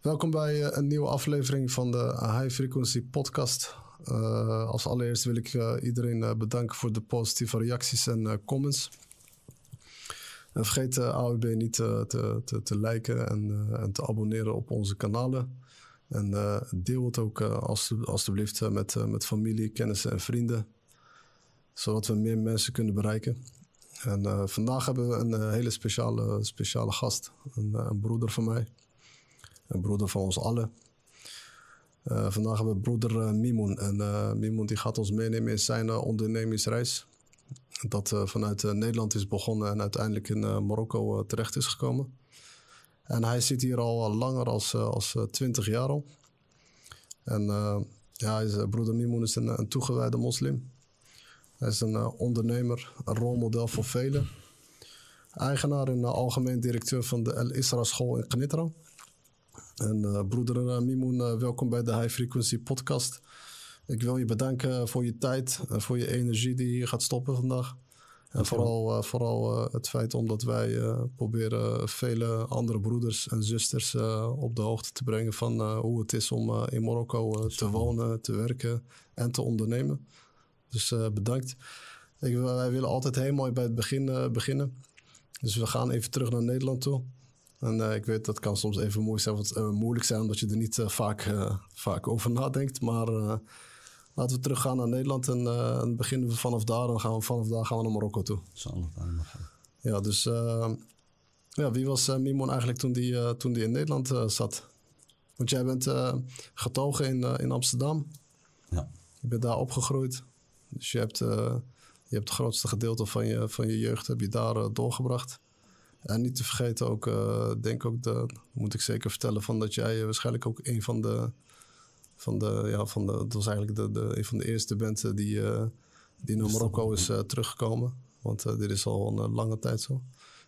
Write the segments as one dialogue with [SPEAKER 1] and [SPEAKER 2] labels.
[SPEAKER 1] Welkom bij eh, een nieuwe aflevering van de High Frequency Podcast. Eh, als allereerst wil ik eh, iedereen eh, bedanken voor de positieve reacties en eh, comments. En vergeet eh AWB niet eh, te, te, te liken en, eh, en te abonneren op onze kanalen. En eh, deel het ook eh, alstu- alstublieft eh, met, eh, met familie, kennissen en vrienden. Zodat we meer mensen kunnen bereiken. En eh, vandaag hebben we een eh, hele speciale, speciale gast. Een, eh, een broeder van mij. Een broeder van ons allen. Eh, vandaag hebben we broeder eh, Mimoen. En eh Mimoen die gaat ons meenemen in zijn eh, ondernemingsreis. Dat eh, vanuit eh, Nederland is begonnen en uiteindelijk in eh, Marokko eh, terecht is gekomen. En hij zit hier al eh, langer als, eh, als eh, 20 jaar al. En eh, ja, hij is, eh, broeder Mimoen is een, eh, een toegewijde moslim. Hij is een eh, ondernemer, een rolmodel voor velen. Eigenaar en eh, algemeen directeur van de El Isra School in Knitra. En eh, broeder eh, Mimoen, eh, welkom bij de High Frequency Podcast. Ik wil je bedanken eh, voor je tijd en voor je energie die je gaat stoppen vandaag. En vooral, eh, vooral eh, het feit omdat wij eh, proberen vele andere broeders en zusters eh, op de hoogte te brengen van eh, hoe het is om eh, in Marokko eh, te wonen, te werken en te ondernemen. Dus eh, bedankt. Ik, wil- wij willen altijd heel mooi bij het begin eh, beginnen. Dus we gaan even terug naar Nederland toe. En eh, ik weet dat kan soms even moeilijk zijn, want, eh, moeilijk zijn omdat je er niet eh, vaak, eh, vaak over nadenkt. Maar eh, laten we teruggaan naar Nederland en, eh, en beginnen we vanaf daar. Dan gaan we vanaf daar gaan we naar Marokko toe.
[SPEAKER 2] Zal het allemaal gaan.
[SPEAKER 1] Ja, dus eh, ja, wie was eh, Mimon eigenlijk toen die, eh, toen die in Nederland eh, zat? Want jij bent eh, getogen in, eh, in Amsterdam.
[SPEAKER 2] Ja,
[SPEAKER 1] Je bent daar opgegroeid. Dus je hebt, eh, je hebt het grootste gedeelte van je, van je jeugd heb je daar eh, doorgebracht. En niet te vergeten ook, eh, denk ook, de, moet ik zeker vertellen, van dat jij eh, waarschijnlijk ook een van de, van de, ja, van de, het was eigenlijk de, de, een van de eerste bent eh, die, eh, die naar Marokko is eh, teruggekomen. Want eh, dit is al een eh, lange tijd zo.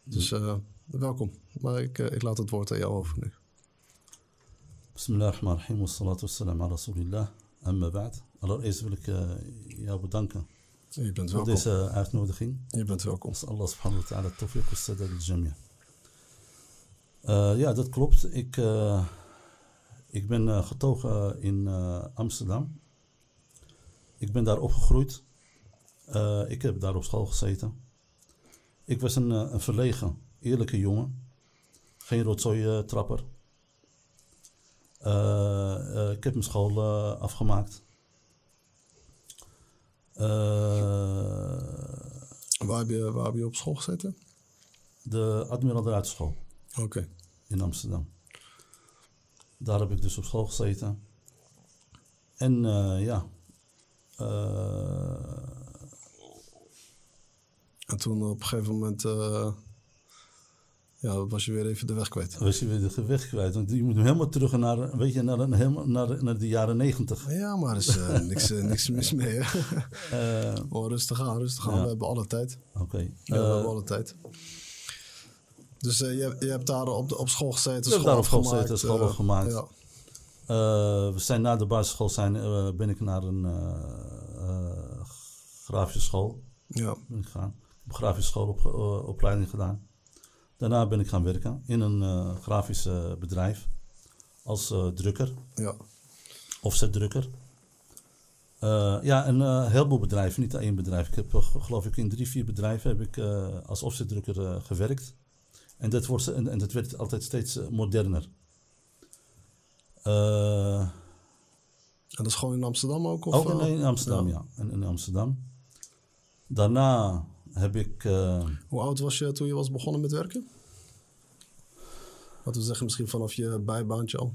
[SPEAKER 1] Dus eh, welkom. Maar ik, eh, ik laat het woord aan jou over nu.
[SPEAKER 2] bismillahirrahmanirrahim. Wassalatu wassalam ala rasulillah. Amma ba'd. Allereerst wil ik eh, jou bedanken
[SPEAKER 1] Je bent
[SPEAKER 2] voor
[SPEAKER 1] welkom.
[SPEAKER 2] deze uitnodiging.
[SPEAKER 1] Je bent welkom.
[SPEAKER 2] Als Allah subhanahu wa ta'ala tawfiq wa sadad al jamia. Eh, ja, dat klopt. Ik, eh, ik ben eh, getogen in eh, Amsterdam. Ik ben daar opgegroeid. Eh, ik heb daar op school gezeten. Ik was een, eh, een verlegen, eerlijke jongen. Geen eh, rotzooi-trapper. eh, ik heb mijn school eh, afgemaakt. Eh,
[SPEAKER 1] Waar heb, je, waar heb je op school gezeten?
[SPEAKER 2] de Admiraal de Ruiterschool
[SPEAKER 1] Oké.
[SPEAKER 2] in Amsterdam. Daar heb ik dus op school gezeten. En eh, ja, eh,
[SPEAKER 1] En toen op een gegeven moment eh, ja, was je weer even de weg kwijt.
[SPEAKER 2] was je weer de weg kwijt. Want je moet helemaal terug naar, weet je, naar, een- helemaal naar, naar de jaren negentig.
[SPEAKER 1] Ja, maar er is eh, niks, eh, niks mis mee. Hè?
[SPEAKER 2] Eh,
[SPEAKER 1] Oh, rustig aan, rustig aan.
[SPEAKER 2] Ja.
[SPEAKER 1] We hebben alle tijd.
[SPEAKER 2] Oké.
[SPEAKER 1] Ja,
[SPEAKER 2] Eh,
[SPEAKER 1] we hebben alle tijd. Dus eh, je, je hebt daar op, de, op school gezeten,
[SPEAKER 2] Ik heb
[SPEAKER 1] school
[SPEAKER 2] daar op school
[SPEAKER 1] afgemaakt,
[SPEAKER 2] gezeten, school
[SPEAKER 1] eh,
[SPEAKER 2] afgemaakt.
[SPEAKER 1] Ja.
[SPEAKER 2] eh, we zijn na de basisschool zijn, eh, ben ik naar een eh, eh, grafische school
[SPEAKER 1] ja.
[SPEAKER 2] ben ik gegaan. Ik heb grafische schoolopleiding gedaan. Daarna ben ik gaan werken in een eh, grafisch eh, bedrijf als eh, drukker,
[SPEAKER 1] Ja,
[SPEAKER 2] offsetdrukker. Eh, ja, een eh, heleboel bedrijven, niet één bedrijf. Ik heb, eh, ge- geloof ik, in drie, vier bedrijven heb ik eh, als offsetdrukker eh, gewerkt. En dat, wordt, en, en dat werd altijd steeds eh, moderner. Eh,
[SPEAKER 1] En dat is gewoon in Amsterdam ook? Of,
[SPEAKER 2] ook in,
[SPEAKER 1] eh,
[SPEAKER 2] in Amsterdam, ja. In, in Amsterdam. Daarna heb ik... eh,
[SPEAKER 1] Hoe oud was je toen je was begonnen met werken? Laten we zeggen, misschien vanaf je bijbaantje al.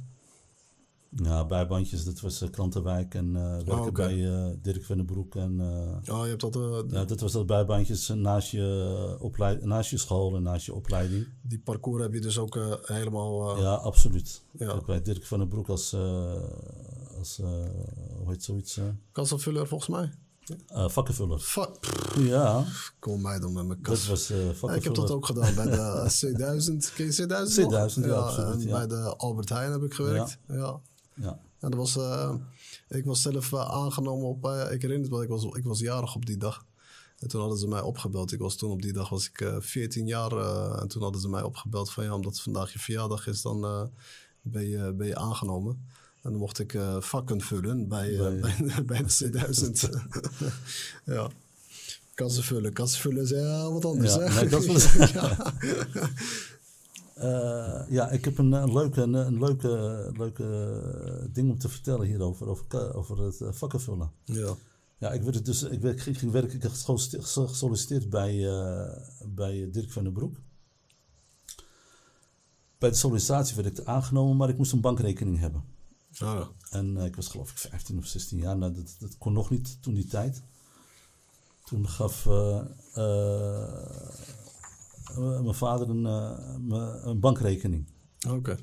[SPEAKER 2] Ja, bijbandjes, dat was eh, Krantenwijk en eh, werken
[SPEAKER 1] Oh, oké.
[SPEAKER 2] bij eh, Dirk van den Broek. En, eh,
[SPEAKER 1] Oh, je hebt dat, eh,
[SPEAKER 2] ja, dat was dat bijbandjes eh, naast je, opleid, naast je school en naast je opleiding.
[SPEAKER 1] die parcours heb je dus ook eh, helemaal... eh,
[SPEAKER 2] Ja, absoluut.
[SPEAKER 1] Ja.
[SPEAKER 2] Ook bij Dirk van den Broek als, eh, als eh, hoe heet zoiets? eh
[SPEAKER 1] Kassenvuller volgens mij.
[SPEAKER 2] eh, vakkenvuller.
[SPEAKER 1] Fuck, pff,
[SPEAKER 2] Ja,
[SPEAKER 1] kom mij dan met mijn
[SPEAKER 2] dat
[SPEAKER 1] kast.
[SPEAKER 2] was eh
[SPEAKER 1] Ja,
[SPEAKER 2] vakkenvuller.
[SPEAKER 1] ik heb dat ook gedaan bij de C1000. Ken je C1000 nog?
[SPEAKER 2] C1000, ja, absoluut,
[SPEAKER 1] en
[SPEAKER 2] ja.
[SPEAKER 1] Bij de Albert Heijn heb ik gewerkt. Ja.
[SPEAKER 2] Ja.
[SPEAKER 1] En dat was, eh, ik was zelf eh, aangenomen op... eh, ik herinner het wel, ik was, ik was jarig op die dag. En toen hadden ze mij opgebeld. Ik was toen op die dag was ik eh 14 jaar. eh, en toen hadden ze mij opgebeld van... Ja, omdat het vandaag je verjaardag is, dan... eh, ben je, ben je aangenomen. En dan mocht ik eh, vakken vullen bij, eh,
[SPEAKER 2] Bij-
[SPEAKER 1] bij, bij de C1000. ja. Kansen vullen. Kansen vullen is ja, wat anders.
[SPEAKER 2] Ja,
[SPEAKER 1] hè?
[SPEAKER 2] nee, dat is wel-
[SPEAKER 1] ja.
[SPEAKER 2] Eh, ja, ik heb een, eh, leuke, een, een leuke, eh, leuke eh, ding om te vertellen hierover, over, ka- over het eh, vakken vullen.
[SPEAKER 1] ja.
[SPEAKER 2] Ja, ik, werd het dus, ik werd, ging, ging werken, ik had gesolliciteerd- gesolliciteerd bij, eh, bij Dirk van den Broek. Bij de sollicitatie werd ik aangenomen, maar ik moest een bankrekening hebben.
[SPEAKER 1] Ah,
[SPEAKER 2] En eh, ik was geloof ik 15 of 16 jaar. Nou, dat, dat kon nog niet toen die tijd. Toen gaf eh, eh, eh, mijn vader een, eh, me- een bankrekening.
[SPEAKER 1] Oké.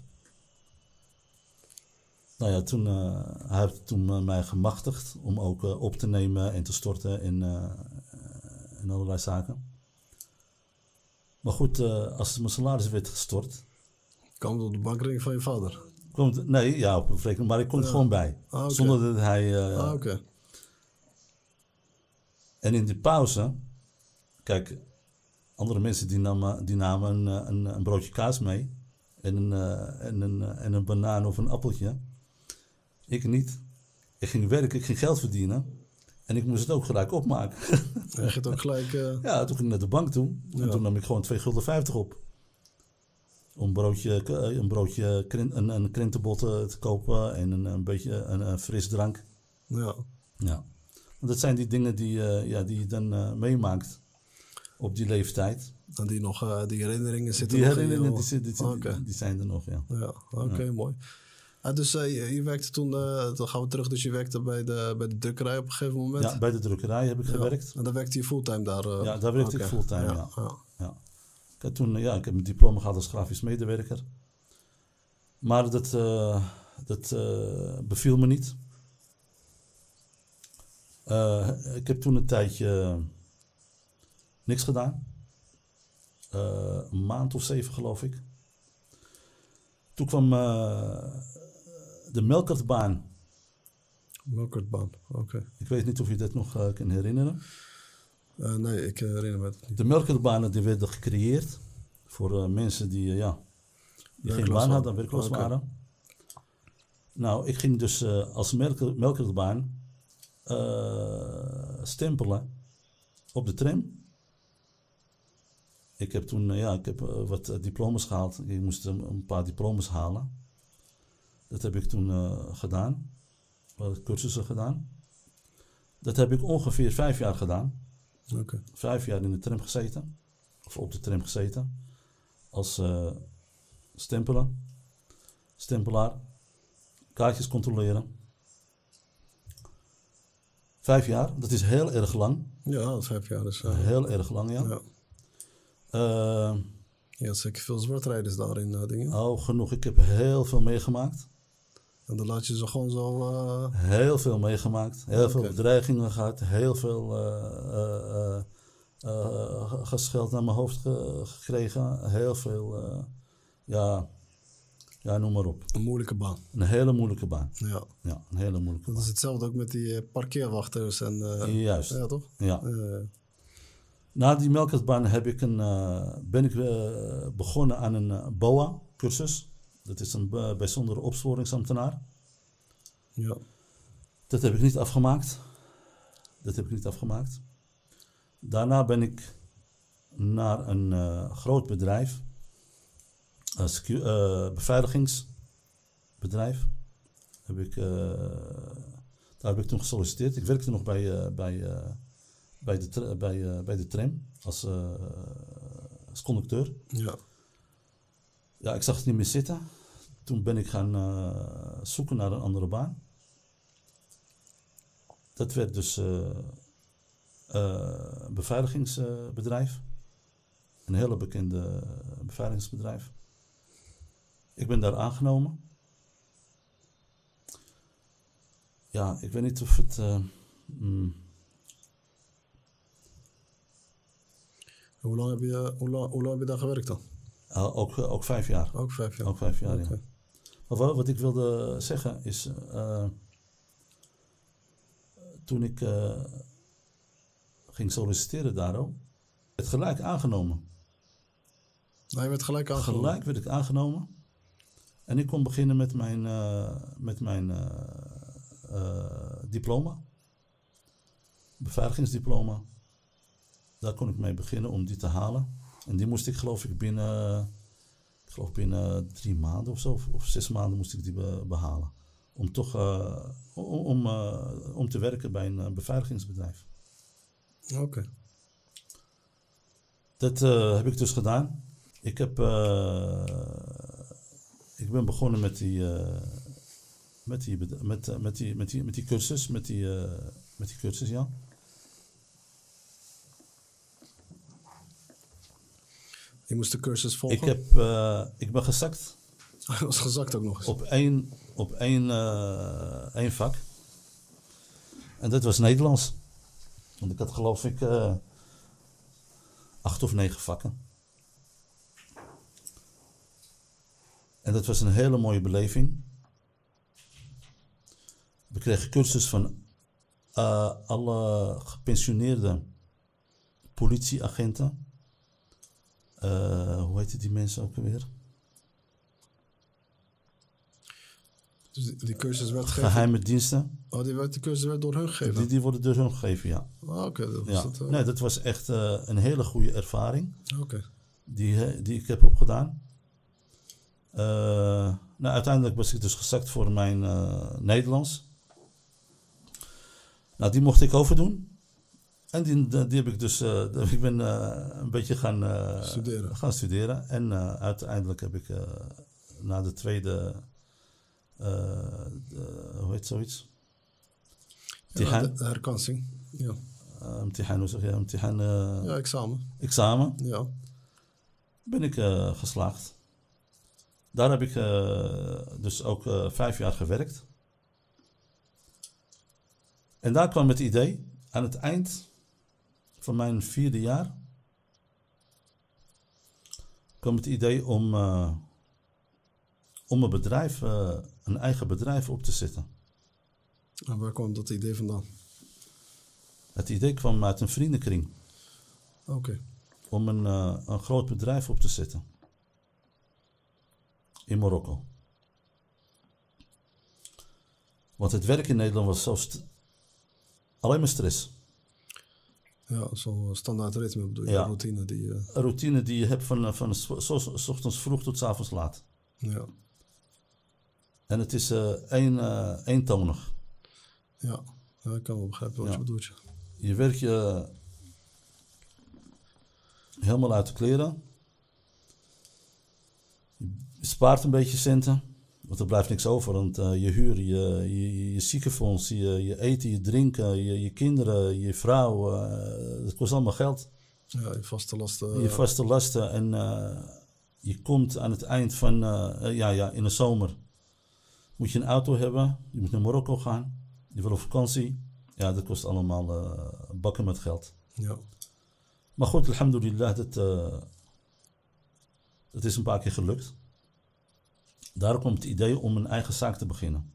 [SPEAKER 2] Nou ja, toen, eh, hij heeft toen eh, mij gemachtigd om ook eh, op te nemen en te storten en, eh, en allerlei zaken. Maar goed, eh, als mijn salaris werd gestort,
[SPEAKER 1] Kwam het op de bankring van je vader?
[SPEAKER 2] kwam het, nee, ja, op een rekening, maar ik kon er gewoon bij.
[SPEAKER 1] Ah, oké.
[SPEAKER 2] Zonder dat hij... eh,
[SPEAKER 1] Ah, oké.
[SPEAKER 2] En in die pauze, kijk, andere mensen die namen, die namen een, eh, een, een broodje kaas mee en een, eh, en, een, eh, en een banaan of een appeltje. Ik niet. Ik ging werken, ik ging geld verdienen. En ik moest het ook gelijk opmaken.
[SPEAKER 1] En je gaat ook gelijk... eh,
[SPEAKER 2] ja, toen ging ik naar de bank toe. En
[SPEAKER 1] Ja.
[SPEAKER 2] toen nam ik gewoon 2,50 gulden op. Om een broodje, k- eh, een broodje kren- een, een krentenbot eh, te kopen en een, een beetje een, een frisdrank.
[SPEAKER 1] ja.
[SPEAKER 2] Ja. Want dat zijn die dingen die, eh, ja, die je dan eh, meemaakt op die leeftijd.
[SPEAKER 1] En die, nog, eh, die herinneringen zitten
[SPEAKER 2] Die
[SPEAKER 1] nog in
[SPEAKER 2] herinneringen
[SPEAKER 1] je-
[SPEAKER 2] die, zit- die, zit-
[SPEAKER 1] Oké.
[SPEAKER 2] die zijn er nog, ja.
[SPEAKER 1] Ja, oké, mooi. Ah, dus eh, je, je werkte toen, eh, dan gaan we terug, dus je werkte bij de, bij de drukkerij op een gegeven moment.
[SPEAKER 2] ja. Bij de drukkerij heb ik gewerkt.
[SPEAKER 1] En dan werkte je fulltime daar. eh?
[SPEAKER 2] Ja, daar werkte
[SPEAKER 1] Oké,
[SPEAKER 2] ik fulltime, ja.
[SPEAKER 1] ja.
[SPEAKER 2] Ja. Ik, had toen, eh, ja, ik heb mijn diploma gehad als grafisch medewerker. Maar dat, eh, dat eh, beviel me niet. Eh, ik heb toen een tijdje niks gedaan. Eh, een maand of zeven, geloof ik. Toen kwam eh, de melkertbaan.
[SPEAKER 1] Melkertbaan, oké.
[SPEAKER 2] Ik weet niet of je dat nog eh, kan herinneren.
[SPEAKER 1] Eh, nee, ik herinner me het niet.
[SPEAKER 2] De melkerbanen die werden gecreëerd voor eh, mensen die, eh, ja, die geen
[SPEAKER 1] Werkloos
[SPEAKER 2] baan hadden,
[SPEAKER 1] waren.
[SPEAKER 2] werkloos
[SPEAKER 1] Oké.
[SPEAKER 2] waren. Nou, ik ging dus eh, als melker, melkerbaan eh, stempelen op de tram. Ik heb toen eh, ja, ik heb, eh, wat eh, diploma's gehaald. Ik moest een, een paar diploma's halen. Dat heb ik toen eh, gedaan. Wat cursussen gedaan. Dat heb ik ongeveer vijf jaar gedaan
[SPEAKER 1] Oké,
[SPEAKER 2] vijf jaar in de tram gezeten. Of op de tram gezeten. Als eh stempeler. Stempelaar. Kaartjes controleren. Vijf jaar, dat is heel erg lang.
[SPEAKER 1] ja, vijf jaar dus. eh,
[SPEAKER 2] Heel erg lang, ja.
[SPEAKER 1] ja.
[SPEAKER 2] Eh,
[SPEAKER 1] Je had zeker veel zwartrijders daar in eh, dingen.
[SPEAKER 2] oh, genoeg. Ik heb heel veel meegemaakt.
[SPEAKER 1] En dan laat je ze gewoon zo... eh,
[SPEAKER 2] Heel veel meegemaakt. Heel veel
[SPEAKER 1] Oké.
[SPEAKER 2] bedreigingen gehad. Heel veel eh, eh, eh, eh, gescheld naar mijn hoofd ge- gekregen. Heel veel, eh, ja, ja, noem maar op.
[SPEAKER 1] een moeilijke baan.
[SPEAKER 2] Een hele moeilijke baan.
[SPEAKER 1] Ja,
[SPEAKER 2] Ja, een hele moeilijke
[SPEAKER 1] dat
[SPEAKER 2] baan.
[SPEAKER 1] is hetzelfde ook met die eh, parkeerwachters en... eh,
[SPEAKER 2] Juist.
[SPEAKER 1] ja, toch?
[SPEAKER 2] Ja.
[SPEAKER 1] Eh,
[SPEAKER 2] Na die melkertbaan heb ik een, eh, ben ik eh, begonnen aan een eh, BOA-cursus. Dat is een b- bijzondere opsporingsambtenaar.
[SPEAKER 1] ja.
[SPEAKER 2] Dat heb ik niet afgemaakt. Dat heb ik niet afgemaakt. Daarna ben ik naar een eh, groot bedrijf, een secu- eh, beveiligingsbedrijf, heb ik, eh, daar heb ik toen gesolliciteerd. Ik werkte nog bij, eh, bij, eh, bij, de, tra- bij, eh, bij de tram als, eh, als conducteur.
[SPEAKER 1] ja.
[SPEAKER 2] Ja, ik zag het niet meer zitten. Toen ben ik gaan eh, zoeken naar een andere baan. Dat werd dus eh, eh, een beveiligingsbedrijf. Een hele bekende eh, beveiligingsbedrijf. Ik ben daar aangenomen. Ja, ik weet niet of het. eh, mm,
[SPEAKER 1] Hoe lang, heb je, hoe, lang, hoe lang heb je daar gewerkt dan?
[SPEAKER 2] ah, ook, eh, ook vijf jaar.
[SPEAKER 1] Ook vijf jaar.
[SPEAKER 2] Ook vijf jaar, ja.
[SPEAKER 1] Oké.
[SPEAKER 2] Maar wa- wat ik wilde zeggen is, eh, toen ik eh, ging solliciteren daarom, werd gelijk aangenomen.
[SPEAKER 1] Hij Nou, werd gelijk aangenomen.
[SPEAKER 2] Gelijk werd ik aangenomen. En ik kon beginnen met mijn, eh, met mijn eh, eh, diploma. Beveiligingsdiploma. Daar kon ik mee beginnen om die te halen. En die moest ik geloof ik binnen, ik geloof binnen drie maanden of zo, of, of zes maanden moest ik die be- behalen. Om toch eh, om, om, eh, om te werken bij een eh, beveiligingsbedrijf.
[SPEAKER 1] Oké.
[SPEAKER 2] Dat eh, heb ik dus gedaan. Ik, heb, eh, ik ben begonnen met die, eh, met, die, bed- met, eh, met, die, met, die, met die cursus. Met die, eh, met die cursus, ja.
[SPEAKER 1] Je moest de cursus
[SPEAKER 2] Ik,
[SPEAKER 1] volgen.
[SPEAKER 2] heb, eh, ik ben gezakt
[SPEAKER 1] Dat was gezakt ook nog eens.
[SPEAKER 2] op één, op één, eh, één vak. En dat was Nederlands. Want ik had geloof ik eh, acht of negen vakken. En dat was een hele mooie beleving. We kregen cursus van eh, alle gepensioneerde politieagenten. Eh, hoe heette die mensen ook alweer?
[SPEAKER 1] Dus die, die cursus werd gegeven.
[SPEAKER 2] Geheime diensten.
[SPEAKER 1] Oh, die, werd, die cursus werd door hun gegeven.
[SPEAKER 2] Die, die worden door hun gegeven, ja.
[SPEAKER 1] Ah, Oké, dat was
[SPEAKER 2] ja.
[SPEAKER 1] het. eh,
[SPEAKER 2] Nee, dat was echt eh, een hele goede ervaring
[SPEAKER 1] Oké.
[SPEAKER 2] die, eh, die ik heb opgedaan. Eh, nou, uiteindelijk was ik dus gezakt voor mijn eh, Nederlands. Nou, die mocht ik overdoen. En die, die heb ik dus, eh, ik ben eh, een beetje gaan, eh,
[SPEAKER 1] Studeren.
[SPEAKER 2] gaan studeren. En eh, uiteindelijk heb ik eh, na de tweede, eh, de- hoe heet zoiets?
[SPEAKER 1] Ja,
[SPEAKER 2] Tihan.
[SPEAKER 1] de- de herkansing. Ja.
[SPEAKER 2] Eh, Imtihan, hoe zeg je? Imtihan, eh,
[SPEAKER 1] ja, examen.
[SPEAKER 2] examen.
[SPEAKER 1] Ja.
[SPEAKER 2] ben ik eh, geslaagd. Daar heb ik eh, dus ook eh, vijf jaar gewerkt. En daar kwam het idee, aan het eind van mijn vierde jaar, kwam het idee om, eh, om een bedrijf, eh, een eigen bedrijf op te zetten.
[SPEAKER 1] En waar kwam dat idee vandaan?
[SPEAKER 2] Het idee kwam uit een vriendenkring.
[SPEAKER 1] Oké.
[SPEAKER 2] om een, eh, een groot bedrijf op te zetten. In Marokko. Want het werk in Nederland was zo st- alleen maar stress.
[SPEAKER 1] Ja, zo'n standaard ritme bedoel je,
[SPEAKER 2] Ja.
[SPEAKER 1] routine die... eh,
[SPEAKER 2] Een routine die je hebt van, eh, van s- s- s ochtends vroeg tot s avonds laat.
[SPEAKER 1] ja.
[SPEAKER 2] En het is eh één, eh, eentonig.
[SPEAKER 1] Ja. ja, ik kan wel begrijpen wat
[SPEAKER 2] Ja.
[SPEAKER 1] je bedoelt. ja.
[SPEAKER 2] Je werkt je helemaal uit de kleren. Je spaart een beetje centen. Want er blijft niks over. Want eh, je huur, je, je, je ziekenfonds, je, je eten, je drinken, je, je kinderen, je vrouw. eh dat kost allemaal geld.
[SPEAKER 1] Ja, je vaste lasten.
[SPEAKER 2] Je vaste lasten. En eh, je komt aan het eind van... eh, eh, ja, ja, in de zomer moet je een auto hebben. Je moet naar Marokko gaan. Je wil op vakantie. Ja, dat kost allemaal eh, bakken met geld.
[SPEAKER 1] Ja.
[SPEAKER 2] Maar goed, alhamdulillah, dat, eh, dat is een paar keer gelukt. Daar komt het idee om een eigen zaak te beginnen.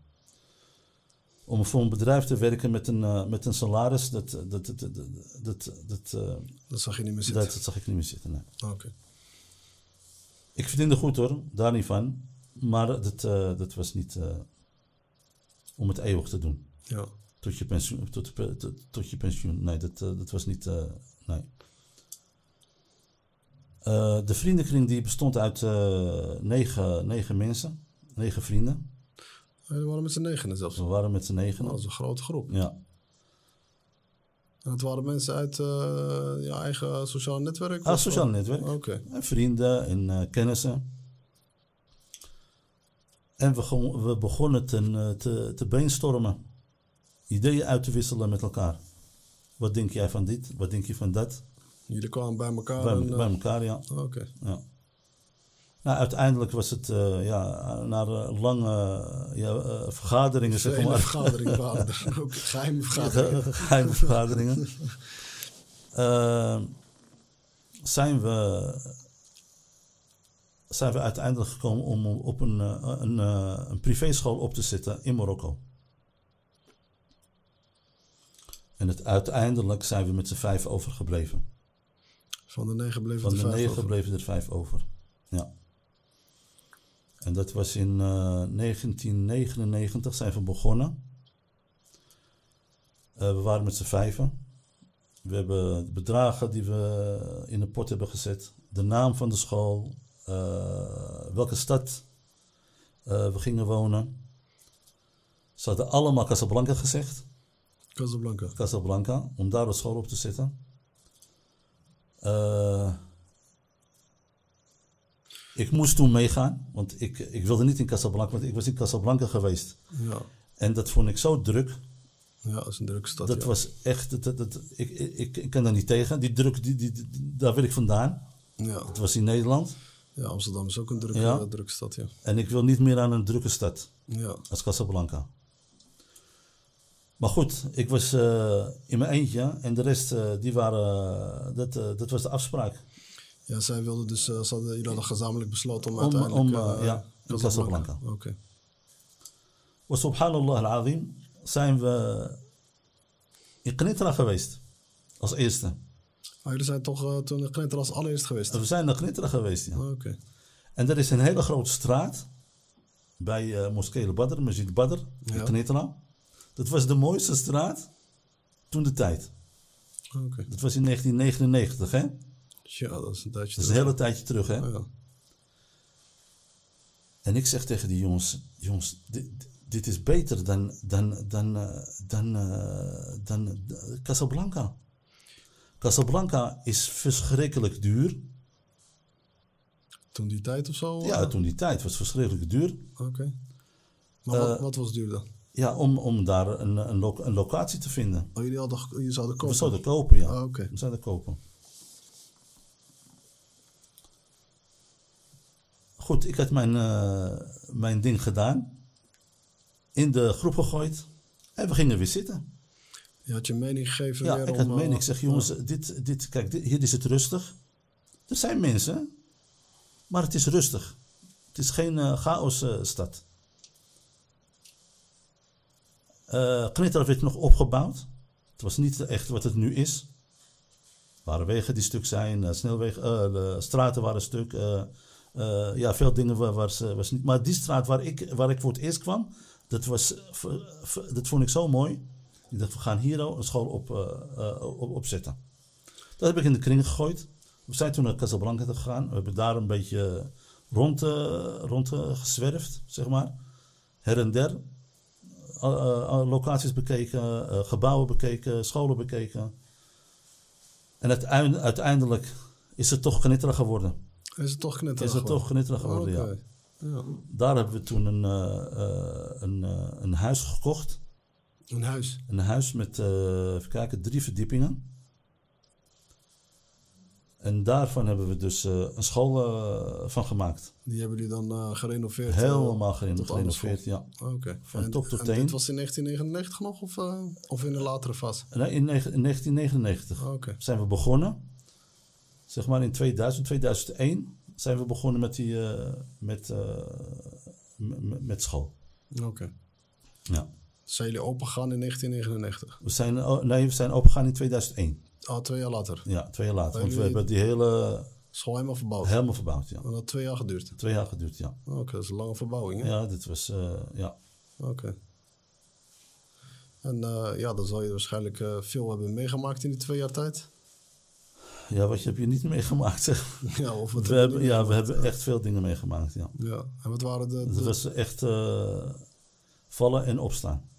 [SPEAKER 2] Om voor een bedrijf te werken met een, eh, met een salaris, dat, dat, dat, dat, dat, dat, eh,
[SPEAKER 1] Dat zag je niet meer zitten.
[SPEAKER 2] dat, dat zag ik niet meer zitten. nee.
[SPEAKER 1] Oké.
[SPEAKER 2] Ik verdiende goed hoor, daar niet van. Maar dat, eh, dat was niet eh, om het eeuwig te doen.
[SPEAKER 1] Ja.
[SPEAKER 2] Tot je pensioen. Tot, de pe- tot, tot je pensioen. Nee, dat, eh, dat was niet. eh, nee. Eh, de vriendenkring die bestond uit eh, negen, negen mensen. Negen vrienden. Dus
[SPEAKER 1] En we waren met z'n negenen zelfs.
[SPEAKER 2] We waren met z'n negen.
[SPEAKER 1] Dat was een grote groep.
[SPEAKER 2] Ja,
[SPEAKER 1] En het waren mensen uit eh, je eigen sociaal netwerk?
[SPEAKER 2] ah,
[SPEAKER 1] of zo?
[SPEAKER 2] sociaal netwerk.
[SPEAKER 1] Oké.
[SPEAKER 2] En vrienden en eh, kennissen. En we, gon- we begonnen ten, eh, te, te brainstormen. Ideeën uit te wisselen met elkaar. Wat denk jij van dit? Wat denk je van dat?
[SPEAKER 1] Jullie kwamen bij elkaar.
[SPEAKER 2] Bij,
[SPEAKER 1] en, eh,
[SPEAKER 2] bij elkaar, ja.
[SPEAKER 1] Oké.
[SPEAKER 2] Ja. Nou, uiteindelijk was het, eh, ja, na eh, lange eh, ja, eh, vergaderingen,
[SPEAKER 1] De
[SPEAKER 2] zeg
[SPEAKER 1] ene
[SPEAKER 2] maar,
[SPEAKER 1] vergadering waren er. Ook geheime vergadering.
[SPEAKER 2] ge- geheime vergaderingen, eh, zijn, we, zijn we uiteindelijk gekomen om op een, eh, een, eh, een privéschool op te zetten in Marokko. En het, uiteindelijk zijn we met z'n vijf overgebleven.
[SPEAKER 1] Van de negen bleven
[SPEAKER 2] Van
[SPEAKER 1] er
[SPEAKER 2] de
[SPEAKER 1] vijf
[SPEAKER 2] negen
[SPEAKER 1] over.
[SPEAKER 2] bleven er vijf over. Ja. En dat was in eh, 1999 zijn we begonnen. Eh, we waren met z'n vijven. We hebben de bedragen die we in de pot hebben gezet, de naam van de school, eh, welke stad eh, we gingen wonen. Ze hadden allemaal Casablanca gezegd.
[SPEAKER 1] Casablanca.
[SPEAKER 2] Casablanca, om daar een school op te zetten. Eh, ik moest toen meegaan, want ik, ik wilde niet in Casablanca, want ik was in Casablanca geweest.
[SPEAKER 1] Ja.
[SPEAKER 2] En dat vond ik zo druk.
[SPEAKER 1] ja, dat is een drukke stad.
[SPEAKER 2] Dat
[SPEAKER 1] ja.
[SPEAKER 2] was echt, dat, dat, dat- ik, ik, ik kan daar niet tegen. Die druk, die, die, die- daar wil ik vandaan.
[SPEAKER 1] Ja.
[SPEAKER 2] Het was in Nederland.
[SPEAKER 1] ja, Amsterdam is ook een drukke,
[SPEAKER 2] Ja.
[SPEAKER 1] eh, drukke stad, ja.
[SPEAKER 2] En ik wil niet meer aan een drukke stad.
[SPEAKER 1] Ja,
[SPEAKER 2] als Casablanca. Maar goed, ik was eh, in mijn eentje en de rest, eh, die waren, dat, eh, dat was de afspraak.
[SPEAKER 1] ja zij wilden dus, eh, ze hadden, jullie hadden gezamenlijk besloten om,
[SPEAKER 2] Om,
[SPEAKER 1] uiteindelijk...
[SPEAKER 2] om
[SPEAKER 1] eh,
[SPEAKER 2] eh, ja, in Casablanca.
[SPEAKER 1] Oké.
[SPEAKER 2] Wa subhanallah al-azim zijn we in Knitra geweest, als eerste.
[SPEAKER 1] Maar jullie zijn toch eh, toen de Knetter als allereerst geweest?
[SPEAKER 2] We zijn naar Knitra geweest, ja.
[SPEAKER 1] Oké.
[SPEAKER 2] En er is een hele grote straat bij eh Moskee Badr, Masjid Badr, in
[SPEAKER 1] Ja.
[SPEAKER 2] Knitra. Dat was de mooiste straat toen de tijd.
[SPEAKER 1] Oké.
[SPEAKER 2] Dat was in 1999, hè?
[SPEAKER 1] Ja, dat is een tijdje
[SPEAKER 2] Dat is een hele tijdje terug, hè?
[SPEAKER 1] terug. Oh Ja.
[SPEAKER 2] En ik zeg tegen die jongens, jongens, dit, dit is beter dan, dan, dan, eh, dan, eh, dan eh, Casablanca. Casablanca is verschrikkelijk duur.
[SPEAKER 1] Toen die tijd of zo?
[SPEAKER 2] Ja,
[SPEAKER 1] eh,
[SPEAKER 2] toen die tijd was verschrikkelijk duur.
[SPEAKER 1] Oké. Maar wat,
[SPEAKER 2] Eh,
[SPEAKER 1] wat was duur dan?
[SPEAKER 2] Ja, om, om daar een, een, lo- een locatie te vinden.
[SPEAKER 1] Oh, jullie hadden, ge- jullie zouden
[SPEAKER 2] We
[SPEAKER 1] kopen?
[SPEAKER 2] zouden kopen, ja.
[SPEAKER 1] Ah, oké.
[SPEAKER 2] We zouden kopen. Goed, ik had mijn, eh, mijn ding gedaan. In de groep gegooid. En we gingen weer zitten.
[SPEAKER 1] Je had je mening gegeven
[SPEAKER 2] Ja,
[SPEAKER 1] weer
[SPEAKER 2] ik
[SPEAKER 1] om...
[SPEAKER 2] had meen.
[SPEAKER 1] eh,
[SPEAKER 2] Ik zeg, jongens, dit, dit, kijk, dit- hier is het rustig. Er zijn mensen, maar het is rustig. Het is geen eh, chaos eh, stad. Eh Knitra werd nog opgebouwd. Het was niet echt wat het nu is. Er waren wegen die stuk zijn, eh, snelwegen, eh, de straten waren stuk. eh, eh, ja, veel dingen wa- was, eh, was niet. Maar die straat waar ik, waar ik voor het eerst kwam, dat, was, ver- ver- dat vond ik zo mooi. Ik dacht, we gaan hier al een school op, eh, eh, op, opzetten. Dat heb ik in de kring gegooid. We zijn toen naar Casablanca gegaan. We hebben daar een beetje rond, eh, rond eh, gezwerfd, zeg maar. Her en der. Eh, eh, eh, locaties bekeken, eh, gebouwen bekeken, scholen bekeken. En uiteind- uiteindelijk is het toch Knitra geworden.
[SPEAKER 1] Is het toch knetter?
[SPEAKER 2] Is het toch Knitra geworden,
[SPEAKER 1] Oh,
[SPEAKER 2] ja. Daar hebben we toen een, eh, eh, een, eh, een huis gekocht.
[SPEAKER 1] Een huis.
[SPEAKER 2] Een huis met, eh, even kijken, drie verdiepingen. En daarvan hebben we dus eh, een school eh, van gemaakt.
[SPEAKER 1] Die hebben jullie dan eh, gerenoveerd? eh,
[SPEAKER 2] Helemaal gereno-
[SPEAKER 1] tot anders
[SPEAKER 2] gerenoveerd, ja.
[SPEAKER 1] Oké.
[SPEAKER 2] Van
[SPEAKER 1] En-
[SPEAKER 2] top tot
[SPEAKER 1] en
[SPEAKER 2] teen.
[SPEAKER 1] dit was in 1999 nog of, eh, of in een latere fase?
[SPEAKER 2] Nee, in, negen- in 1999
[SPEAKER 1] Oké.
[SPEAKER 2] zijn we begonnen. Zeg maar in 2000, 2001 zijn we begonnen met, die, eh, met, eh, m- m- met school.
[SPEAKER 1] Oké.
[SPEAKER 2] Ja.
[SPEAKER 1] Zijn jullie opengegaan in 1999?
[SPEAKER 2] We zijn, o- nee, we zijn opgegaan in 2001.
[SPEAKER 1] Ah, twee jaar later.
[SPEAKER 2] Ja, twee jaar later.
[SPEAKER 1] Maar
[SPEAKER 2] Want we
[SPEAKER 1] jullie-
[SPEAKER 2] hebben die hele
[SPEAKER 1] School helemaal verbouwd.
[SPEAKER 2] helemaal verbouwd, ja.
[SPEAKER 1] En dat had twee jaar geduurd.
[SPEAKER 2] Twee jaar geduurd, ja.
[SPEAKER 1] Oké, dat is een lange verbouwing. Hè?
[SPEAKER 2] Ja, dit was, eh, ja.
[SPEAKER 1] Oké. En eh, ja, dan zal je waarschijnlijk eh, veel hebben meegemaakt in die twee jaar tijd.
[SPEAKER 2] Ja, wat heb je niet meegemaakt, zeg.
[SPEAKER 1] ja, of wat
[SPEAKER 2] We hebben, ja, we hebben echt veel dingen meegemaakt, ja.
[SPEAKER 1] Ja, en wat waren de...
[SPEAKER 2] Het
[SPEAKER 1] de-
[SPEAKER 2] was echt eh, vallen en opstaan,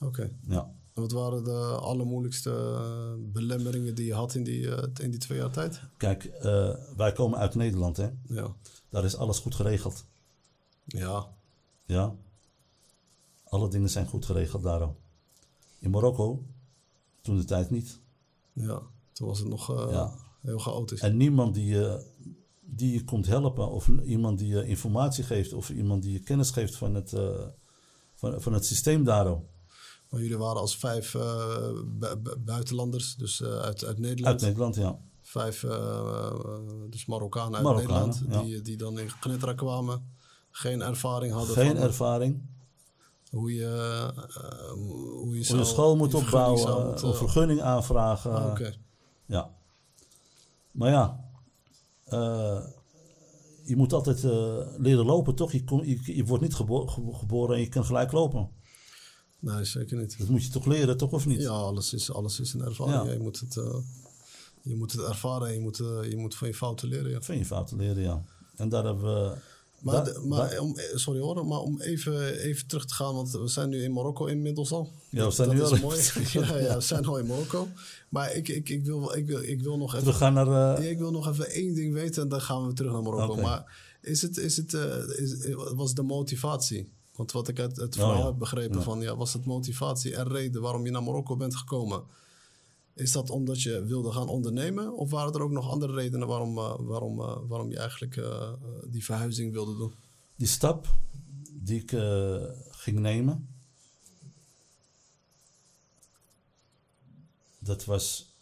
[SPEAKER 1] Oké.
[SPEAKER 2] ja.
[SPEAKER 1] En wat waren de allermoeilijkste eh, belemmeringen die je had in die, eh, in die twee jaar tijd?
[SPEAKER 2] Kijk, eh, wij komen uit Nederland, hè.
[SPEAKER 1] Ja.
[SPEAKER 2] Daar is alles goed geregeld,
[SPEAKER 1] Ja.
[SPEAKER 2] ja. Alle dingen zijn goed geregeld daar al. In Marokko, toen de tijd niet.
[SPEAKER 1] Ja. Toen was het nog eh,
[SPEAKER 2] Ja.
[SPEAKER 1] heel chaotisch.
[SPEAKER 2] En niemand die je, die je komt helpen, of iemand die je informatie geeft, of iemand die je kennis geeft van het, eh, van, van het systeem daar al.
[SPEAKER 1] Maar jullie waren als vijf eh, bu- bu- buitenlanders, dus eh, uit, uit Nederland.
[SPEAKER 2] Uit Nederland, ja.
[SPEAKER 1] Vijf, eh, eh, dus Marokkanen uit
[SPEAKER 2] Marokkanen,
[SPEAKER 1] Nederland,
[SPEAKER 2] ja.
[SPEAKER 1] die, die dan in Knitra kwamen. Geen ervaring hadden
[SPEAKER 2] Geen
[SPEAKER 1] van
[SPEAKER 2] ervaring.
[SPEAKER 1] hoe je, eh, hoe je,
[SPEAKER 2] Hoe je
[SPEAKER 1] zou-
[SPEAKER 2] school moet
[SPEAKER 1] je vergunning zou
[SPEAKER 2] opbouwen, eh,
[SPEAKER 1] moeten-
[SPEAKER 2] of vergunning aanvragen.
[SPEAKER 1] Ah, Oké,
[SPEAKER 2] Ja. Maar ja, eh, je moet altijd eh, leren lopen, toch? Je, kom- je, je wordt niet gebo- ge- geboren en je kan gelijk lopen.
[SPEAKER 1] Nee, zeker niet.
[SPEAKER 2] Dat moet je toch leren, toch of niet?
[SPEAKER 1] Ja, alles is, alles is een ervaring.
[SPEAKER 2] Ja.
[SPEAKER 1] Je, moet het, eh, je moet het ervaren en je moet, eh, je moet van je fouten leren. Ja.
[SPEAKER 2] Vind je fouten leren, ja. En daar hebben we...
[SPEAKER 1] Maar,
[SPEAKER 2] daar-
[SPEAKER 1] de- maar
[SPEAKER 2] daar-
[SPEAKER 1] om, eh, sorry hoor, maar om even, even terug te gaan, want we zijn nu in Marokko inmiddels al.
[SPEAKER 2] Ja, we zijn
[SPEAKER 1] dat
[SPEAKER 2] nu
[SPEAKER 1] is
[SPEAKER 2] al-
[SPEAKER 1] mooi. ja, ja, we zijn al in Marokko. Maar ik, ik, ik, wil, wel- ik, wil, ik, wil nog even,
[SPEAKER 2] terug gaan naar... eh,
[SPEAKER 1] ja, ik wil nog even één ding weten en dan gaan we terug naar Marokko.
[SPEAKER 2] Oké.
[SPEAKER 1] Maar is het, is het, eh, is, was de motivatie? Want wat ik uit het verhaal
[SPEAKER 2] Oh ja.
[SPEAKER 1] heb begrepen van, ja, was het motivatie en reden waarom je naar Marokko bent gekomen? Is dat omdat je wilde gaan ondernemen? Of waren er ook nog andere redenen waarom, eh, waarom, eh, waarom je eigenlijk eh, eh, die verhuizing wilde doen?
[SPEAKER 2] die stap die ik eh, ging nemen, dat was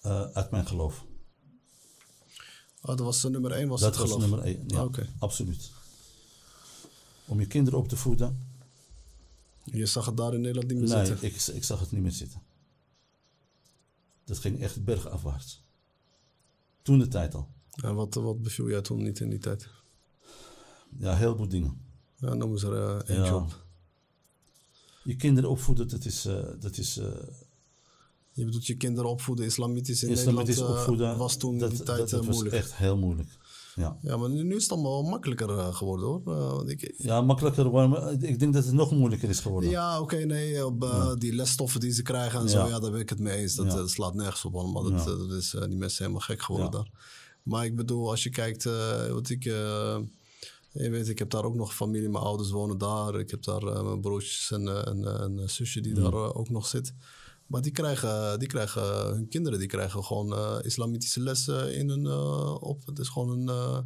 [SPEAKER 2] eh, uit mijn geloof.
[SPEAKER 1] Oh, dat was de nummer 1 was
[SPEAKER 2] dat
[SPEAKER 1] het
[SPEAKER 2] was
[SPEAKER 1] geloof. Ah,
[SPEAKER 2] nummer één. Ja,
[SPEAKER 1] Oké.
[SPEAKER 2] absoluut. Om je kinderen op te voeden.
[SPEAKER 1] Je zag het daar in Nederland niet meer
[SPEAKER 2] nee,
[SPEAKER 1] zitten.
[SPEAKER 2] ik, ik zag het niet meer zitten. Dat ging echt bergafwaarts. Toen de tijd al.
[SPEAKER 1] En wat, wat beviel jij toen niet in die tijd?
[SPEAKER 2] Ja, heel veel dingen.
[SPEAKER 1] Ja, noem eens er eh, eentje
[SPEAKER 2] Ja.
[SPEAKER 1] op.
[SPEAKER 2] Je kinderen opvoeden, dat is, eh, dat is eh,
[SPEAKER 1] Je bedoelt je kinderen opvoeden, islamitisch in
[SPEAKER 2] Islamitisch
[SPEAKER 1] Nederland eh,
[SPEAKER 2] opvoeden.
[SPEAKER 1] was toen in die tijd
[SPEAKER 2] dat,
[SPEAKER 1] eh,
[SPEAKER 2] was
[SPEAKER 1] moeilijk.
[SPEAKER 2] echt heel moeilijk. Ja,
[SPEAKER 1] Ja, maar nu, nu is het allemaal wel makkelijker eh, geworden hoor. Eh, want ik,
[SPEAKER 2] ja makkelijker. maar eh, Ik denk dat het nog moeilijker is geworden.
[SPEAKER 1] ja, oké, nee, op, eh, die lesstoffen die ze krijgen en zo,
[SPEAKER 2] Ja.
[SPEAKER 1] ja, daar ben ik het mee eens. Dat, eh, slaat nergens op allemaal. Dat, eh, dat is, eh, die mensen helemaal gek geworden
[SPEAKER 2] Ja.
[SPEAKER 1] daar. Maar ik bedoel, als je kijkt, eh, wat ik... eh, je weet, ik heb daar ook nog familie, mijn ouders wonen daar. Ik heb daar eh, mijn broertjes en, eh, en, eh, en een zusje
[SPEAKER 2] Mm.
[SPEAKER 1] die daar eh, ook nog zit. Maar die krijgen, die krijgen hun kinderen, die krijgen gewoon eh, islamitische lessen in hun eh, op. Het is gewoon een, eh, het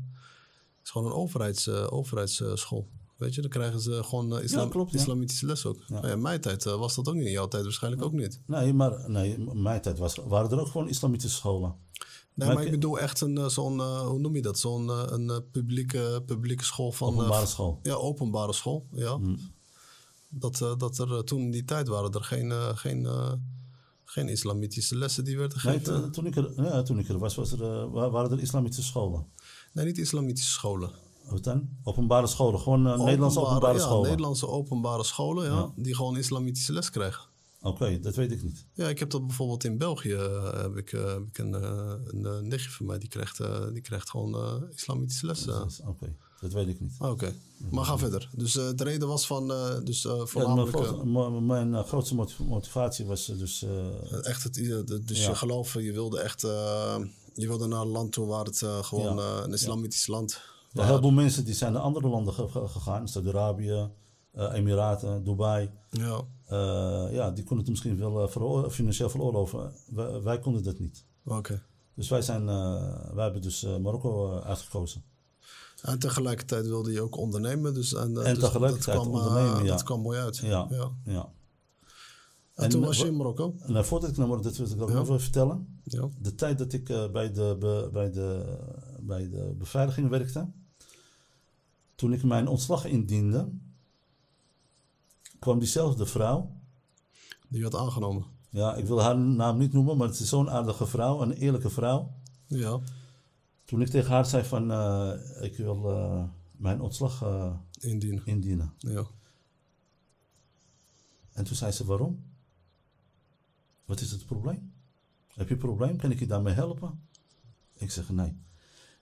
[SPEAKER 1] is gewoon een overheids, eh, overheidsschool. Weet je, dan krijgen ze gewoon eh, islam-
[SPEAKER 2] Ja, klopt, ja.
[SPEAKER 1] islamitische les ook. Nou ja, in mijn tijd eh, was dat ook niet. In jouw tijd waarschijnlijk ook niet.
[SPEAKER 2] Nee, maar nee, in mijn tijd was, waren er ook gewoon islamitische scholen.
[SPEAKER 1] Nee,
[SPEAKER 2] Maar
[SPEAKER 1] maar ik
[SPEAKER 2] ik-
[SPEAKER 1] bedoel echt een eh, zo'n, eh, hoe noem je dat? Zo'n eh, een eh, publieke, publieke school van... eh,
[SPEAKER 2] Openbare school.
[SPEAKER 1] Ja, openbare school, ja.
[SPEAKER 2] Hmm.
[SPEAKER 1] Dat, eh, dat er eh, toen in die tijd waren er geen, eh, geen, eh, geen islamitische lessen die werden
[SPEAKER 2] Nee, eh,
[SPEAKER 1] gegeven. Nee,
[SPEAKER 2] toen, toen, ik er, ja, toen ik er was, was er, eh, wa- waren er islamitische scholen.
[SPEAKER 1] niet islamitische scholen.
[SPEAKER 2] Wat dan? Openbare scholen, gewoon eh, Nederlandse openbare
[SPEAKER 1] ja,
[SPEAKER 2] scholen.
[SPEAKER 1] Nederlandse openbare scholen, ja, Die gewoon islamitische les krijgen.
[SPEAKER 2] Oké, dat weet ik niet.
[SPEAKER 1] Ja, ik heb dat bijvoorbeeld in België. eh, heb ik, eh, heb ik een, eh, een eh, nichtje van mij, die krijgt, eh, die krijgt gewoon eh, islamitische lessen.
[SPEAKER 2] Dat is- Oké, dat weet ik niet.
[SPEAKER 1] Ah, Oké, maar ga verder. Dus eh, de reden was van, eh, dus eh
[SPEAKER 2] Ja, mijn
[SPEAKER 1] voornamelijk eh,
[SPEAKER 2] groot- mijn- mijn, eh, grootste motiv- motivatie was eh, dus eh,
[SPEAKER 1] echt het, eh, de- dus je geloof, je wilde echt, eh, je wilde naar een land toe waar het eh, gewoon eh, een islamitisch land.
[SPEAKER 2] Ja, een heleboel mensen die zijn naar andere landen ge- ge- gegaan. Saudi-Arabië, eh, Emiraten, Dubai.
[SPEAKER 1] Ja,
[SPEAKER 2] Eh, ja, die konden het misschien wel eh, veroor- financieel veroorloven. Wij, wij konden dat niet.
[SPEAKER 1] oké.
[SPEAKER 2] Dus wij, zijn, eh, wij hebben dus eh, Marokko eh, uitgekozen.
[SPEAKER 1] En tegelijkertijd wilde je ook ondernemen, dus en, eh,
[SPEAKER 2] En
[SPEAKER 1] dus
[SPEAKER 2] tegelijkertijd
[SPEAKER 1] dat kwam, eh,
[SPEAKER 2] ondernemen, ja.
[SPEAKER 1] Dat kwam mooi uit.
[SPEAKER 2] Ja,
[SPEAKER 1] Ja.
[SPEAKER 2] ja.
[SPEAKER 1] En, toen was je in Marokko.
[SPEAKER 2] En eh, voordat ik naar Marokko, dat wil ik ook nog even vertellen.
[SPEAKER 1] Ja.
[SPEAKER 2] De tijd dat ik eh, bij, de, be- bij, de, bij de beveiliging werkte, toen ik mijn ontslag indiende, kwam diezelfde vrouw
[SPEAKER 1] Die werd aangenomen.
[SPEAKER 2] Ja, ik wil haar naam niet noemen, maar het is zo'n aardige vrouw, een eerlijke vrouw.
[SPEAKER 1] Ja.
[SPEAKER 2] Toen ik tegen haar zei van, eh, ik wil eh, mijn ontslag eh,
[SPEAKER 1] Indienen.
[SPEAKER 2] indienen.
[SPEAKER 1] Ja.
[SPEAKER 2] En toen zei ze, waarom? Wat is het probleem? Heb je een probleem? Kan ik je daarmee helpen? Ik zeg, nee.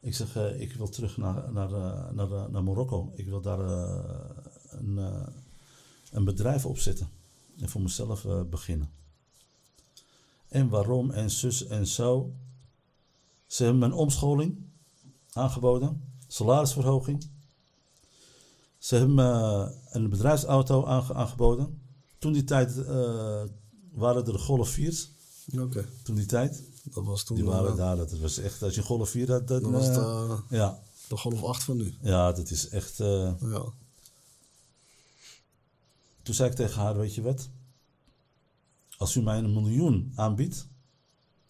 [SPEAKER 2] Ik zeg, eh, ik wil terug naar, naar, eh, naar, eh, naar Marokko. Ik wil daar eh, een, eh, een bedrijf opzetten. En voor mezelf eh, beginnen. En waarom en zus en zo. Ze hebben me een omscholing aangeboden. Salarisverhoging. Ze hebben me een bedrijfsauto aange- aangeboden. Toen die tijd eh, waren er Golf 4's.
[SPEAKER 1] Oké.
[SPEAKER 2] Toen die tijd.
[SPEAKER 1] Dat was toen.
[SPEAKER 2] Die waren
[SPEAKER 1] eh,
[SPEAKER 2] daar. Dat was echt, als je Golf 4 had. Dat,
[SPEAKER 1] dat was
[SPEAKER 2] eh,
[SPEAKER 1] het, eh,
[SPEAKER 2] ja.
[SPEAKER 1] de golf 8 van nu.
[SPEAKER 2] ja, dat is echt. eh,
[SPEAKER 1] Ja.
[SPEAKER 2] toen zei ik tegen haar: Weet je wat? Als u mij een miljoen aanbiedt.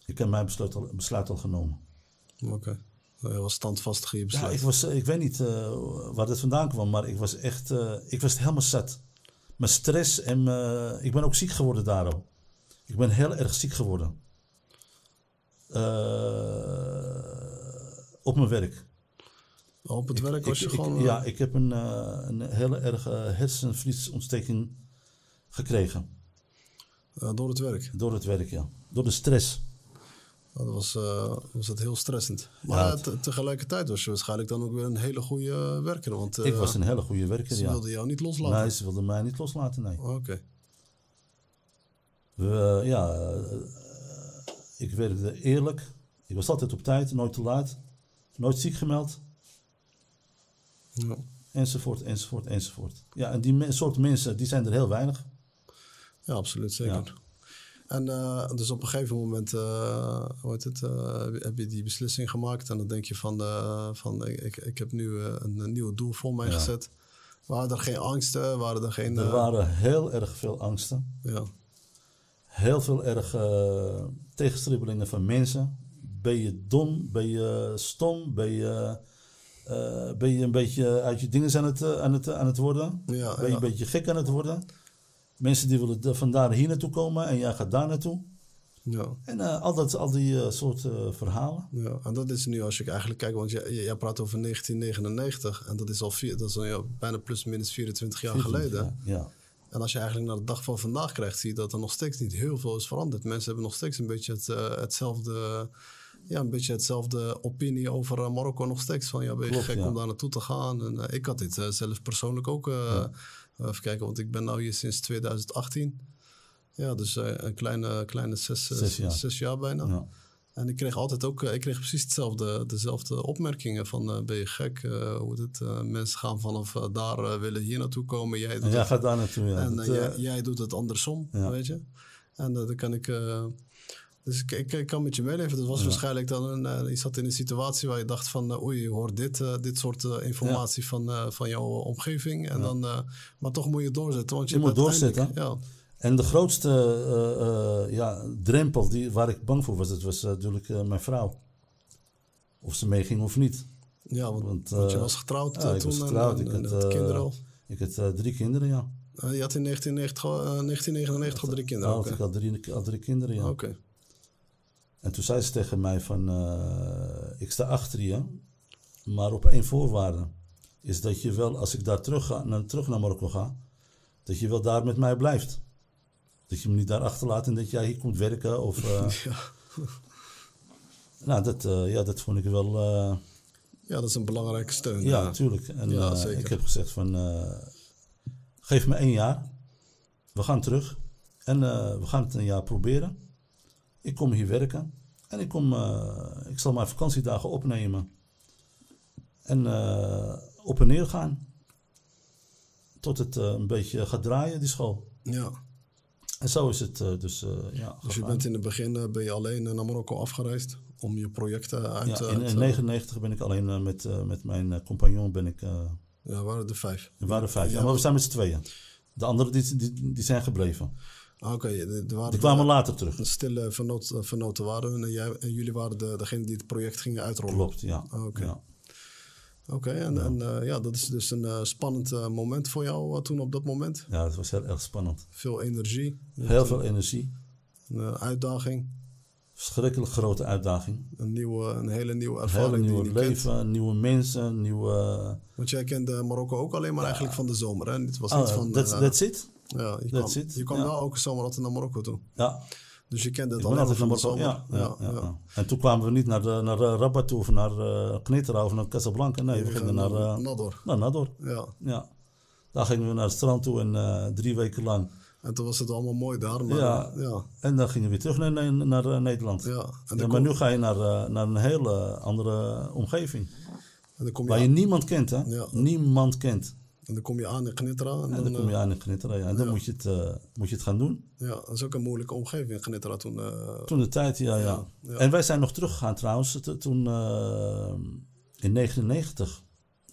[SPEAKER 2] Ik heb mijn besluit al, besluit al genomen.
[SPEAKER 1] Oké. Nou, je was standvastig in je
[SPEAKER 2] Ja,
[SPEAKER 1] besluit.
[SPEAKER 2] ik, was, eh, ik weet niet eh, waar dat vandaan kwam, maar ik was echt eh, ik was helemaal zat. Mijn stress en mijn- eh, ik ben ook ziek geworden daarom. Ik ben heel erg ziek geworden. Eh, op mijn werk.
[SPEAKER 1] Op het werk was je
[SPEAKER 2] ik,
[SPEAKER 1] gewoon...
[SPEAKER 2] ik-
[SPEAKER 1] eh,
[SPEAKER 2] ja, ik heb een, eh, een hele erge hersenvliesontsteking gekregen.
[SPEAKER 1] eh, door het werk.
[SPEAKER 2] Door het werk, ja. Door de stress.
[SPEAKER 1] Dat was, eh, was dat heel stressend. Maar
[SPEAKER 2] Ja,
[SPEAKER 1] ja,
[SPEAKER 2] het-
[SPEAKER 1] te- tegelijkertijd was je waarschijnlijk dan ook weer een hele goede eh, werker. Want eh,
[SPEAKER 2] ik was een hele goede werker,
[SPEAKER 1] ze
[SPEAKER 2] ja.
[SPEAKER 1] wilden jou niet loslaten.
[SPEAKER 2] Nee, ze wilden mij niet loslaten, nee.
[SPEAKER 1] Oké.
[SPEAKER 2] We, ja, eh, ik werkte eerlijk. Ik was altijd op tijd, nooit te laat. Nooit ziek gemeld.
[SPEAKER 1] Ja.
[SPEAKER 2] Enzovoort, enzovoort, enzovoort. Ja, en die me- soort mensen, die zijn er heel weinig.
[SPEAKER 1] Ja, absoluut, zeker. En eh, dus op een gegeven moment, eh, hoe heet het, eh, heb je- heb je die beslissing gemaakt en dan denk je van, eh, van ik, ik, ik heb nu eh, een, een nieuw doel voor mij
[SPEAKER 2] Ja.
[SPEAKER 1] gezet. Waren er geen angsten, waren er geen...
[SPEAKER 2] Er
[SPEAKER 1] eh,
[SPEAKER 2] waren heel erg veel angsten.
[SPEAKER 1] ja,
[SPEAKER 2] heel veel erg eh, tegenstribbelingen van mensen. Ben je dom? Ben je stom? Ben je, eh, ben je een beetje uit je dingen aan het, eh, aan het, aan het worden?
[SPEAKER 1] Ja,
[SPEAKER 2] ben je
[SPEAKER 1] ja.
[SPEAKER 2] een beetje gek aan het worden? Mensen die willen de- vandaar hier naartoe komen en jij gaat daar naartoe.
[SPEAKER 1] ja,
[SPEAKER 2] En eh, al, dat, al die eh, soort eh, verhalen.
[SPEAKER 1] ja. En dat is nu als je eigenlijk kijkt, want jij, jij praat over 1999 en dat is al vier, dat is al, ja, bijna plus minus 24 jaar geleden.
[SPEAKER 2] Ja.
[SPEAKER 1] En als je eigenlijk naar de dag van vandaag krijgt, zie je dat er nog steeds niet heel veel is veranderd. Mensen hebben nog steeds een beetje het, eh, hetzelfde, ja, een beetje hetzelfde opinie over eh, Marokko nog steeds. Van ja, ben je
[SPEAKER 2] Klopt,
[SPEAKER 1] gek
[SPEAKER 2] ja.
[SPEAKER 1] om daar naartoe te gaan? En eh, ik had dit eh, zelf persoonlijk ook. eh, Even kijken, want ik ben nou hier sinds 2018. Ja, dus eh, een kleine, kleine zes, eh,
[SPEAKER 2] Zes jaar.
[SPEAKER 1] zes jaar bijna.
[SPEAKER 2] Ja.
[SPEAKER 1] En ik kreeg altijd ook, eh, ik kreeg precies hetzelfde, dezelfde opmerkingen van eh, ben je gek? Eh, hoe dit, eh, mensen gaan vanaf eh, daar, eh, willen hier naartoe komen. Jij doet
[SPEAKER 2] En jij
[SPEAKER 1] het
[SPEAKER 2] gaat daar naartoe. Ja.
[SPEAKER 1] en
[SPEAKER 2] Dat,
[SPEAKER 1] eh,
[SPEAKER 2] eh,
[SPEAKER 1] jij, jij doet het andersom,
[SPEAKER 2] ja.
[SPEAKER 1] weet je. En eh, dan kan ik... eh, dus ik, ik, ik kan met je meeleven. Dat was waarschijnlijk dan een... eh, je zat in een situatie waar je dacht van... eh, oei, je hoort dit, eh, dit soort eh, informatie van, eh, van jouw omgeving. En dan, eh, maar toch moet je doorzetten. Want je,
[SPEAKER 2] Je moet
[SPEAKER 1] bent eindelijk-
[SPEAKER 2] doorzetten.
[SPEAKER 1] ja,
[SPEAKER 2] En de grootste eh, eh, ja, drempel die, waar ik bang voor was, dat was eh, natuurlijk eh, mijn vrouw. Of ze meeging of niet.
[SPEAKER 1] ja want,
[SPEAKER 2] Want,
[SPEAKER 1] want je
[SPEAKER 2] eh,
[SPEAKER 1] was getrouwd eh,
[SPEAKER 2] ja, ik
[SPEAKER 1] toen.
[SPEAKER 2] was
[SPEAKER 1] en-
[SPEAKER 2] getrouwd.
[SPEAKER 1] En,
[SPEAKER 2] ik
[SPEAKER 1] en
[SPEAKER 2] had,
[SPEAKER 1] had
[SPEAKER 2] eh,
[SPEAKER 1] kinderen al.
[SPEAKER 2] Ik had eh, drie kinderen, ja.
[SPEAKER 1] Eh, je had in 1990, al- eh, 1999 al drie kinderen.
[SPEAKER 2] Oh,
[SPEAKER 1] Oké.
[SPEAKER 2] Ik had drie, had drie kinderen, ja.
[SPEAKER 1] Oké.
[SPEAKER 2] En toen zei ze tegen mij van, eh, ik sta achter je, maar op één voorwaarde. Is dat je wel, als ik daar terug, ga, naar, terug naar Marokko ga, dat je wel daar met mij blijft. Dat je me niet daar achterlaat en dat jij hier komt werken. Of, eh,
[SPEAKER 1] Ja.
[SPEAKER 2] nou, dat, eh, ja, dat vond ik wel... eh,
[SPEAKER 1] ja, dat is een belangrijke steun.
[SPEAKER 2] Ja,
[SPEAKER 1] eh.
[SPEAKER 2] natuurlijk. En
[SPEAKER 1] Ja,
[SPEAKER 2] eh,
[SPEAKER 1] zeker.
[SPEAKER 2] ik heb gezegd van, eh, geef me één jaar. We gaan terug. En eh, we gaan het een jaar proberen. Ik kom hier werken. En ik, kom, eh, ik zal mijn vakantiedagen opnemen. En eh, op en neer gaan. Tot het eh, een beetje gaat draaien, die school.
[SPEAKER 1] ja.
[SPEAKER 2] En zo is het eh, dus eh, ja,
[SPEAKER 1] Dus je
[SPEAKER 2] gegaan.
[SPEAKER 1] bent in het begin eh, ben je alleen eh, naar Marokko afgereisd om je projecten uit
[SPEAKER 2] ja,
[SPEAKER 1] te...
[SPEAKER 2] in
[SPEAKER 1] uit, eh,
[SPEAKER 2] 1999 ben ik alleen eh, met, eh, met mijn eh, compagnon ben ik... eh,
[SPEAKER 1] ja, waren er vijf.
[SPEAKER 2] Er waren vijf, ja, maar we zijn met z'n tweeën. De anderen die, die, die zijn gebleven.
[SPEAKER 1] Ah, Oké, er- er waren
[SPEAKER 2] Die kwamen later terug.
[SPEAKER 1] de stille vernoot, eh, vernoten waren en, jij, en jullie waren de, degene die het project gingen uitrollen.
[SPEAKER 2] Klopt, ja.
[SPEAKER 1] Oké.
[SPEAKER 2] ja.
[SPEAKER 1] Oké, en, en eh, ja, dat is dus een eh, spannend eh, moment voor jou eh, toen op dat moment.
[SPEAKER 2] Ja, het was heel erg spannend.
[SPEAKER 1] Veel energie,
[SPEAKER 2] Heel veel energie.
[SPEAKER 1] een eh, uitdaging,
[SPEAKER 2] Verschrikkelijk grote uitdaging.
[SPEAKER 1] een, nieuwe, een hele nieuwe ervaring
[SPEAKER 2] Hele
[SPEAKER 1] die je
[SPEAKER 2] nieuw
[SPEAKER 1] niet
[SPEAKER 2] leven, nieuwe mensen, nieuwe...
[SPEAKER 1] kent. Want jij kende Marokko ook alleen maar eigenlijk van de zomer, hè? Het was
[SPEAKER 2] Ah,
[SPEAKER 1] niet van...
[SPEAKER 2] that's,
[SPEAKER 1] eh,
[SPEAKER 2] that's it.
[SPEAKER 1] ja, je
[SPEAKER 2] that's
[SPEAKER 1] kwam,
[SPEAKER 2] it,
[SPEAKER 1] je kwam
[SPEAKER 2] ja.
[SPEAKER 1] wel elke zomer altijd naar Marokko toe.
[SPEAKER 2] Ja,
[SPEAKER 1] Dus je kende het
[SPEAKER 2] ik ben
[SPEAKER 1] alleen maar
[SPEAKER 2] altijd
[SPEAKER 1] van
[SPEAKER 2] naar
[SPEAKER 1] de
[SPEAKER 2] Marokko.
[SPEAKER 1] zomer.
[SPEAKER 2] Ja, ja, ja, ja. En toen kwamen we niet naar, de, naar eh, Rabat toe of naar eh Knetera of naar Casablanca. Nee, we
[SPEAKER 1] We
[SPEAKER 2] gingen
[SPEAKER 1] gaan
[SPEAKER 2] naar, eh,
[SPEAKER 1] Nador.
[SPEAKER 2] naar Nador.
[SPEAKER 1] Ja.
[SPEAKER 2] Ja. Daar gingen we naar het strand toe en eh, drie weken lang.
[SPEAKER 1] En toen was het allemaal mooi daar. Maar ja.
[SPEAKER 2] Ja.
[SPEAKER 1] Ja,
[SPEAKER 2] En dan gingen we weer terug naar, naar, naar, eh, Nederland.
[SPEAKER 1] ja. En, dan
[SPEAKER 2] Ja, maar
[SPEAKER 1] kom,
[SPEAKER 2] nu ga je naar, eh, naar een hele andere omgeving.
[SPEAKER 1] en dan kom je
[SPEAKER 2] Waar je
[SPEAKER 1] aan,
[SPEAKER 2] niemand kent, hè?
[SPEAKER 1] Ja.
[SPEAKER 2] Niemand kent.
[SPEAKER 1] en dan kom je aan in Gnitra. En
[SPEAKER 2] En
[SPEAKER 1] dan,
[SPEAKER 2] dan kom je
[SPEAKER 1] eh,
[SPEAKER 2] aan in Gnitteren. Ja. En dan moet, je het, eh, moet je het gaan doen.
[SPEAKER 1] ja, dat is ook een moeilijke omgeving, Gnitra. Toen, eh,
[SPEAKER 2] Toen de tijd, ja, ja.
[SPEAKER 1] ja.
[SPEAKER 2] En wij zijn nog teruggegaan trouwens. T- Toen eh, in 99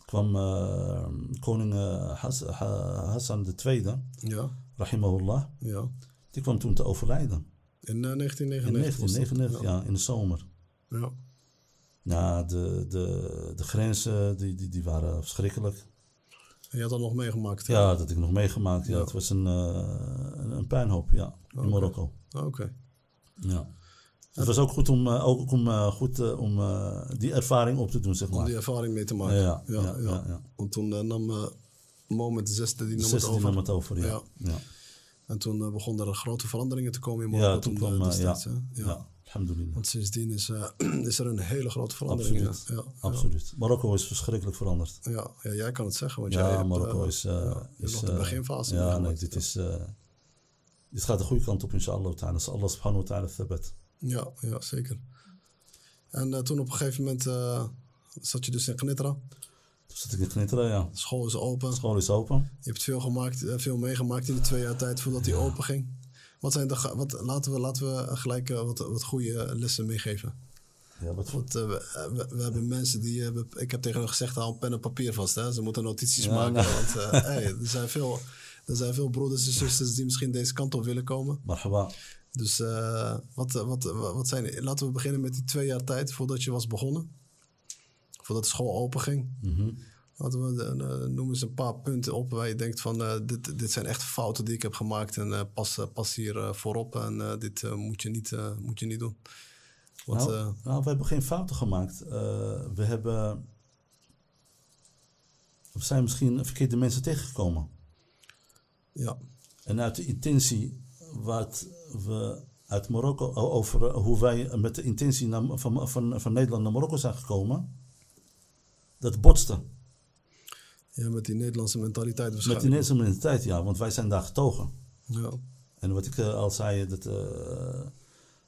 [SPEAKER 2] kwam eh, koning eh, Has- Ha- Hassan II,
[SPEAKER 1] ja,
[SPEAKER 2] rahimahullah,
[SPEAKER 1] ja.
[SPEAKER 2] die kwam toen te overlijden.
[SPEAKER 1] In eh, 1999.
[SPEAKER 2] In
[SPEAKER 1] was dat.
[SPEAKER 2] 1999, ja, in de zomer.
[SPEAKER 1] Ja. Ja.
[SPEAKER 2] Nou, de, de, de grenzen die, die, die waren verschrikkelijk.
[SPEAKER 1] En je had dat nog meegemaakt. hè?
[SPEAKER 2] Ja, dat heb ik nog meegemaakt. Ja, Het
[SPEAKER 1] Ah,
[SPEAKER 2] was een, eh, een, een puinhoop, ja, in Marokko.
[SPEAKER 1] Oké.
[SPEAKER 2] Ja. Het was ook goed om, eh, ook om, eh, goed, eh, om eh, die ervaring op te doen, zeg
[SPEAKER 1] om
[SPEAKER 2] maar.
[SPEAKER 1] die ervaring mee te maken.
[SPEAKER 2] Ja,
[SPEAKER 1] ja,
[SPEAKER 2] ja, ja, ja.
[SPEAKER 1] Want toen eh, nam eh Moment de zesde, die
[SPEAKER 2] De
[SPEAKER 1] nam het
[SPEAKER 2] zesde
[SPEAKER 1] over.
[SPEAKER 2] nam het over, ja.
[SPEAKER 1] Ja.
[SPEAKER 2] ja. ja.
[SPEAKER 1] En toen eh, begonnen er grote veranderingen te komen in
[SPEAKER 2] Ja,
[SPEAKER 1] Marokko.
[SPEAKER 2] toen
[SPEAKER 1] eh,
[SPEAKER 2] kwam... eh, ja,
[SPEAKER 1] destijds, hè.
[SPEAKER 2] ja. alhamdulillah.
[SPEAKER 1] Want sindsdien is, eh, is er een hele grote verandering.
[SPEAKER 2] Absoluut,
[SPEAKER 1] Ja. Ja.
[SPEAKER 2] absoluut. Marokko is verschrikkelijk veranderd.
[SPEAKER 1] Ja, ja, jij kan het zeggen. Want jij
[SPEAKER 2] Ja,
[SPEAKER 1] hebt,
[SPEAKER 2] Marokko
[SPEAKER 1] eh,
[SPEAKER 2] is... eh,
[SPEAKER 1] ja, je
[SPEAKER 2] is
[SPEAKER 1] hebt nog de
[SPEAKER 2] eh,
[SPEAKER 1] beginfase.
[SPEAKER 2] Ja, nee,
[SPEAKER 1] meegemaakt.
[SPEAKER 2] dit is... eh, dit gaat de goede kant op, inshallah ta'ala. Als Allah subhanahu wa ta'ala thabat.
[SPEAKER 1] Ja, ja zeker. En eh, toen op een gegeven moment eh, zat je dus in Knitra.
[SPEAKER 2] Toen zat ik in Knitteren, ja.
[SPEAKER 1] De school is open.
[SPEAKER 2] De school is open.
[SPEAKER 1] Je hebt veel, gemaakt, eh, veel meegemaakt in de twee jaar tijd voordat die open ging. Wat zijn de, ge- wat, laten, we, laten we gelijk eh, wat, wat goede lessen meegeven.
[SPEAKER 2] Ja, wat voor...
[SPEAKER 1] Want eh, we, we- we hebben mensen die... eh, we- ik heb tegen hen gezegd, haal pen en papier vast. Hè? Ze moeten notities
[SPEAKER 2] Ja,
[SPEAKER 1] maken.
[SPEAKER 2] nou.
[SPEAKER 1] Want eh, hey, er, zijn veel, er zijn veel broeders en zusters die misschien deze kant op willen komen.
[SPEAKER 2] Marhaba.
[SPEAKER 1] Dus eh, wat, wat, wat zijn... Laten we beginnen met die twee jaar tijd voordat je was begonnen. Voordat de school open ging.
[SPEAKER 2] Mhm.
[SPEAKER 1] Laten we eh, noem eens een paar punten op waar je denkt van eh, dit, dit zijn echt fouten die ik heb gemaakt en eh, pas, eh, pas hier eh, voorop en eh, dit eh, moet, je niet, eh, moet je niet doen. Want,
[SPEAKER 2] nou,
[SPEAKER 1] eh,
[SPEAKER 2] nou, we hebben geen fouten gemaakt. Eh, we hebben... We zijn misschien verkeerde mensen tegengekomen.
[SPEAKER 1] ja,
[SPEAKER 2] En uit de intentie wat we uit Marokko, o- over eh, hoe wij met de intentie naar- van, van, van Nederland naar Marokko zijn gekomen, dat botste.
[SPEAKER 1] ja, met die Nederlandse mentaliteit
[SPEAKER 2] Met de
[SPEAKER 1] waarschijnlijk.
[SPEAKER 2] Nederlandse mentaliteit, ja, want wij zijn daar getogen.
[SPEAKER 1] ja.
[SPEAKER 2] En wat ik eh, al zei, dat, eh,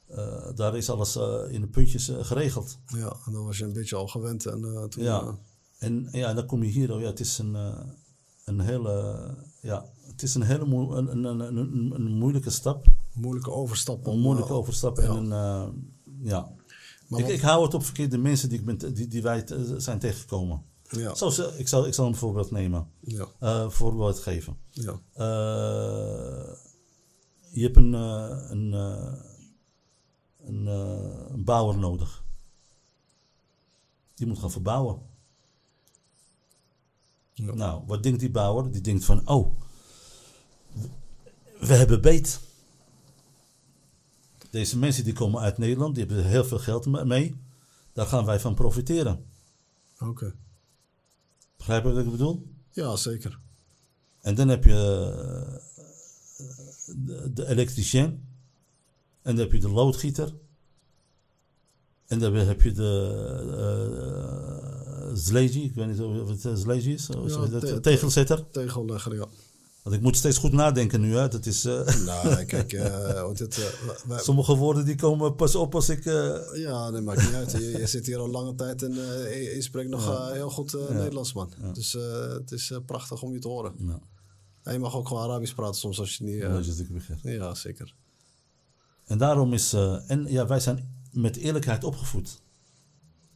[SPEAKER 2] eh, daar is alles eh, in de puntjes eh, geregeld.
[SPEAKER 1] ja, en dan was je een beetje al gewend. En, eh, toen,
[SPEAKER 2] Ja.
[SPEAKER 1] eh,
[SPEAKER 2] En ja, dan kom je hier, oh ja, het is een, eh, een hele, ja, het is een hele moe- een, een, een, een, een moeilijke stap.
[SPEAKER 1] moeilijke overstap. om,
[SPEAKER 2] Een moeilijke
[SPEAKER 1] eh,
[SPEAKER 2] overstap.
[SPEAKER 1] ja.
[SPEAKER 2] En een, eh, ja.
[SPEAKER 1] Maar
[SPEAKER 2] Ik,
[SPEAKER 1] wat-
[SPEAKER 2] ik hou het op verkeerde mensen die, ik ben te- die, die wij te- zijn tegengekomen.
[SPEAKER 1] ja,
[SPEAKER 2] Zoals, eh, ik, zal, ik zal een voorbeeld nemen.
[SPEAKER 1] ja,
[SPEAKER 2] Eh, voorbeeld geven.
[SPEAKER 1] ja,
[SPEAKER 2] Eh, je hebt een, eh, een, eh, een, eh, een bouwer nodig. Die moet gaan verbouwen.
[SPEAKER 1] Ja.
[SPEAKER 2] Nou, wat denkt die bouwer? Die denkt van, oh, we hebben beet. Deze mensen die komen uit Nederland, die hebben heel veel geld me- mee. Daar gaan wij van profiteren.
[SPEAKER 1] oké.
[SPEAKER 2] Begrijp je wat ik bedoel?
[SPEAKER 1] Ja, zeker.
[SPEAKER 2] En dan heb je eh, de, de elektricien. En dan heb je de loodgieter. En dan heb je de eh zleji. Ik weet niet of het eh, zleji is. Of zo,
[SPEAKER 1] te- te-
[SPEAKER 2] dat, tegelzetter.
[SPEAKER 1] Tegellegger, ja.
[SPEAKER 2] Want ik moet steeds goed nadenken nu. Hè. Dat is, eh,
[SPEAKER 1] nou, kijk, eh, want dit, eh, wij-
[SPEAKER 2] sommige woorden die komen pas op als ik... eh,
[SPEAKER 1] Ja, dat maakt niet uit. Je, je zit hier al lange tijd en eh, je, je spreekt nog eh, heel goed eh, Nederlands, man. Dus eh, het is eh, prachtig om je te horen.
[SPEAKER 2] nou,
[SPEAKER 1] En je mag ook gewoon Arabisch praten soms als je niet... eh,
[SPEAKER 2] dat is wat ik begrijp.
[SPEAKER 1] ja, zeker.
[SPEAKER 2] En daarom is... eh, en ja, wij zijn met eerlijkheid opgevoed.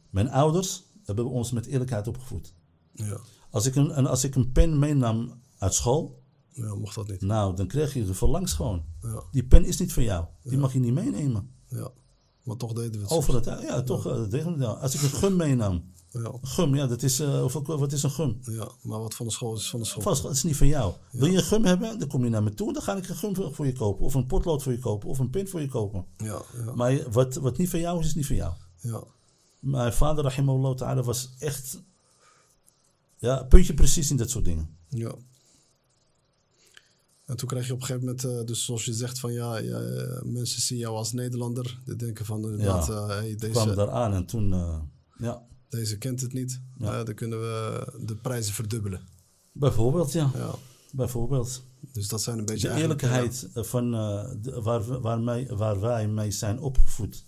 [SPEAKER 2] Mijn ouders hebben ons met eerlijkheid opgevoed.
[SPEAKER 1] Ja.
[SPEAKER 2] Als ik een, en als ik een pen meenam uit school,
[SPEAKER 1] ja, mocht dat niet.
[SPEAKER 2] nou, dan kreeg je er voor langs gewoon.
[SPEAKER 1] Ja,
[SPEAKER 2] Die pen is niet van jou. Die mag je niet meenemen.
[SPEAKER 1] ja. Maar toch deden we het.
[SPEAKER 2] Over het, ja, toch. eh, tegen me nou. Als ik een gum meenam.
[SPEAKER 1] Ja.
[SPEAKER 2] Gum, ja, dat is, eh, hoeveel- wat is een gum?
[SPEAKER 1] ja, maar wat van de school is van de school.
[SPEAKER 2] Vast, dat is niet van jou. Wil je een gum hebben, dan kom je naar me toe. Dan ga ik een gum voor voor je kopen. Of een potlood voor je kopen. Of een pin voor je kopen.
[SPEAKER 1] Ja, ja,
[SPEAKER 2] Maar je- wat, wat niet van jou is, is niet van jou.
[SPEAKER 1] ja.
[SPEAKER 2] Mijn vader, rahimahullah ta'ala, was echt... Ja, puntje precies in dat soort dingen.
[SPEAKER 1] ja. En toen krijg je op een gegeven moment, eh, dus zoals je zegt, van ja, ja, eh, mensen zien jou als Nederlander. Die denken van inderdaad, eh, hey,
[SPEAKER 2] Kwamen
[SPEAKER 1] deze,
[SPEAKER 2] daar aan en toen... eh, ja,
[SPEAKER 1] deze kent het niet.
[SPEAKER 2] Ja.
[SPEAKER 1] Eh, dan kunnen we de prijzen verdubbelen.
[SPEAKER 2] bijvoorbeeld, ja.
[SPEAKER 1] Ja.
[SPEAKER 2] Bijvoorbeeld.
[SPEAKER 1] Dus dat zijn een beetje...
[SPEAKER 2] De
[SPEAKER 1] eigenlijk,
[SPEAKER 2] eerlijkheid eh, van, eh, de- waar, we- waarmee, waar wij mee zijn opgevoed.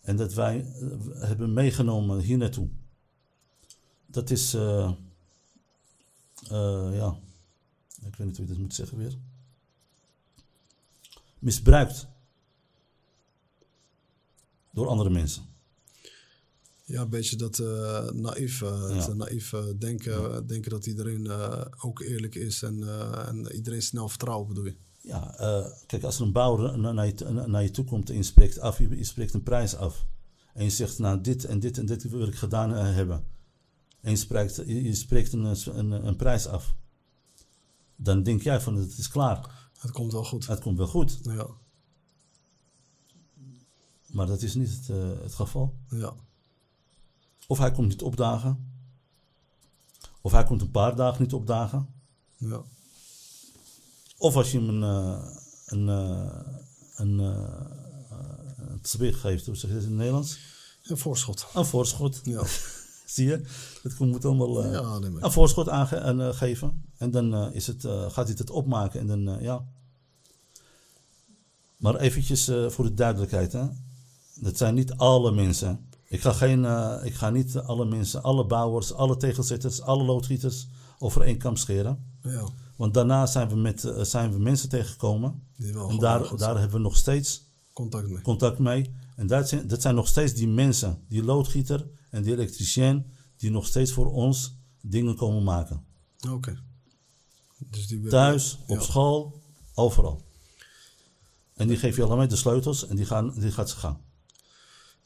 [SPEAKER 2] En dat wij eh, w- hebben meegenomen hier naartoe. Dat is, eh, eh, ja, ik weet niet hoe je dat moet zeggen weer. Misbruikt. Door andere mensen.
[SPEAKER 1] eh, ja, een beetje dat eh, naïef, eh, het
[SPEAKER 2] Ja.
[SPEAKER 1] naïef eh, denken. Denken dat iedereen eh, ook eerlijk is en, eh, en iedereen snel vertrouwen, bedoel je?
[SPEAKER 2] Ja, eh, kijk, als er een bouwer na- naar je, t- na- naar je toe komt en je spreekt, af, je, je spreekt een prijs af. En je zegt, nou, dit en dit en dit wil ik gedaan eh, hebben. En je spreekt, je, je spreekt een, eh, een, een prijs af. Dan denk jij van, het is klaar.
[SPEAKER 1] Het komt wel goed.
[SPEAKER 2] Het komt wel goed.
[SPEAKER 1] Ja,
[SPEAKER 2] Maar dat is niet het, eh, het geval.
[SPEAKER 1] Ja.
[SPEAKER 2] Of hij komt niet opdagen. Of hij komt een paar dagen niet opdagen.
[SPEAKER 1] Ja.
[SPEAKER 2] Of als je hem een, eh, een, eh, een, eh, een zweeg geeft, hoe zeg je dat in het Nederlands?
[SPEAKER 1] Een voorschot.
[SPEAKER 2] Een voorschot.
[SPEAKER 1] Ja.
[SPEAKER 2] Zie je? Dat moet allemaal eh,
[SPEAKER 1] Ja, nee, maar-
[SPEAKER 2] een voorschot aangeven. en dan eh, is het, eh, gaat hij het opmaken. En dan, eh, ja. Maar eventjes eh, voor de duidelijkheid. Hè? Dat zijn niet alle mensen. Ik ga, geen, eh, ik ga niet alle mensen, alle bouwers, alle tegelzitters, alle loodgieters over één kam scheren.
[SPEAKER 1] Ja.
[SPEAKER 2] Want daarna zijn we, met, eh, zijn we mensen tegengekomen.
[SPEAKER 1] Die wel
[SPEAKER 2] en
[SPEAKER 1] gewoon
[SPEAKER 2] daar,
[SPEAKER 1] goed
[SPEAKER 2] daar hebben we nog steeds
[SPEAKER 1] contact mee.
[SPEAKER 2] contact mee. En dat zijn, dat zijn nog steeds die mensen, die loodgieter en die elektricien, die nog steeds voor ons dingen komen maken.
[SPEAKER 1] Oké. Dus die
[SPEAKER 2] Thuis, op
[SPEAKER 1] Ja.
[SPEAKER 2] school, overal. En die geef je allemaal de sleutels en die, gaan, die gaat ze gaan.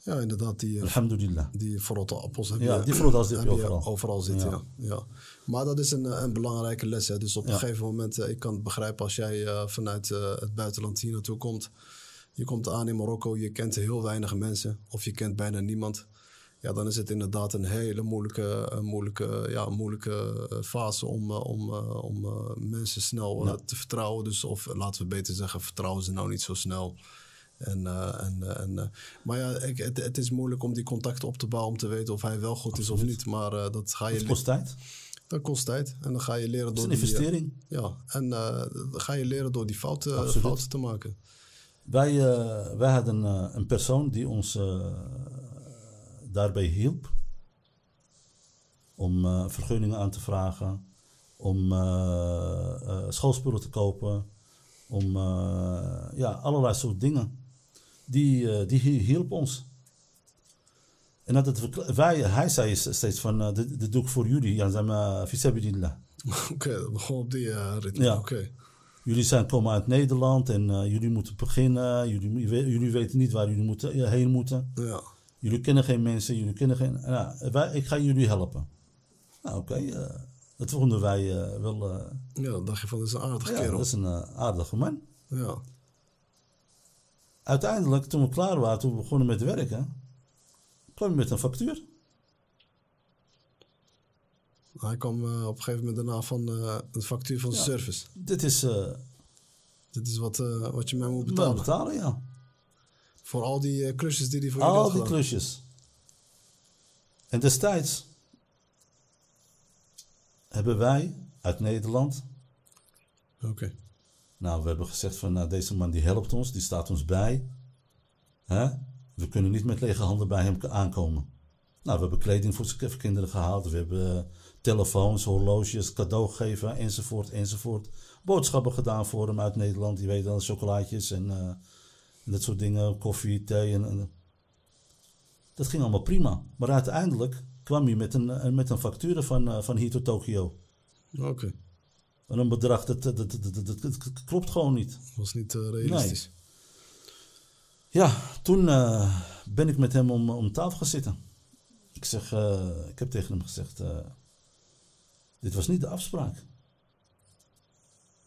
[SPEAKER 1] Ja, inderdaad. Die, eh,
[SPEAKER 2] Alhamdulillah.
[SPEAKER 1] die verrotte appels heb
[SPEAKER 2] Ja,
[SPEAKER 1] je,
[SPEAKER 2] die verrotte appels heb je
[SPEAKER 1] heb
[SPEAKER 2] overal.
[SPEAKER 1] zitten.
[SPEAKER 2] Ja.
[SPEAKER 1] Ja. Ja. Maar dat is een, eh, een belangrijke les. Hè. Dus op
[SPEAKER 2] Ja.
[SPEAKER 1] een gegeven moment, eh, ik kan het begrijpen als jij eh, vanuit eh, het buitenland hier naartoe komt. Je komt aan in Marokko, je kent heel weinig mensen of je kent bijna niemand. Ja, dan is het inderdaad een hele moeilijke, eh, moeilijke, ja, moeilijke eh, fase om, eh, om, eh, om eh, mensen snel eh, te vertrouwen. Dus, of eh, laten we beter zeggen, vertrouwen ze nou niet zo snel. En, eh, en, eh, en, eh, maar ja, ik, het, het is moeilijk om die contacten op te bouwen om te weten of hij wel goed is of niet. Maar eh, dat ga je
[SPEAKER 2] Het kost tijd. Het
[SPEAKER 1] dat kost tijd. En dan ga je leren
[SPEAKER 2] is
[SPEAKER 1] door
[SPEAKER 2] een
[SPEAKER 1] die, eh,
[SPEAKER 2] investering.
[SPEAKER 1] ja, en eh, dan ga je leren door die fouten, eh,
[SPEAKER 2] Absoluut.
[SPEAKER 1] fouten te maken.
[SPEAKER 2] Wij, eh, wij hadden eh, een persoon die ons eh, daarbij hielp om eh, vergunningen aan te vragen, om eh, eh, schoolspullen te kopen, om eh, ja, allerlei soort dingen. Die, eh, die hi- hielp ons. En dat het verkla- wij, hij zei steeds van, eh, dit, dit doe ik voor jullie, ja, zeg maar, fisabilillah.
[SPEAKER 1] Oké, dat begon op die eh, ritme.
[SPEAKER 2] Ja.
[SPEAKER 1] Oké.
[SPEAKER 2] Jullie zijn, komen uit Nederland en eh, jullie moeten beginnen. Jullie, mo- jullie weten niet waar jullie moeten, eh, heen moeten.
[SPEAKER 1] Ja.
[SPEAKER 2] Jullie kennen geen mensen, jullie kennen geen. Nou, wij, ik ga jullie helpen. Nou, oké. eh, dat vonden wij eh, wel. eh,
[SPEAKER 1] ja, dan dacht je van, dat is een aardige
[SPEAKER 2] ja,
[SPEAKER 1] kerel.
[SPEAKER 2] dat is een eh, aardige man.
[SPEAKER 1] Ja.
[SPEAKER 2] Uiteindelijk, toen we klaar waren, toen we begonnen met werken, kwam je met een factuur.
[SPEAKER 1] Hij kwam eh, op een gegeven moment daarna van eh, een factuur van zijn service.
[SPEAKER 2] Dit is. eh
[SPEAKER 1] Dit is wat, eh, wat je mij moet
[SPEAKER 2] maar
[SPEAKER 1] betalen.
[SPEAKER 2] betalen, ja.
[SPEAKER 1] Voor al die eh, klusjes die hij voor jullie
[SPEAKER 2] Al
[SPEAKER 1] had
[SPEAKER 2] die
[SPEAKER 1] gedaan.
[SPEAKER 2] klusjes. En destijds hebben wij uit Nederland
[SPEAKER 1] Oké.
[SPEAKER 2] Nou, we hebben gezegd van nou, deze man die helpt ons, die staat ons bij. Hè? We kunnen niet met lege handen bij hem aankomen. Nou, we hebben kleding voor zijn kinderen gehaald, we hebben eh, telefoons, horloges, cadeau gegeven, enzovoort, enzovoort. Boodschappen gedaan voor hem uit Nederland, die weten dan chocolaatjes en eh, en dat soort dingen, koffie, thee. En, en- Dat ging allemaal prima. Maar uiteindelijk kwam hij met een, eh, met een factuur van, eh, van hier tot Tokio.
[SPEAKER 1] Oké.
[SPEAKER 2] En een bedrag, dat, eh, dat, dat, dat, dat- dat klopt gewoon niet.
[SPEAKER 1] Dat was niet eh, realistisch.
[SPEAKER 2] Ja, toen eh, ben ik met hem om, om tafel gaan zitten. Ik, zeg, eh, ik heb tegen hem gezegd, eh, dit was niet de afspraak.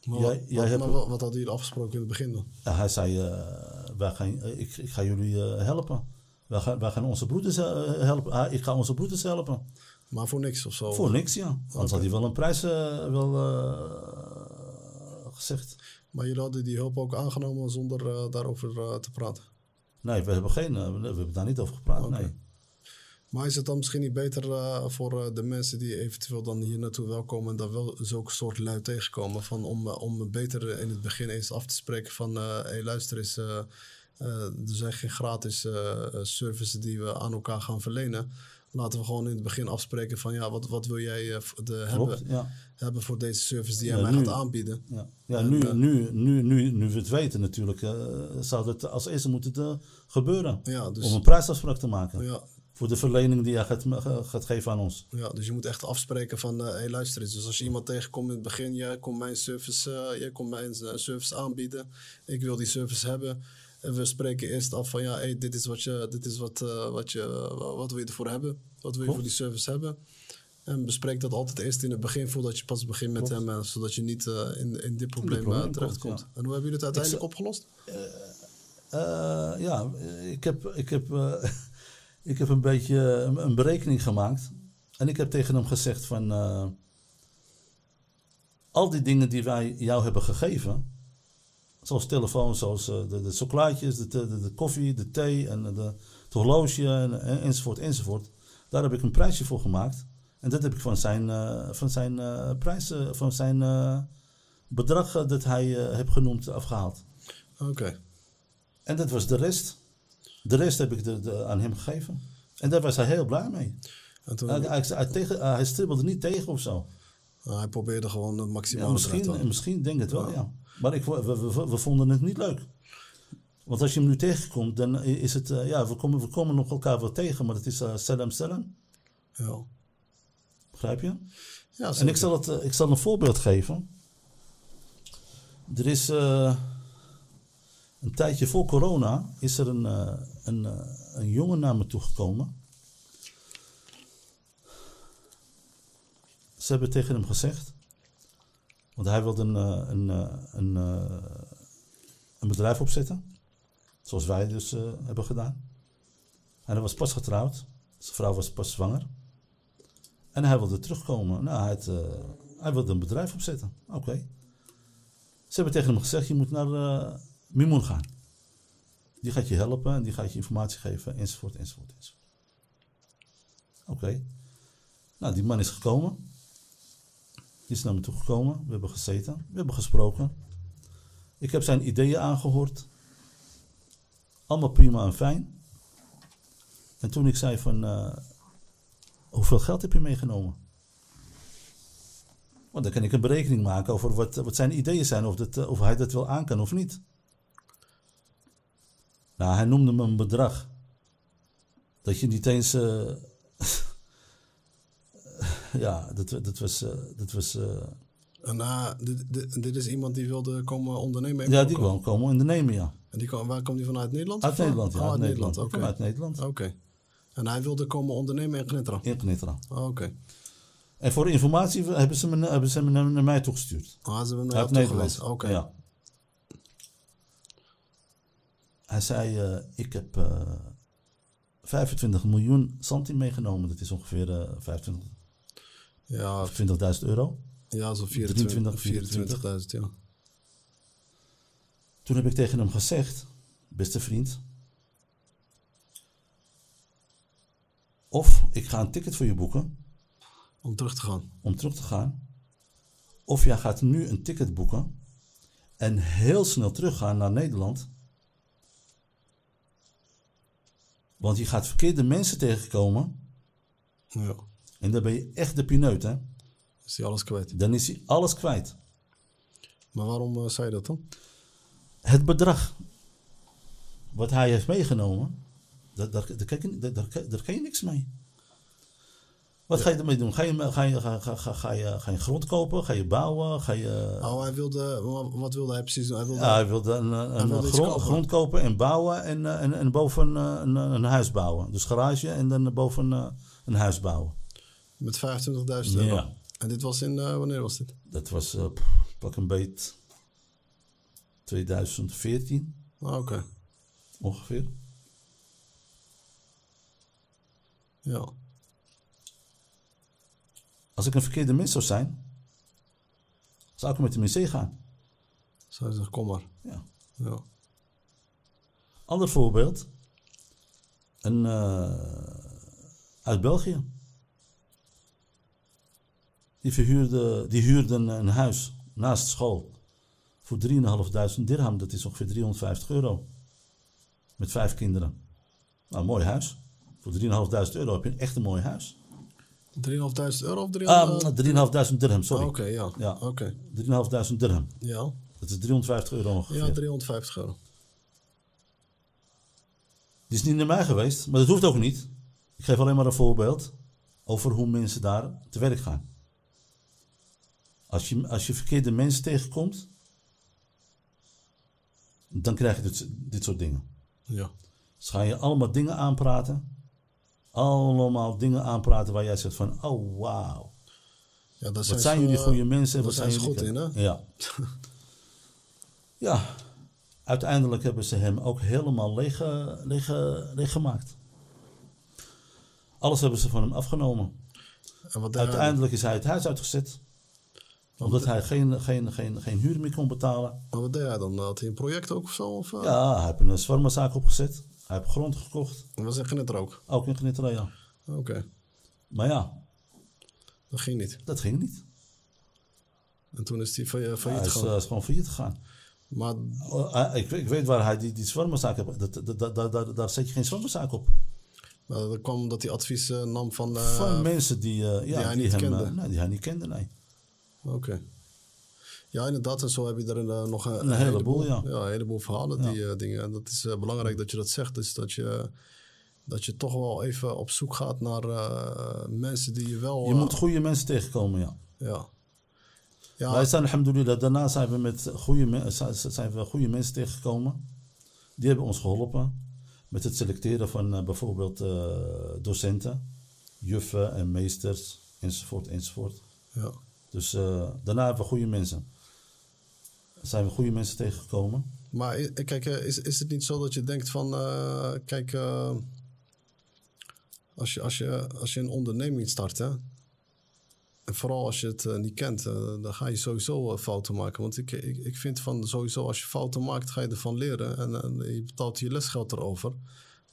[SPEAKER 1] Maar,
[SPEAKER 2] Jij-
[SPEAKER 1] wat,
[SPEAKER 2] jij hebt-
[SPEAKER 1] maar wat, wat hadden jullie afgesproken in het begin dan?
[SPEAKER 2] En hij zei, eh, wij gaan, eh, ik, ik ga jullie eh, helpen. Wij gaan, wij gaan onze broeders eh, helpen. Ah, ik ga onze broeders helpen.
[SPEAKER 1] Maar voor niks of zo?
[SPEAKER 2] Voor niks, ja. Anders had hij wel een prijs eh, wel, eh, gezegd.
[SPEAKER 1] Maar jullie hadden die hulp ook aangenomen zonder eh, daarover eh, te praten?
[SPEAKER 2] Nee, we hebben, geen, eh, we hebben daar niet over gepraat. Nee.
[SPEAKER 1] Maar is het dan misschien niet beter eh, voor eh, de mensen die eventueel dan hier naartoe wel komen en daar wel zulke soort lui tegenkomen? Van om, eh, om beter eh, in het begin eens af te spreken van, hé hey, luister eens, eh, eh, er zijn geen gratis eh, eh, services die we aan elkaar gaan verlenen. Laten we gewoon in het begin afspreken van, ja, wat, wat wil jij eh, v- de,
[SPEAKER 2] Klopt,
[SPEAKER 1] hebben,
[SPEAKER 2] ja.
[SPEAKER 1] hebben voor deze service die jij
[SPEAKER 2] Ja,
[SPEAKER 1] mij
[SPEAKER 2] nu.
[SPEAKER 1] gaat aanbieden?
[SPEAKER 2] Ja, ja nu,
[SPEAKER 1] eh,
[SPEAKER 2] nu, nu, nu, nu we het weten natuurlijk, eh, zou dat als eerste moeten eh, gebeuren.
[SPEAKER 1] Ja, dus-
[SPEAKER 2] Om een prijsafspraak te maken.
[SPEAKER 1] Ja,
[SPEAKER 2] Voor de verlening die jij gaat, ge- gaat geven aan ons.
[SPEAKER 1] Ja, dus je moet echt afspreken van, hé hey, luister eens, dus als je iemand tegenkomt in het begin, jij komt mijn service, eh, jij komt mijn eh, service aanbieden, ik wil die service hebben. En we spreken eerst af van, ja, hey, dit is, wat, je, dit is wat, eh, wat, je, wat wil je ervoor hebben, wat wil je voor die service hebben. En bespreek dat altijd eerst in het begin, voordat je pas begint met hem, eh, zodat je niet eh, in, in dit probleem eh,
[SPEAKER 2] probleem komt,
[SPEAKER 1] terechtkomt.
[SPEAKER 2] ja.
[SPEAKER 1] En hoe hebben jullie het uiteindelijk opgelost?
[SPEAKER 2] Eh, ja, ik heb, ik, heb, eh, ik heb een beetje een, een berekening gemaakt. En ik heb tegen hem gezegd van... eh, al die dingen die wij jou hebben gegeven... Zoals telefoon, zoals eh, de, de chocolaatjes, de, de, de- de koffie, de thee en de, het horloge en, en- enzovoort, enzovoort. Daar heb ik een prijsje voor gemaakt. En dat heb ik van zijn, eh, van zijn eh, prijzen, van zijn eh, bedrag eh, dat hij eh, heeft genoemd afgehaald.
[SPEAKER 1] Oké.
[SPEAKER 2] En dat was de rest. De rest heb ik de, de- aan hem gegeven. En daar was hij heel blij mee.
[SPEAKER 1] En toen,
[SPEAKER 2] Hij, hij, hij, tegen, hij stribbelde niet tegen of zo.
[SPEAKER 1] eh, hij probeerde gewoon het
[SPEAKER 2] Ja,
[SPEAKER 1] maximale eruit te
[SPEAKER 2] misschien,
[SPEAKER 1] halen.
[SPEAKER 2] misschien denk ik het wel, ja. Maar ik, vo- we, we, we vonden het niet leuk. Want als je hem nu tegenkomt, dan is het... eh, ja, we komen, we komen nog elkaar wel tegen, maar het is eh, salam salam.
[SPEAKER 1] Ja.
[SPEAKER 2] Begrijp je?
[SPEAKER 1] Ja,
[SPEAKER 2] En ik
[SPEAKER 1] zeker.
[SPEAKER 2] zal, het, eh, ik zal een voorbeeld geven. Er is eh, een tijdje voor corona is er een, eh, een, eh, een jongen naar me toegekomen. Ze hebben tegen hem gezegd, want hij wilde een, eh, een, eh, een, eh, een bedrijf opzetten, zoals wij dus eh, hebben gedaan. En hij was pas getrouwd, zijn vrouw was pas zwanger. En hij wilde terugkomen. Nou, hij, had, eh, hij wilde een bedrijf opzetten. Oké. Ze hebben tegen hem gezegd, je moet naar eh Mimoen gaan. Die gaat je helpen en die gaat je informatie geven, enzovoort, enzovoort, enzovoort. Oké. Nou, die man is gekomen. Die is naar me toe gekomen. We hebben gezeten. We hebben gesproken. Ik heb zijn ideeën aangehoord. Allemaal prima en fijn. En toen ik zei van... eh, Hoeveel geld heb je meegenomen? Want dan kan ik een berekening maken over wat, wat zijn ideeën zijn, of, dat, eh, of hij dat wel aan kan of niet. Nou, hij noemde me een bedrag. Dat je niet eens. eh, ja, dat, dat was. eh, dat was eh,
[SPEAKER 1] En na- dit, dit, dit is iemand die wilde komen ondernemen. in
[SPEAKER 2] ja, die
[SPEAKER 1] Marokko.
[SPEAKER 2] kwam komen ondernemen, ja.
[SPEAKER 1] En die kwam, waar kwam die vanuit Nederland?
[SPEAKER 2] Uit
[SPEAKER 1] Of-
[SPEAKER 2] Nederland, ja.
[SPEAKER 1] Oh, uit Nederland,
[SPEAKER 2] Die
[SPEAKER 1] oké.
[SPEAKER 2] kwam Uit Nederland.
[SPEAKER 1] Oké. En hij wilde komen ondernemen in Knetra.
[SPEAKER 2] In Knitra.
[SPEAKER 1] Oké.
[SPEAKER 2] En voor informatie hebben ze me, hebben ze me naar- naar mij toegestuurd.
[SPEAKER 1] Ah, ze hebben hem
[SPEAKER 2] Uit
[SPEAKER 1] naartoe
[SPEAKER 2] Nederland.
[SPEAKER 1] geweest. Oké.
[SPEAKER 2] Ja. Hij zei, eh, ik heb eh, 25 miljoen santi meegenomen. Dat is ongeveer eh, 25
[SPEAKER 1] Ja,
[SPEAKER 2] 20.000 euro.
[SPEAKER 1] ja zo'n
[SPEAKER 2] 23,
[SPEAKER 1] 24
[SPEAKER 2] 24.
[SPEAKER 1] 24.000, ja.
[SPEAKER 2] Toen heb ik tegen hem gezegd, beste vriend. Of ik ga een ticket voor je boeken
[SPEAKER 1] Om terug te gaan.
[SPEAKER 2] om terug te gaan. Of jij gaat nu een ticket boeken en heel snel teruggaan naar Nederland. Want je gaat verkeerde mensen tegenkomen
[SPEAKER 1] Ja.
[SPEAKER 2] en dan ben je echt de pineut, hè?
[SPEAKER 1] Is hij alles kwijt.
[SPEAKER 2] Dan is hij alles kwijt.
[SPEAKER 1] Maar waarom eh, zei je dat dan?
[SPEAKER 2] Het bedrag wat hij heeft meegenomen, daar, daar, daar, kan, je, daar, daar- daar kan je niks mee. Wat ga je ermee doen? Ga je, ga, je, ga, ga, ga, ga je, ga je grond kopen? Ga je bouwen? Ga je...
[SPEAKER 1] Oh, hij wilde... wa- Wat wilde hij precies doen? Hij wilde...
[SPEAKER 2] Ja, hij wilde een, een, een
[SPEAKER 1] wilde iets
[SPEAKER 2] grond,
[SPEAKER 1] kopen.
[SPEAKER 2] grond kopen en bouwen en, eh, en, en boven eh, een, een huis bouwen. Dus garage en dan boven eh, een huis bouwen.
[SPEAKER 1] Met 25.000 euro.
[SPEAKER 2] Ja.
[SPEAKER 1] En dit was in... eh, wanneer was dit?
[SPEAKER 2] Dat was eh, pff, pak een beet 2014
[SPEAKER 1] Ah, Oké.
[SPEAKER 2] ongeveer.
[SPEAKER 1] Ja.
[SPEAKER 2] Als ik een verkeerde mens zou zijn, zou ik met hem in zee gaan.
[SPEAKER 1] Zou hij zeggen, kom maar.
[SPEAKER 2] Ja.
[SPEAKER 1] Ja.
[SPEAKER 2] Ander voorbeeld. Een, eh, uit België. Die, verhuurde, die huurde een, een huis naast school. Voor 3.500 dirham. Dat is ongeveer 350 euro. Met vijf kinderen. Nou, een mooi huis. Voor 3.500 euro heb je een echt een mooi huis.
[SPEAKER 1] 3.500 euro of 300...
[SPEAKER 2] Ah, 3.500 dirham, sorry.
[SPEAKER 1] Ehm, Ah, Oké, ja.
[SPEAKER 2] Ja.
[SPEAKER 1] Oké.
[SPEAKER 2] 3.500 dirham.
[SPEAKER 1] Ja.
[SPEAKER 2] Dat is 350 euro ongeveer.
[SPEAKER 1] Ja, 350 euro.
[SPEAKER 2] Die is niet naar mij geweest, maar dat hoeft ook niet. Ik geef alleen maar een voorbeeld over hoe mensen daar te werk gaan. Als je, als je verkeerde mensen tegenkomt, dan krijg je dit, dit soort dingen.
[SPEAKER 1] Ja.
[SPEAKER 2] Ze gaan je allemaal dingen aanpraten. Allemaal dingen aanpraten waar jij zegt van, oh wauw.
[SPEAKER 1] ja dat eh,
[SPEAKER 2] Wat zijn jullie goede mensen? en
[SPEAKER 1] Daar
[SPEAKER 2] Wat
[SPEAKER 1] zijn
[SPEAKER 2] zijn
[SPEAKER 1] ze
[SPEAKER 2] jullie
[SPEAKER 1] goed in, hè?
[SPEAKER 2] Ja. ja. Uiteindelijk hebben ze hem ook helemaal leeg, eh, leeg, eh, leeggemaakt. Alles hebben ze van hem afgenomen.
[SPEAKER 1] En wat deed hij?
[SPEAKER 2] Uiteindelijk is hij het huis uitgezet. Omdat hij geen, geen, geen, geen huur meer kon betalen.
[SPEAKER 1] Maar wat deed hij dan? Had hij een project ook of zo? Of, eh,
[SPEAKER 2] Ja, hij heeft een zwarmazaak opgezet. Hij heeft grond gekocht.
[SPEAKER 1] We zeggen het er ook.
[SPEAKER 2] Ook in Gnitra,
[SPEAKER 1] Oké,
[SPEAKER 2] Maar ja,
[SPEAKER 1] dat ging niet.
[SPEAKER 2] dat ging niet.
[SPEAKER 1] En toen is hij fa- eh,
[SPEAKER 2] Hij
[SPEAKER 1] failliet
[SPEAKER 2] is,
[SPEAKER 1] gegaan.
[SPEAKER 2] eh, is gewoon failliet gegaan.
[SPEAKER 1] Maar
[SPEAKER 2] Oh, eh, ik, ik weet waar hij die, die zwarmazaak heeft. Dat, dat, dat, dat- dat- daar zet je geen zwarmazaak op.
[SPEAKER 1] eh, dat kwam omdat hij advies eh, nam van... eh,
[SPEAKER 2] Van mensen die, eh, ja,
[SPEAKER 1] hij niet
[SPEAKER 2] hem,
[SPEAKER 1] kende.
[SPEAKER 2] eh, nee, die hij niet kende, nee.
[SPEAKER 1] Oké. Ja, inderdaad. En zo heb je er eh, nog een,
[SPEAKER 2] Een heleboel, ja.
[SPEAKER 1] een heleboel verhalen, die eh, dingen. En dat is eh, belangrijk dat je dat zegt. Dus dat je, dat je toch wel even op zoek gaat naar eh, mensen die je wel...
[SPEAKER 2] Je
[SPEAKER 1] eh,
[SPEAKER 2] moet goede mensen tegenkomen, ja.
[SPEAKER 1] Ja. Ja,
[SPEAKER 2] Wij zijn, alhamdulillah, daarna zijn we met goede, me- eh, zijn- zijn we goede mensen tegengekomen. Die hebben ons geholpen met het selecteren van eh, bijvoorbeeld eh, docenten, juffen en meesters, enzovoort, enzovoort.
[SPEAKER 1] ja.
[SPEAKER 2] Dus eh, daarna hebben we goede mensen. Zijn we goede mensen tegengekomen.
[SPEAKER 1] Maar i- kijk, eh, is, is het niet zo dat je denkt van... eh, kijk, eh, als, je, als, je, als je een onderneming start, hè... En vooral als je het eh, niet kent, eh, dan ga je sowieso eh, fouten maken. Want ik, ik, ik vind van sowieso als je fouten maakt, ga je ervan leren. En, en je betaalt je lesgeld erover.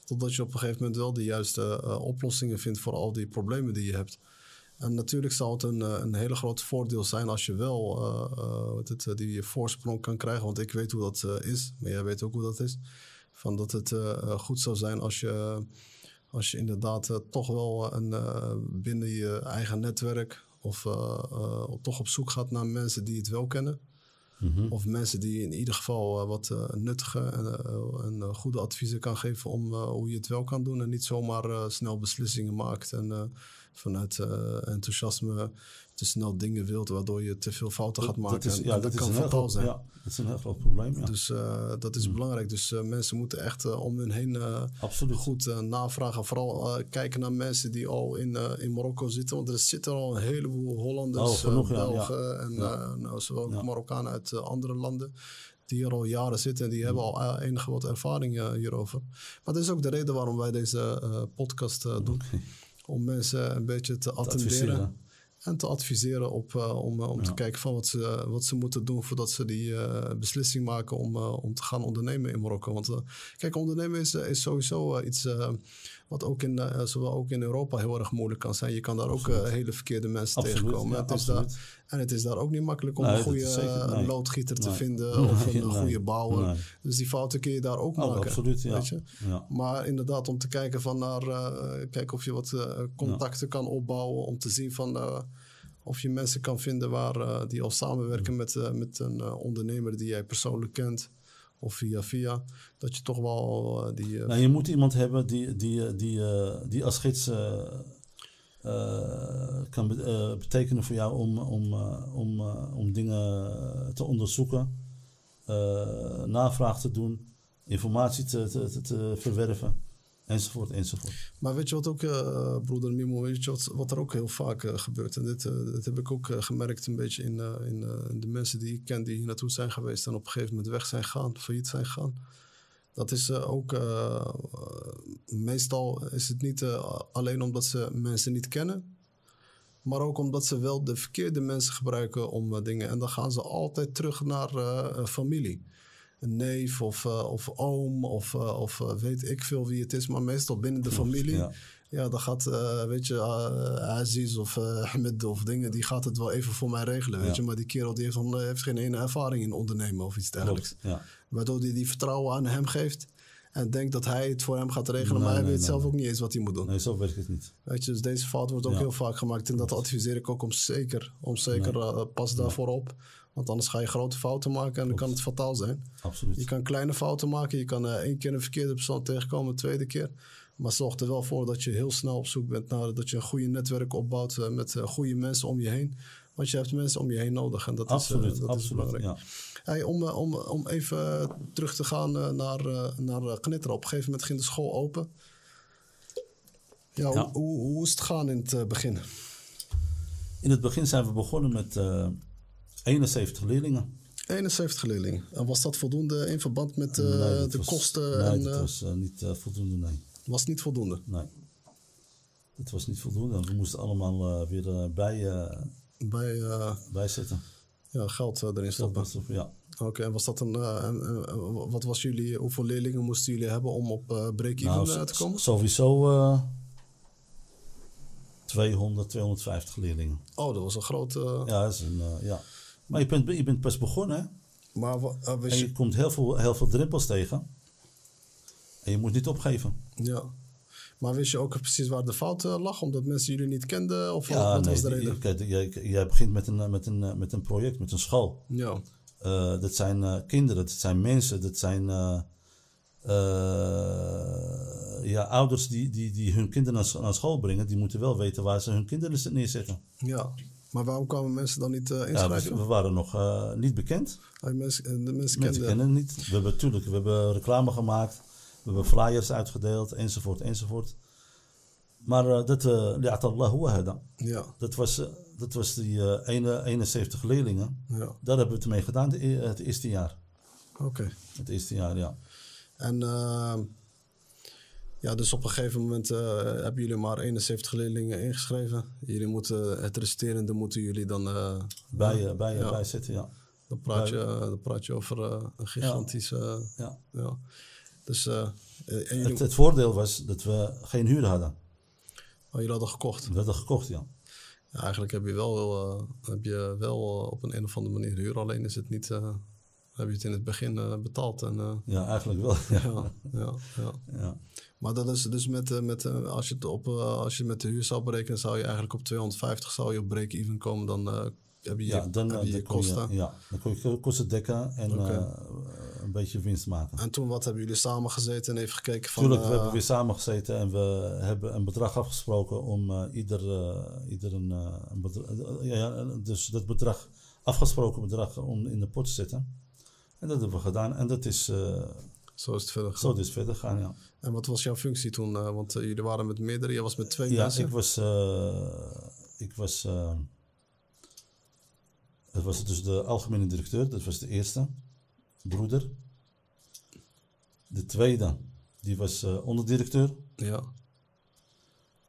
[SPEAKER 1] Totdat je op een gegeven moment wel de juiste eh, oplossingen vindt voor al die problemen die je hebt. En natuurlijk zal het een, eh, een hele groot voordeel zijn als je wel eh, eh, wat het, eh, die voorsprong kan krijgen. Want ik weet hoe dat eh, is, maar jij weet ook hoe dat is. Van dat het eh, eh, goed zou zijn als je, eh, als je inderdaad eh, toch wel een, eh, binnen je eigen netwerk of eh, eh, toch op zoek gaat naar mensen die het wel kennen.
[SPEAKER 2] Mhm.
[SPEAKER 1] Of mensen die in ieder geval eh, wat eh, nuttige en, eh, en eh, goede adviezen kan geven om eh, hoe je het wel kan doen. En niet zomaar eh, snel beslissingen maakt en eh, vanuit eh, enthousiasme te snel dingen wilt, waardoor je te veel fouten gaat maken. En
[SPEAKER 2] ja, dat, is een heel
[SPEAKER 1] fataal
[SPEAKER 2] groot, ja, dat is een heel groot probleem. Ja. Mm.
[SPEAKER 1] Dus eh, dat is belangrijk. Dus eh, mensen moeten echt eh, om hun heen eh,
[SPEAKER 2] Absoluut.
[SPEAKER 1] goed eh, navragen. Vooral eh, kijken naar mensen die al in, eh, in Marokko zitten. Want er zitten al een heleboel Hollanders,
[SPEAKER 2] Oh, genoeg,
[SPEAKER 1] eh,
[SPEAKER 2] ja,
[SPEAKER 1] Belgen en eh, nou, zowel ook Marokkanen uit eh, andere landen. Die hier al jaren zitten en die
[SPEAKER 2] Mm.
[SPEAKER 1] hebben al eh, enige wat ervaring eh, hierover. Maar dat is ook de reden waarom wij deze eh, podcast eh, doen. Om mensen een beetje te attenderen.
[SPEAKER 2] adviseren.
[SPEAKER 1] En te adviseren op, eh, om, eh, om te kijken van wat ze, wat ze moeten doen voordat ze die eh, beslissing maken om, eh, om te gaan ondernemen in Marokko. Want eh, kijk, ondernemen is, eh, is sowieso eh, iets eh, wat ook in, eh, zowel ook in Europa heel erg moeilijk kan zijn. Je kan daar ook eh, hele verkeerde mensen
[SPEAKER 2] Absoluut,
[SPEAKER 1] tegenkomen.
[SPEAKER 2] ja,
[SPEAKER 1] het is
[SPEAKER 2] absoluut.
[SPEAKER 1] daar, en het is daar ook niet makkelijk om
[SPEAKER 2] Nee,
[SPEAKER 1] een
[SPEAKER 2] dat
[SPEAKER 1] goede
[SPEAKER 2] is zeker-
[SPEAKER 1] eh,
[SPEAKER 2] nee.
[SPEAKER 1] loodgieter te
[SPEAKER 2] Nee.
[SPEAKER 1] vinden
[SPEAKER 2] Nee,
[SPEAKER 1] of een
[SPEAKER 2] nee.
[SPEAKER 1] goede bouwer.
[SPEAKER 2] Nee.
[SPEAKER 1] Dus die fouten kun je daar ook
[SPEAKER 2] Oh,
[SPEAKER 1] maken.
[SPEAKER 2] absoluut, ja.
[SPEAKER 1] weet je?
[SPEAKER 2] ja.
[SPEAKER 1] Maar inderdaad, om te kijken van naar, eh, kijken of je wat eh, contacten kan opbouwen. Om te zien van eh, of je mensen kan vinden waar, eh, die al samenwerken met, eh, met een eh, ondernemer die jij persoonlijk kent. Of via via. Dat je toch wel eh, die. eh,
[SPEAKER 2] Nou, je moet iemand hebben die, die, eh, die, eh, die als gids eh, eh, kan be- eh, betekenen voor jou om, om, eh, om, eh, om dingen te onderzoeken, eh, navraag te doen, informatie te, te, te- te verwerven, enzovoort, enzovoort.
[SPEAKER 1] Maar weet je wat ook, eh, broeder Mimo, weet je wat, wat er ook heel vaak eh, gebeurt? En dit, eh, dit heb ik ook eh, gemerkt een beetje in, eh, in eh, in de mensen die ik ken die hier naartoe zijn geweest en op een gegeven moment weg zijn gegaan, failliet zijn gegaan. Dat is eh, ook, eh, eh, meestal is het niet eh, alleen omdat ze mensen niet kennen, maar ook omdat ze wel de verkeerde mensen gebruiken om eh, dingen. En dan gaan ze altijd terug naar eh, eh, familie. Een neef of, eh, of oom of, eh, of eh, weet ik veel wie het is, maar meestal binnen de familie. Ja,
[SPEAKER 2] ja.
[SPEAKER 1] dan gaat, eh, weet je, eh, Aziz of eh Ahmed of dingen, die gaat het wel even voor mij regelen. Weet
[SPEAKER 2] Ja.
[SPEAKER 1] je, maar die kerel die heeft, nog- heeft geen ene ervaring in ondernemen of iets dergelijks.
[SPEAKER 2] Klopt, ja.
[SPEAKER 1] Waardoor hij die vertrouwen aan hem geeft. En denkt dat hij het voor hem gaat regelen. maar hij
[SPEAKER 2] nee,
[SPEAKER 1] weet
[SPEAKER 2] nee,
[SPEAKER 1] zelf
[SPEAKER 2] nee.
[SPEAKER 1] ook niet eens wat hij moet doen.
[SPEAKER 2] Nee, zo werkt het niet.
[SPEAKER 1] Weet je, dus deze fout wordt ook
[SPEAKER 2] Ja.
[SPEAKER 1] heel vaak gemaakt. En dat adviseer ik ook om zeker. Om zeker eh, pas daarvoor op. Want anders ga je grote fouten maken en dan kan het fataal zijn.
[SPEAKER 2] Absoluut.
[SPEAKER 1] Je kan kleine fouten maken. Je kan eh, één keer een verkeerde persoon tegenkomen, een tweede keer. Maar zorg er wel voor dat je heel snel op zoek bent naar dat je een goede netwerk opbouwt eh, met eh, goede mensen om je heen. Want je hebt mensen om je heen nodig. En dat is, eh,
[SPEAKER 2] absoluut,
[SPEAKER 1] dat is
[SPEAKER 2] absoluut.
[SPEAKER 1] belangrijk.
[SPEAKER 2] Ja.
[SPEAKER 1] Hey, om, eh, om, om even eh, terug te gaan eh, naar, eh naar eh, Knitter. Op een gegeven moment ging de school open. Ja,
[SPEAKER 2] Ja.
[SPEAKER 1] Hoe, hoe, hoe is het gaan in het eh, begin?
[SPEAKER 2] In het begin zijn we begonnen met eh, 71 leerlingen.
[SPEAKER 1] 71 leerlingen. En was dat voldoende in verband met eh,
[SPEAKER 2] Nee, dat
[SPEAKER 1] de
[SPEAKER 2] was-
[SPEAKER 1] kosten?
[SPEAKER 2] Nee,
[SPEAKER 1] en,
[SPEAKER 2] dat
[SPEAKER 1] eh,
[SPEAKER 2] was eh, niet eh, voldoende, nee.
[SPEAKER 1] was niet voldoende.
[SPEAKER 2] nee. Dat was niet voldoende. want We moesten allemaal eh, weer eh, bij, eh,
[SPEAKER 1] Bij eh,
[SPEAKER 2] bijzetten.
[SPEAKER 1] ja, geld eh, erin
[SPEAKER 2] Dat
[SPEAKER 1] stoppen.
[SPEAKER 2] was toch, ja.
[SPEAKER 1] Oké, en was dat een. eh, en, eh, wat was jullie. Hoeveel leerlingen moesten jullie hebben om op eh break-even
[SPEAKER 2] Nou,
[SPEAKER 1] eh,
[SPEAKER 2] so-
[SPEAKER 1] te komen?
[SPEAKER 2] sowieso eh 200, 250 leerlingen.
[SPEAKER 1] Oh, dat was een grote.
[SPEAKER 2] Ja, dat is een, eh, ja. Maar je bent, je bent pas begonnen, hè?
[SPEAKER 1] Maar wa- eh, wist
[SPEAKER 2] En
[SPEAKER 1] je-
[SPEAKER 2] je komt heel veel, heel veel drempels tegen. En je moet niet opgeven.
[SPEAKER 1] Ja. Maar wist je ook precies waar de fout eh, lag? Omdat mensen jullie niet kenden? Of wat, wat Oh, was de
[SPEAKER 2] Eh, die-
[SPEAKER 1] reden?
[SPEAKER 2] kijk, jij, jij begint met een, eh, met, een, eh, met een project, met een school.
[SPEAKER 1] Ja.
[SPEAKER 2] Eh, dat zijn eh, kinderen, dat zijn mensen, dat zijn eh, eh, ja, ouders die, die, die hun kinderen naar, s- naar school brengen. Die moeten wel weten waar ze hun kinderen neerzetten.
[SPEAKER 1] ja. Maar waarom kwamen mensen dan niet eh,
[SPEAKER 2] Ja, we,
[SPEAKER 1] inschrijven?
[SPEAKER 2] we waren nog eh, niet bekend.
[SPEAKER 1] Ah, mensen, eh, de mensen
[SPEAKER 2] Mensen
[SPEAKER 1] kenden.
[SPEAKER 2] kennen het niet. We hebben natuurlijk, we hebben reclame gemaakt, we hebben flyers uitgedeeld, enzovoort, enzovoort. Maar eh, dat, eh, li'at Allahu wahda.
[SPEAKER 1] Ja.
[SPEAKER 2] dat was, eh, dat was die eh, ene- 71 leerlingen.
[SPEAKER 1] ja.
[SPEAKER 2] Daar hebben we het mee gedaan de e- het eerste jaar.
[SPEAKER 1] Oké.
[SPEAKER 2] Het eerste jaar, ja.
[SPEAKER 1] En ehm, ja, dus op een gegeven moment eh, hebben jullie maar 71 leerlingen ingeschreven. Jullie moeten, het resterende moeten jullie dan, eh,
[SPEAKER 2] Bij, eh, bij, eh,
[SPEAKER 1] Ja.
[SPEAKER 2] bij zitten, ja.
[SPEAKER 1] dan, praat, je, dan praat je over eh, een gigantische, eh, ja.
[SPEAKER 2] ja.
[SPEAKER 1] Dus, eh, eh, en
[SPEAKER 2] Het,
[SPEAKER 1] jullie,
[SPEAKER 2] het voordeel was dat we geen huur hadden.
[SPEAKER 1] oh, jullie hadden gekocht.
[SPEAKER 2] We hadden gekocht, ja.
[SPEAKER 1] Ja, eigenlijk heb je wel, eh, heb je wel eh, op een, een of andere manier huur, alleen is het niet, eh, heb je het in het begin eh, betaald. En, eh,
[SPEAKER 2] Ja, eigenlijk wel. Ja.
[SPEAKER 1] ja, ja, ja.
[SPEAKER 2] Ja.
[SPEAKER 1] Maar dat is dus met, eh, met eh, als, je het op, eh, als je het met de huur zou berekenen, zou je eigenlijk op 250 zou je op break-even komen. Dan eh, heb je
[SPEAKER 2] Ja, dan,
[SPEAKER 1] heb
[SPEAKER 2] eh,
[SPEAKER 1] je, je
[SPEAKER 2] dan kon
[SPEAKER 1] kosten.
[SPEAKER 2] je, ja, dan kon je kosten dekken en
[SPEAKER 1] Oké.
[SPEAKER 2] eh, een beetje winst maken.
[SPEAKER 1] En toen wat hebben jullie samen gezeten en even gekeken van.
[SPEAKER 2] Tuurlijk, we
[SPEAKER 1] eh,
[SPEAKER 2] hebben weer samengezeten en we hebben een bedrag afgesproken om eh, ieder, eh, ieder een, eh, een bedrag, ja, ja, dus dat bedrag, afgesproken bedrag, om in de pot te zetten. En dat hebben we gedaan en dat is, eh,
[SPEAKER 1] Zo is het verder. gegaan.
[SPEAKER 2] zo is het verder gaan, ja.
[SPEAKER 1] En wat was jouw functie toen? eh, want eh, jullie waren met meerdere, jij was met twee
[SPEAKER 2] Ja,
[SPEAKER 1] mensen.
[SPEAKER 2] ik was, eh, ik was, eh, dat was dus de algemene directeur, dat was de eerste, broeder. De tweede, die was eh, onderdirecteur.
[SPEAKER 1] Ja,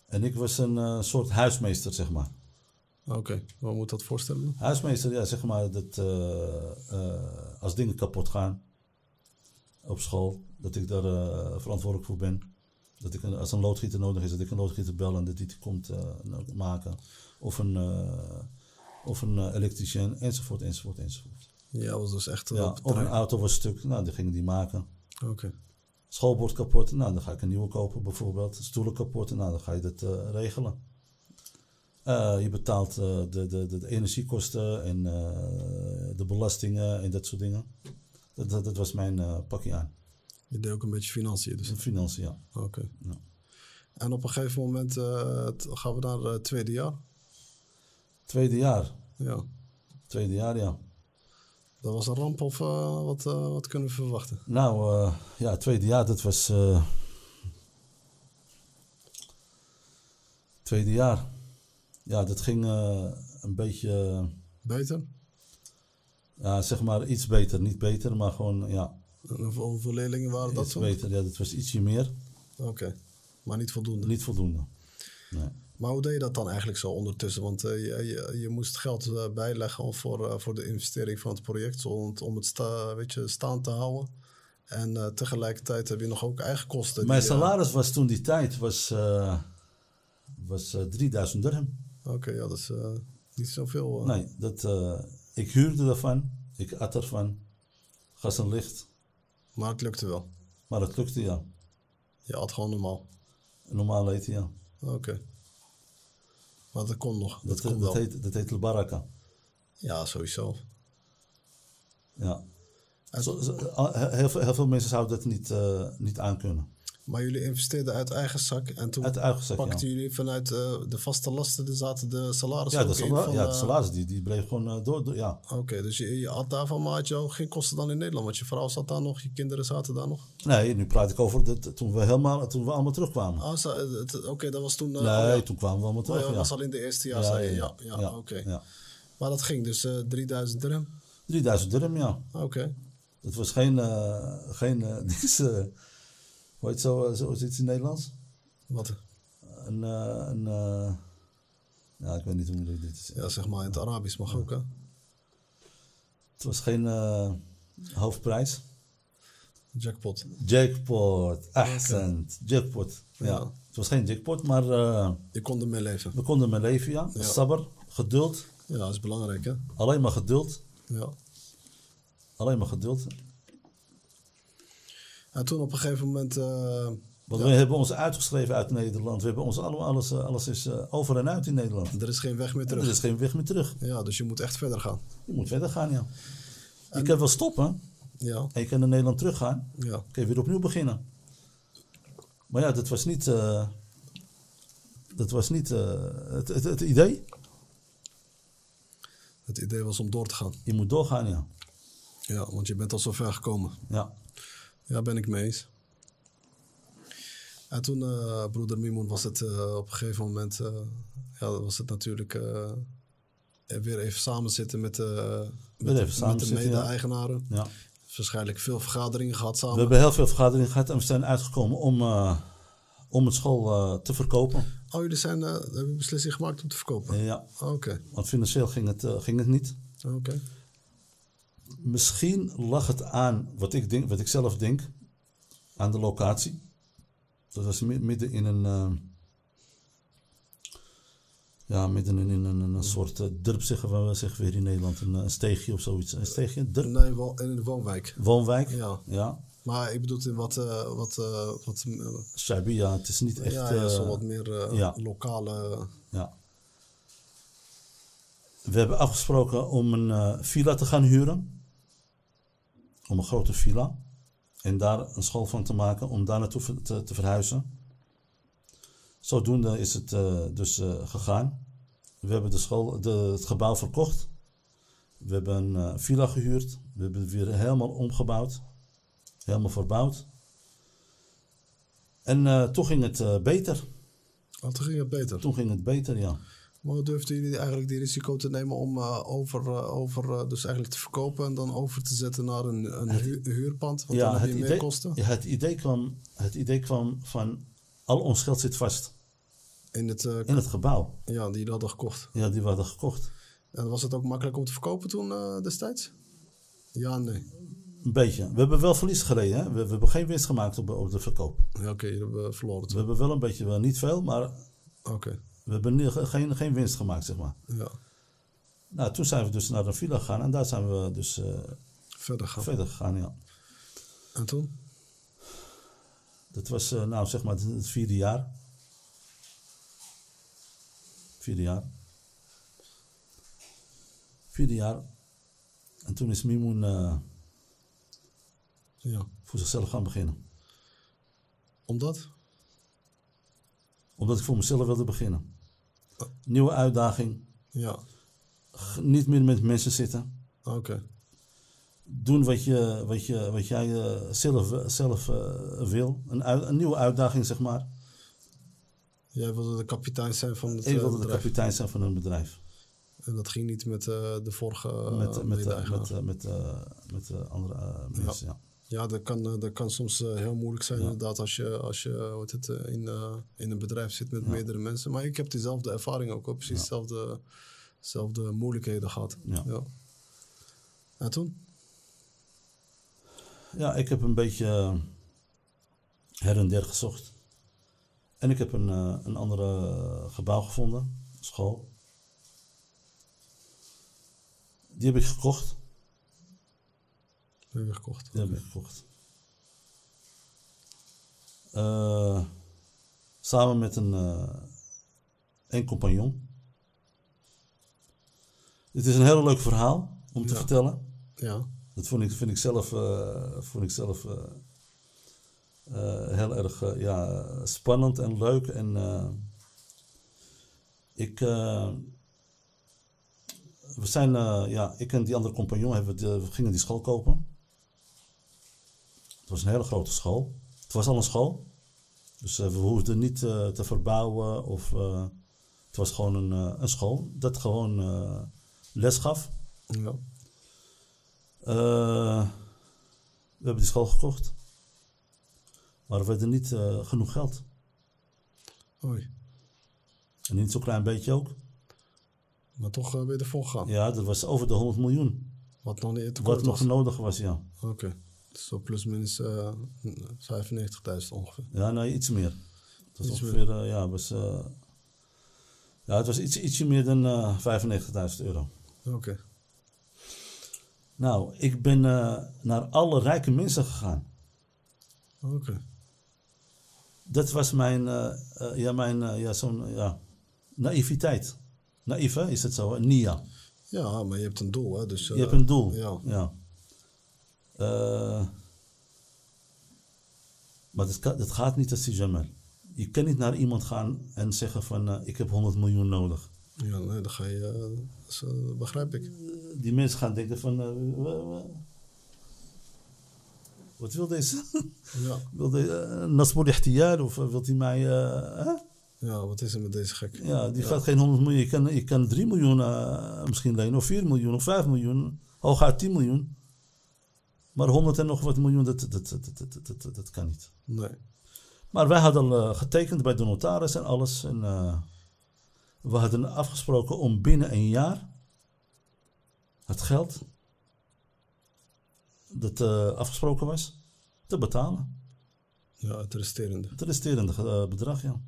[SPEAKER 2] En ik was een eh, soort huismeester, zeg maar.
[SPEAKER 1] oké. Hoe moet dat voorstellen?
[SPEAKER 2] Huismeester, ja, zeg maar dat eh, eh, als dingen kapot gaan op school, dat ik daar eh, verantwoordelijk voor ben. Dat ik een- als een loodgieter nodig is, dat ik een loodgieter bel en dat die het komt eh, nou, maken. Of een, eh, of een eh, elektricien, enzovoort, enzovoort, enzovoort.
[SPEAKER 1] Ja, was dus echt eh,
[SPEAKER 2] Ja,
[SPEAKER 1] op het
[SPEAKER 2] of een
[SPEAKER 1] terrein.
[SPEAKER 2] auto was stuk, nou, die gingen die maken.
[SPEAKER 1] Oké.
[SPEAKER 2] Schoolbord kapot, nou, dan ga ik een nieuwe kopen bijvoorbeeld. Stoelen kapot, nou, dan ga je dat eh, regelen. Eh, je betaalt eh, de, de, de, de energiekosten en eh, de belastingen en dat soort dingen. Dat, dat, dat was mijn eh, pakje aan.
[SPEAKER 1] Je deed ook een beetje financiën dus.
[SPEAKER 2] De financiën, ja.
[SPEAKER 1] Oké.
[SPEAKER 2] Ja.
[SPEAKER 1] En op een gegeven moment eh, t- gaan we naar eh, het tweede jaar.
[SPEAKER 2] Tweede jaar.
[SPEAKER 1] Ja.
[SPEAKER 2] Tweede jaar, ja.
[SPEAKER 1] Dat was een ramp of eh, wat, eh, wat kunnen we verwachten?
[SPEAKER 2] Nou, eh, ja, het tweede jaar, dat was... eh, tweede jaar. Ja, dat ging eh, een beetje... eh,
[SPEAKER 1] Beter?
[SPEAKER 2] ja, zeg maar iets beter. Niet beter, maar gewoon, ja...
[SPEAKER 1] En hoeveel, hoeveel leerlingen waren dat
[SPEAKER 2] Dat
[SPEAKER 1] toen?
[SPEAKER 2] beter, ja, dat was ietsje meer.
[SPEAKER 1] Oké, maar niet voldoende.
[SPEAKER 2] Niet voldoende. Nee.
[SPEAKER 1] Maar hoe deed je dat dan eigenlijk zo ondertussen? Want eh, je, je, je moest geld eh, bijleggen om voor, eh, voor de investering van het project, zo om, het- om het sta, weet je, staan te houden. En eh, tegelijkertijd heb je nog ook eigen kosten.
[SPEAKER 2] Mijn
[SPEAKER 1] die, eh,
[SPEAKER 2] salaris was toen die tijd was, eh, was eh, 3000 dirham.
[SPEAKER 1] Oké, ja, dat is eh, niet zoveel. eh.
[SPEAKER 2] Nee, dat, eh, ik huurde daarvan, ik at ervan, gas en licht.
[SPEAKER 1] Maar het lukte wel.
[SPEAKER 2] Maar het lukte ja.
[SPEAKER 1] Je had gewoon normaal.
[SPEAKER 2] Normaal eten ja.
[SPEAKER 1] Oké. Maar dat kon nog. Dat,
[SPEAKER 2] Dat,
[SPEAKER 1] kon
[SPEAKER 2] dat,
[SPEAKER 1] wel.
[SPEAKER 2] heet, dat heet baraka.
[SPEAKER 1] Ja, sowieso.
[SPEAKER 2] Ja.
[SPEAKER 1] En-
[SPEAKER 2] Zo- zo- al- heel, veel, heel veel mensen zouden dat niet, eh, niet aankunnen.
[SPEAKER 1] Maar jullie investeerden uit eigen zak en toen
[SPEAKER 2] Uit eigen zak,
[SPEAKER 1] pakten
[SPEAKER 2] ja.
[SPEAKER 1] jullie vanuit eh, de vaste lasten, er zaten de salarissen
[SPEAKER 2] Ja, de,
[SPEAKER 1] ook in
[SPEAKER 2] sala-
[SPEAKER 1] van,
[SPEAKER 2] ja,
[SPEAKER 1] eh,
[SPEAKER 2] de salaris die, die bleef gewoon eh, door, door- Ja,
[SPEAKER 1] Oké, dus je, je had daarvan, maar had je ook geen kosten dan in Nederland, want je vrouw zat daar nog, je kinderen zaten daar nog.
[SPEAKER 2] Nee, nu praat ik over dat, toen, we helemaal, toen we allemaal terugkwamen.
[SPEAKER 1] Ah, zo, eh, het- Oké, dat was toen... eh, oh
[SPEAKER 2] Nee,
[SPEAKER 1] ja.
[SPEAKER 2] toen kwamen we allemaal
[SPEAKER 1] Oh ja,
[SPEAKER 2] terug.
[SPEAKER 1] dat
[SPEAKER 2] ja.
[SPEAKER 1] was al in de eerste jaar, zei je. Ja, ja, oké.
[SPEAKER 2] ja.
[SPEAKER 1] Maar dat ging dus eh 3000 dirham.
[SPEAKER 2] 3000 dirham, ja.
[SPEAKER 1] Oké.
[SPEAKER 2] Het was geen, eh geen eh, dit is, eh, hoe heet zo, eh, zo is het in het Nederlands?
[SPEAKER 1] Wat?
[SPEAKER 2] Een, eh, een eh, ja, ik weet niet hoe moeilijk dit is.
[SPEAKER 1] Ja, zeg maar in het Arabisch mag ook, hè?
[SPEAKER 2] Het was geen eh, hoofdprijs.
[SPEAKER 1] Jackpot.
[SPEAKER 2] Jackpot, accent, jackpot. Ja.
[SPEAKER 1] Ja.
[SPEAKER 2] Het was geen jackpot, maar eh,
[SPEAKER 1] Je kon ermee leven.
[SPEAKER 2] we konden mee leven, ja. Sabber, geduld,
[SPEAKER 1] Ja, dat is belangrijk, hè?
[SPEAKER 2] alleen maar geduld,
[SPEAKER 1] Ja.
[SPEAKER 2] alleen maar geduld.
[SPEAKER 1] En toen op een gegeven moment... eh,
[SPEAKER 2] Want we hebben ons uitgeschreven uit Nederland. We hebben ons alle, alles, eh, alles is eh, over en uit in Nederland.
[SPEAKER 1] er is geen weg meer
[SPEAKER 2] Er
[SPEAKER 1] terug.
[SPEAKER 2] is geen weg meer terug.
[SPEAKER 1] Ja, dus je moet echt verder gaan.
[SPEAKER 2] Je moet verder gaan, ja. Je kan wel stoppen
[SPEAKER 1] Ja.
[SPEAKER 2] en je kan naar Nederland teruggaan.
[SPEAKER 1] Ja.
[SPEAKER 2] Dan kun je weer opnieuw beginnen. Maar ja, dat was niet. eh, dat was niet eh, het, het, het idee.
[SPEAKER 1] Het idee was om door te gaan.
[SPEAKER 2] Je moet doorgaan, ja.
[SPEAKER 1] Ja, want je bent al zo ver gekomen.
[SPEAKER 2] Ja,
[SPEAKER 1] Ja, ben ik mee eens. En toen, eh, broeder Mimoen, was het eh, op een gegeven moment... eh, ja, was het natuurlijk... eh, weer even samen zitten met, de met,
[SPEAKER 2] even
[SPEAKER 1] met
[SPEAKER 2] samen
[SPEAKER 1] de
[SPEAKER 2] zitten, ja.
[SPEAKER 1] mede-eigenaren.
[SPEAKER 2] ja.
[SPEAKER 1] Waarschijnlijk veel vergaderingen gehad
[SPEAKER 2] We
[SPEAKER 1] samen.
[SPEAKER 2] hebben heel veel vergaderingen gehad en we zijn uitgekomen om, eh, om het school eh, te verkopen.
[SPEAKER 1] Oh, jullie zijn, eh, hebben een beslissing gemaakt om te verkopen?
[SPEAKER 2] Ja,
[SPEAKER 1] Oké,
[SPEAKER 2] want financieel ging het, eh, ging het niet.
[SPEAKER 1] oké.
[SPEAKER 2] Misschien lag het aan wat ik, denk, wat ik zelf denk, aan de locatie. Dat was mi- midden in een. eh, ja, midden in, in een, een soort eh, dorp, zeggen we zeggen weer in Nederland. Een, eh, een steegje of zoiets. Een steegje, een dorp,
[SPEAKER 1] Nee, wel in de woonwijk.
[SPEAKER 2] woonwijk.
[SPEAKER 1] Ja.
[SPEAKER 2] ja.
[SPEAKER 1] Maar ik bedoel, in wat, eh, wat, eh, wat eh,
[SPEAKER 2] Shabia, het is niet echt.
[SPEAKER 1] ja, ja, zo
[SPEAKER 2] eh,
[SPEAKER 1] wat meer eh,
[SPEAKER 2] ja.
[SPEAKER 1] lokale.
[SPEAKER 2] Ja. We hebben afgesproken om een eh, villa te gaan huren. Om een grote villa. En daar een school van te maken om daar naartoe ver- te, te verhuizen. Zodoende is het eh, dus eh, gegaan. We hebben de school, de, het gebouw verkocht. We hebben een eh, villa gehuurd. We hebben het weer helemaal omgebouwd. Helemaal verbouwd. En eh, toen ging het eh, beter.
[SPEAKER 1] Oh, toen ging het beter.
[SPEAKER 2] Toen ging het beter, ja.
[SPEAKER 1] Maar durfden jullie eigenlijk die risico te nemen om eh, over, eh, over eh, dus eigenlijk te verkopen en dan over te zetten naar een, een hu- huurpand? Want dan
[SPEAKER 2] Ja,
[SPEAKER 1] heb
[SPEAKER 2] het
[SPEAKER 1] je meer
[SPEAKER 2] idee,
[SPEAKER 1] kosten.
[SPEAKER 2] ja, het, idee kwam, het idee kwam van al ons geld zit vast
[SPEAKER 1] In het, eh,
[SPEAKER 2] in het gebouw.
[SPEAKER 1] ja, die jullie hadden gekocht.
[SPEAKER 2] Ja, die we hadden gekocht.
[SPEAKER 1] En was het ook makkelijk om te verkopen toen eh, destijds? Ja, en nee.
[SPEAKER 2] Een beetje. We hebben wel verlies gereden. Hè? We, we hebben geen winst gemaakt op, op de verkoop.
[SPEAKER 1] Ja, oké, jullie hebben verloren
[SPEAKER 2] We
[SPEAKER 1] toen.
[SPEAKER 2] hebben wel een beetje, wel niet veel, maar
[SPEAKER 1] Oké,
[SPEAKER 2] we hebben ni- geen, geen winst gemaakt, zeg maar.
[SPEAKER 1] ja.
[SPEAKER 2] Nou, toen zijn we dus naar een villa gegaan en daar zijn we dus eh,
[SPEAKER 1] Verder gaan.
[SPEAKER 2] verder gegaan, ja.
[SPEAKER 1] En toen?
[SPEAKER 2] Dat was, eh, nou, zeg maar, het- het vierde jaar. Vierde jaar. Vierde jaar. En toen is Mimoen eh,
[SPEAKER 1] Ja.
[SPEAKER 2] voor zichzelf gaan beginnen.
[SPEAKER 1] Omdat?
[SPEAKER 2] Omdat ik voor mezelf wilde beginnen. Nieuwe uitdaging.
[SPEAKER 1] Ja,
[SPEAKER 2] G- Niet meer met mensen zitten.
[SPEAKER 1] oké.
[SPEAKER 2] Doen wat, je, wat, je, wat jij eh, zelf, zelf eh, wil. Een, ui- een nieuwe uitdaging, zeg maar.
[SPEAKER 1] Jij wilde de kapitein zijn van het
[SPEAKER 2] Ik
[SPEAKER 1] eh,
[SPEAKER 2] wilde de
[SPEAKER 1] bedrijf.
[SPEAKER 2] kapitein zijn van een bedrijf.
[SPEAKER 1] En dat ging niet met eh, de vorige eh,
[SPEAKER 2] Met, met, met,
[SPEAKER 1] mede-eigenaar.
[SPEAKER 2] met, eh, met, eh, met eh, andere eh, mensen, ja.
[SPEAKER 1] ja, dat kan, eh, dat kan soms eh, heel moeilijk zijn inderdaad als je, als je eh, wat het, eh, in, eh, in een bedrijf zit met meerdere mensen. Maar ik heb diezelfde ervaring ook, hoor. precies dezelfde dezelfde moeilijkheden gehad.
[SPEAKER 2] Ja.
[SPEAKER 1] En toen?
[SPEAKER 2] Ja, ik heb een beetje eh, her en der gezocht. En ik heb een, eh, een andere eh, gebouw gevonden, school. Die heb ik gekocht.
[SPEAKER 1] Heb je gekocht?
[SPEAKER 2] Die heb ik gekocht. Eh, samen met een, eh een compagnon. Dit is een heel leuk verhaal om te
[SPEAKER 1] Ja.
[SPEAKER 2] vertellen.
[SPEAKER 1] Ja.
[SPEAKER 2] Dat vond ik, vind ik zelf, eh, vond ik zelf eh, eh, heel erg eh, ja, spannend en leuk. En eh, ik, eh, we zijn, eh, ja, ik en die andere compagnon hebben de, we gingen die school kopen. Het was een hele grote school. Het was al een school. Dus eh, we hoefden niet eh, te verbouwen. Of, eh, het was gewoon een, eh, een school dat gewoon eh, les gaf.
[SPEAKER 1] ja.
[SPEAKER 2] Eh, we hebben die school gekocht. Maar we hadden niet eh, genoeg geld.
[SPEAKER 1] Oei.
[SPEAKER 2] En niet zo'n klein beetje ook.
[SPEAKER 1] Maar toch eh, weer ervoor gegaan.
[SPEAKER 2] Ja, dat was over de 100 miljoen.
[SPEAKER 1] Wat nog niet te
[SPEAKER 2] Wat
[SPEAKER 1] kort
[SPEAKER 2] nog
[SPEAKER 1] Oh, was.
[SPEAKER 2] nodig was, ja.
[SPEAKER 1] Oké. Zo plus minus eh 95.000 ongeveer.
[SPEAKER 2] Ja, nee, iets meer. Het was
[SPEAKER 1] Iets meer.
[SPEAKER 2] ongeveer, eh, ja, was, eh, ja, het was iets, ietsje meer dan eh, 95.000 euro.
[SPEAKER 1] Oké.
[SPEAKER 2] Nou, ik ben eh, naar alle rijke mensen gegaan.
[SPEAKER 1] Oké.
[SPEAKER 2] Dat was mijn, eh, eh, ja, mijn, eh, ja, zo'n, eh, ja, naïviteit. Naïef, hè, is het zo, hè? Nia.
[SPEAKER 1] Ja, maar je hebt een doel, hè? Dus,
[SPEAKER 2] Je hebt een doel.
[SPEAKER 1] Ja.
[SPEAKER 2] Eh, maar dat, kan- dat gaat niet als die Jamal. Je kan niet naar iemand gaan en zeggen van, eh, ik heb 100 miljoen nodig.
[SPEAKER 1] Ja, nee, dan ga je. eh, dat is, eh, begrijp ik.
[SPEAKER 2] die mensen gaan denken van... eh, wa- wa- wat wil deze?
[SPEAKER 1] Ja.
[SPEAKER 2] wil deze Nasmoed Ihtiyar of eh, wilt hij mij... eh, hè?
[SPEAKER 1] ja, wat is er met deze gek?
[SPEAKER 2] Ja, die gaat geen 100 miljoen. Je kan, je kan 3 miljoen eh, misschien lenen. Of 4 miljoen. Of 5 miljoen. Hooguit 10 miljoen. Maar 100 en nog wat miljoen, dat, dat, dat, dat, dat, dat, dat- dat kan niet.
[SPEAKER 1] Nee.
[SPEAKER 2] Maar wij hadden al eh, getekend bij de notaris en alles. En, eh, we hadden afgesproken om binnen een jaar het geld dat eh, afgesproken was te betalen.
[SPEAKER 1] Ja, het resterende.
[SPEAKER 2] Het resterende eh, bedrag, ja.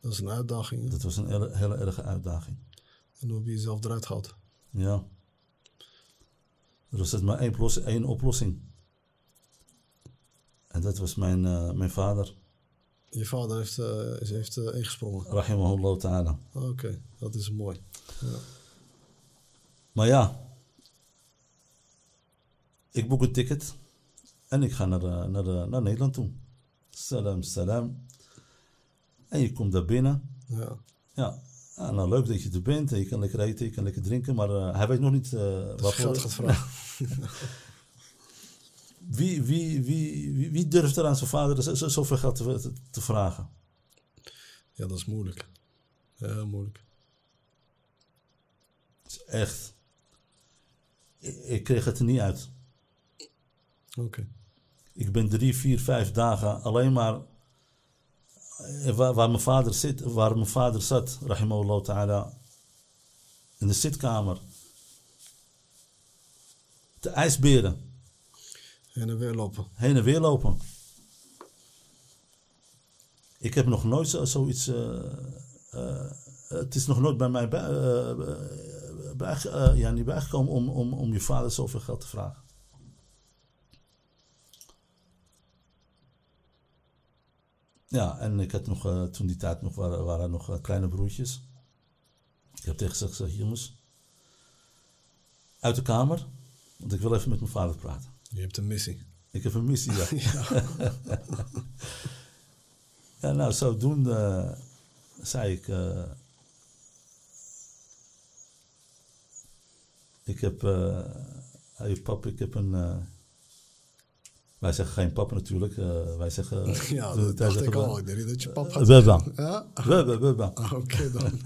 [SPEAKER 1] Dat is een uitdaging. hè?
[SPEAKER 2] Dat was een hele, hele erge uitdaging.
[SPEAKER 1] En hoe heb je jezelf eruit gehaald?
[SPEAKER 2] Ja. Er was maar één, plos- één oplossing. En dat was mijn, eh, mijn vader,
[SPEAKER 1] Je vader heeft, eh, is, heeft eh, ingesprongen.
[SPEAKER 2] Rahimahullah Ta'ala.
[SPEAKER 1] Oké, dat is mooi. Ja.
[SPEAKER 2] Maar ja, ik boek een ticket en ik ga naar, eh, naar, eh, naar Nederland toe. Salam, salam. En je komt daar binnen.
[SPEAKER 1] ja.
[SPEAKER 2] Ja, ah, nou leuk dat je er bent. En je kan lekker eten, je kan lekker drinken. Maar eh, hij weet nog niet eh
[SPEAKER 1] Dat je geld gaat vragen.
[SPEAKER 2] Wie, wie, wie, wie, wie durft er aan zijn vader z- z- zoveel geld te, te- te vragen?
[SPEAKER 1] ja, dat is moeilijk. Heel moeilijk.
[SPEAKER 2] Het is echt. Ik, ik kreeg het er niet uit.
[SPEAKER 1] Oké.
[SPEAKER 2] Ik ben drie, vier, vijf dagen alleen maar eh, waar, waar mijn vader zit, waar mijn vader zat, rahimahullah ta'ala, in de zitkamer. Te ijsberen,
[SPEAKER 1] En dan weer lopen.
[SPEAKER 2] heen en weer lopen. Ik heb nog nooit zo- zoiets, eh, eh, het is nog nooit bij mij bij, eh, bij, eh, ja, niet bijgekomen om, om, om je vader zoveel geld te vragen. Ja, en ik had nog, eh, toen die tijd nog waren, waren nog eh, kleine broertjes. Ik heb tegen ze gezegd, jongens, uit de kamer, want ik wil even met mijn vader praten.
[SPEAKER 1] Je hebt een missie.
[SPEAKER 2] Ik heb een missie, ja. ja. nou, zodoende eh, zei ik... eh, ik heb... eh hey, pap, ik heb een... eh, wij zeggen geen pap natuurlijk. eh, wij zeggen...
[SPEAKER 1] Ja,
[SPEAKER 2] de-
[SPEAKER 1] dat dacht ik
[SPEAKER 2] zeggen
[SPEAKER 1] al. Ik denk niet dat je pap
[SPEAKER 2] we-
[SPEAKER 1] gaat
[SPEAKER 2] Baba.
[SPEAKER 1] Ja?
[SPEAKER 2] Baba, baba.
[SPEAKER 1] Ah, Oké dan.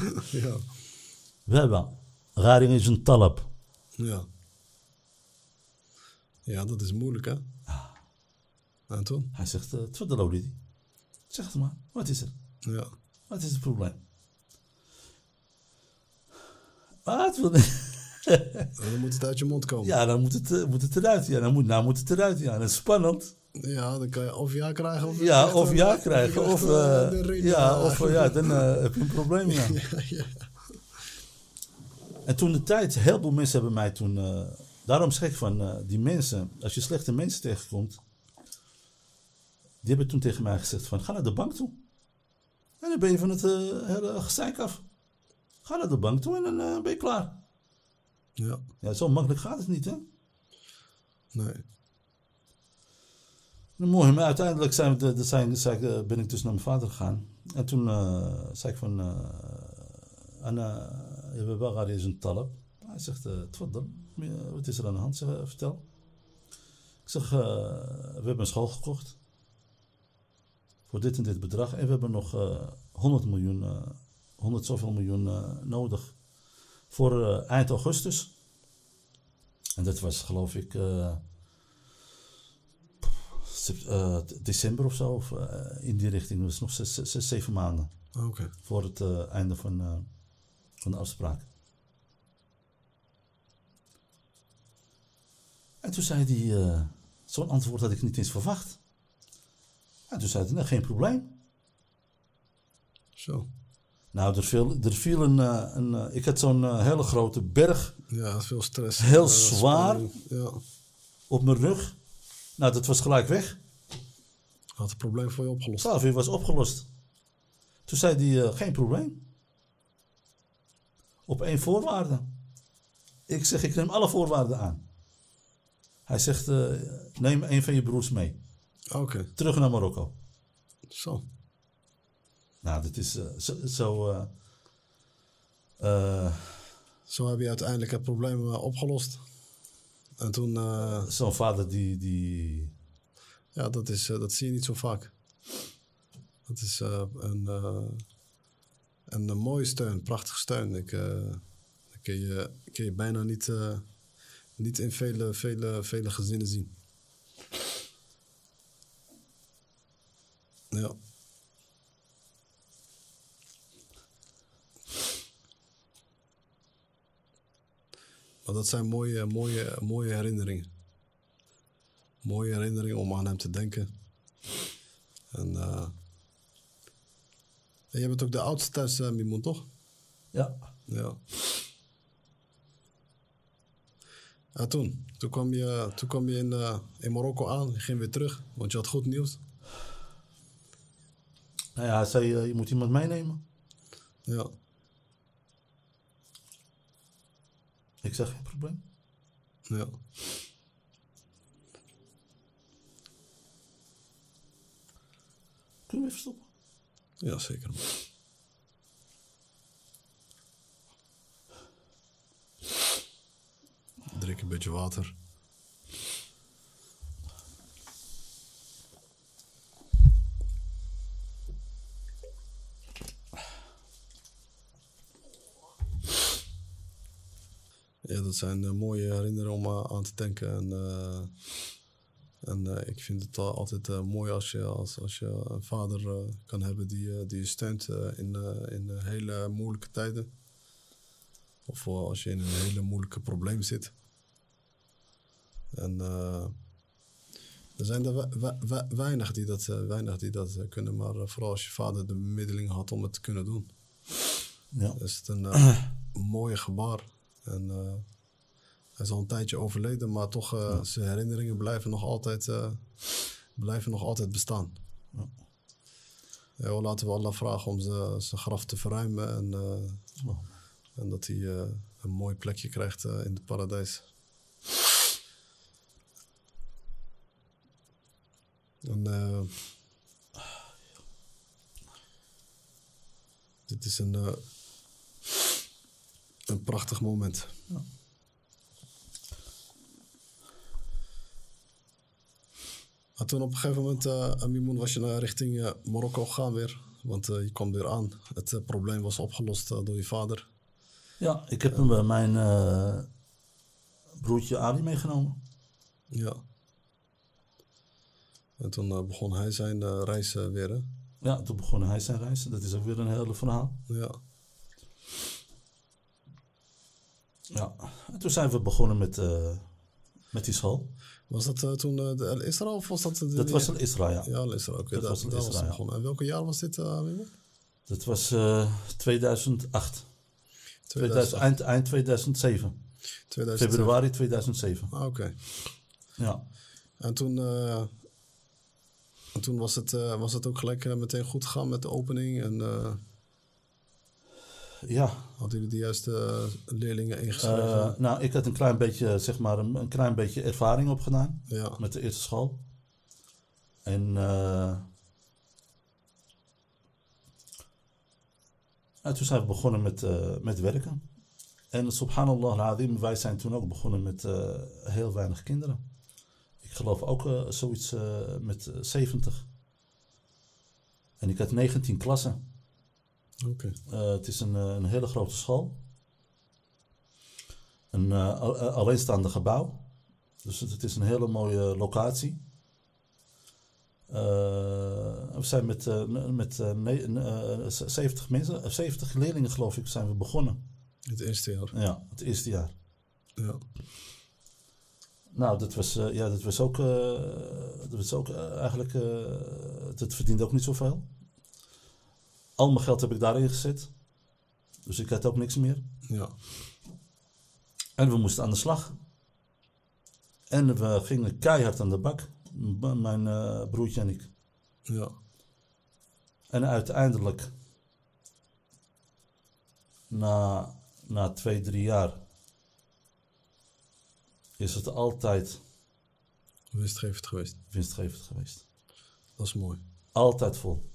[SPEAKER 1] ja.
[SPEAKER 2] Baba. Raring is een talab.
[SPEAKER 1] ja. Ja, dat is moeilijk hè.
[SPEAKER 2] Ah.
[SPEAKER 1] En toen?
[SPEAKER 2] Hij zegt, eh, tfaddal Aulidi. Zeg het maar, wat is er?
[SPEAKER 1] Ja.
[SPEAKER 2] Wat is het probleem? Wat? Wat-
[SPEAKER 1] Dan moet het uit je mond komen. Ja,
[SPEAKER 2] Ja, dan moet het, eh, moet het eruit. Ja, dan moet, nou moet het eruit. Ja, dat is spannend.
[SPEAKER 1] dan kan je of ja krijgen of
[SPEAKER 2] Ja,
[SPEAKER 1] echt
[SPEAKER 2] of
[SPEAKER 1] een-
[SPEAKER 2] ja krijgen.
[SPEAKER 1] echt
[SPEAKER 2] Of,
[SPEAKER 1] een-
[SPEAKER 2] eh,
[SPEAKER 1] de ring,
[SPEAKER 2] ja,
[SPEAKER 1] eh,
[SPEAKER 2] of eh, ja, dan eh, heb je een probleem. Ja.
[SPEAKER 1] ja.
[SPEAKER 2] En toen de tijd, heel veel mensen hebben mij toen. eh, daarom zeg ik van eh, die mensen, als je slechte mensen tegenkomt. Die hebben toen tegen mij gezegd: van, Ga naar de bank toe. En dan ben je van het eh, hele gezeik af. Ga naar de bank toe en dan eh, ben je klaar.
[SPEAKER 1] Ja,
[SPEAKER 2] Ja, zo makkelijk gaat het niet, hè?
[SPEAKER 1] nee.
[SPEAKER 2] Nou, Mooi, maar uiteindelijk zijn we de, de- zijn, zei ik, eh, ben ik dus naar mijn vader gegaan. En toen eh, zei ik van... eh, Anna, je bent wel is een talab. Hij zegt, eh, tfaddal. Ja, Wat is er aan de hand? Zeg, eh, vertel. Ik zeg, eh, we hebben een school gekocht. Voor dit en dit bedrag. En we hebben nog eh, 100 miljoen, eh, 100 zoveel miljoen eh, nodig voor eh, eind augustus. En dat was geloof ik eh, sep- eh, december of zo, of, eh, in die richting. Dus nog zes, zes, zes, zeven maanden
[SPEAKER 1] Oké.
[SPEAKER 2] voor het eh, einde van, eh, van de afspraak. En toen zei hij, eh, zo'n antwoord had ik niet eens verwacht. En toen zei hij, nou, geen probleem.
[SPEAKER 1] Zo.
[SPEAKER 2] Nou, er viel, er viel een, eh, een eh, ik had zo'n eh, hele grote berg
[SPEAKER 1] Ja, veel stress.
[SPEAKER 2] Heel
[SPEAKER 1] Eh,
[SPEAKER 2] zwaar.
[SPEAKER 1] spanning. Ja.
[SPEAKER 2] op mijn rug. Nou, dat was gelijk weg.
[SPEAKER 1] Had het probleem voor je opgelost.
[SPEAKER 2] 12 uur was opgelost. Toen zei hij, eh, geen probleem. Op één voorwaarde. Ik zeg, ik neem alle voorwaarden aan. Hij zegt, eh, neem een van je broers mee.
[SPEAKER 1] Oké.
[SPEAKER 2] Terug naar Marokko.
[SPEAKER 1] Zo.
[SPEAKER 2] Nou, dat is eh, zo... zo eh, eh,
[SPEAKER 1] Zo heb je uiteindelijk het probleem eh, opgelost. En toen, eh,
[SPEAKER 2] Zo'n vader die, die...
[SPEAKER 1] ja, dat, is, eh, dat zie je niet zo vaak. Dat is eh, een, eh, een, eh, mooie steun, prachtige steun. Ik, eh, dat kun je, kun je bijna niet, eh, niet in vele, vele, vele gezinnen zien. Ja. Maar dat zijn mooie, mooie, mooie herinneringen. Mooie herinneringen om aan hem te denken. En, eh, en jij bent ook de oudste thuis, eh, Mimoen, toch?
[SPEAKER 2] Ja,
[SPEAKER 1] Ja. En toen? Toen kwam je, toen kwam je in, eh, in Marokko aan, je ging weer terug, want je had goed nieuws.
[SPEAKER 2] nou ja, hij zei, eh, je moet iemand meenemen.
[SPEAKER 1] Ja,
[SPEAKER 2] Ik zeg, geen probleem.
[SPEAKER 1] ja.
[SPEAKER 2] Kunnen we even stoppen?
[SPEAKER 1] Ja, zeker. man. Drink een beetje water. Ja, dat zijn eh, mooie herinneringen om eh, aan te denken. En, eh, en eh, ik vind het al- altijd eh, mooi als je, als, als je een vader eh, kan hebben die, eh, die je steunt eh, in, eh, in eh, hele moeilijke tijden. Of eh, als je in een hele moeilijke probleem zit. En eh, er zijn er we- we- we- weinig die dat, eh, weinig die dat eh, kunnen, maar eh, vooral als je vader de bemiddeling had om het te kunnen doen
[SPEAKER 2] Ja.
[SPEAKER 1] is het een eh, mooie gebaar. En eh, hij is al een tijdje overleden, maar toch eh, zijn herinneringen blijven nog altijd, eh, blijven nog altijd bestaan.
[SPEAKER 2] Ja.
[SPEAKER 1] Ja, wel, laten we Allah vragen om zijn zijn graf te verruimen en, eh,
[SPEAKER 2] Nou,
[SPEAKER 1] en dat hij eh, een mooi plekje krijgt eh, in het paradijs. En, eh, dit is een, eh, een prachtig moment.
[SPEAKER 2] Ja.
[SPEAKER 1] Maar Ah, toen op een gegeven moment, eh Mimoun, was je naar richting eh, Marokko gegaan weer. Want eh, je kwam weer aan. Het eh, probleem was opgelost eh, door je vader.
[SPEAKER 2] Ja, ik heb hem bij mijn eh, broertje Ali meegenomen.
[SPEAKER 1] Ja. En toen eh, begon hij zijn eh, reis eh, weer, hè?
[SPEAKER 2] Ja, toen begon hij zijn reis. Dat is ook weer een hele verhaal.
[SPEAKER 1] Ja.
[SPEAKER 2] Ja. En toen zijn we begonnen met, eh, met die school.
[SPEAKER 1] Was dat eh, toen eh, de El Isra of was dat... De,
[SPEAKER 2] Dat was in Israël, ja.
[SPEAKER 1] Ja, El Isra, oké.
[SPEAKER 2] Dat
[SPEAKER 1] daar-
[SPEAKER 2] was El
[SPEAKER 1] daar
[SPEAKER 2] Isra,
[SPEAKER 1] het
[SPEAKER 2] ja.
[SPEAKER 1] begonnen. En welke jaar was dit, eh Mimo?
[SPEAKER 2] Dat was eh, 2008. 2000,
[SPEAKER 1] 2000
[SPEAKER 2] eind, eind 2007.
[SPEAKER 1] 2000.
[SPEAKER 2] Februari 2007.
[SPEAKER 1] Ah, oké.
[SPEAKER 2] Ja.
[SPEAKER 1] En toen... eh, en toen was het, eh, was het ook gelijk eh, meteen goed gegaan met de opening. En eh,
[SPEAKER 2] Ja,
[SPEAKER 1] hadden jullie de juiste eh, leerlingen
[SPEAKER 2] Eh,
[SPEAKER 1] ingeschreven?
[SPEAKER 2] nou, ik had een klein beetje, zeg maar, een, een klein beetje ervaring opgedaan
[SPEAKER 1] ja.
[SPEAKER 2] met de eerste school. En eh, nou, toen zijn we begonnen met, eh, met werken. En subhanallah al-azim, wij zijn toen ook begonnen met eh, heel weinig kinderen. Ik geloof ook eh, zoiets eh, met eh, 70. En ik had 19 klassen.
[SPEAKER 1] Oké.
[SPEAKER 2] Eh, het is een, eh, een hele grote school. Een eh, al- eh, alleenstaande gebouw. Dus het, het is een hele mooie locatie. Eh, we zijn met, eh, ne- met eh, ne- eh, z- 70 mensen, eh, 70 leerlingen geloof ik, zijn we begonnen.
[SPEAKER 1] Het eerste jaar.
[SPEAKER 2] Ja, het eerste jaar.
[SPEAKER 1] Ja.
[SPEAKER 2] Nou, dat was, eh, ja, dat was ook, eh, dat was ook eh, eigenlijk, eh, dat verdiende ook niet zoveel. Al mijn geld heb ik daarin gezet. Dus ik had ook niks meer.
[SPEAKER 1] Ja.
[SPEAKER 2] En we moesten aan de slag. En we gingen keihard aan de bak, m- mijn eh, broertje en ik.
[SPEAKER 1] Ja.
[SPEAKER 2] En uiteindelijk, na, na twee, drie jaar, is het altijd
[SPEAKER 1] Winstgevend geweest.
[SPEAKER 2] winstgevend geweest.
[SPEAKER 1] Dat is mooi.
[SPEAKER 2] Altijd vol.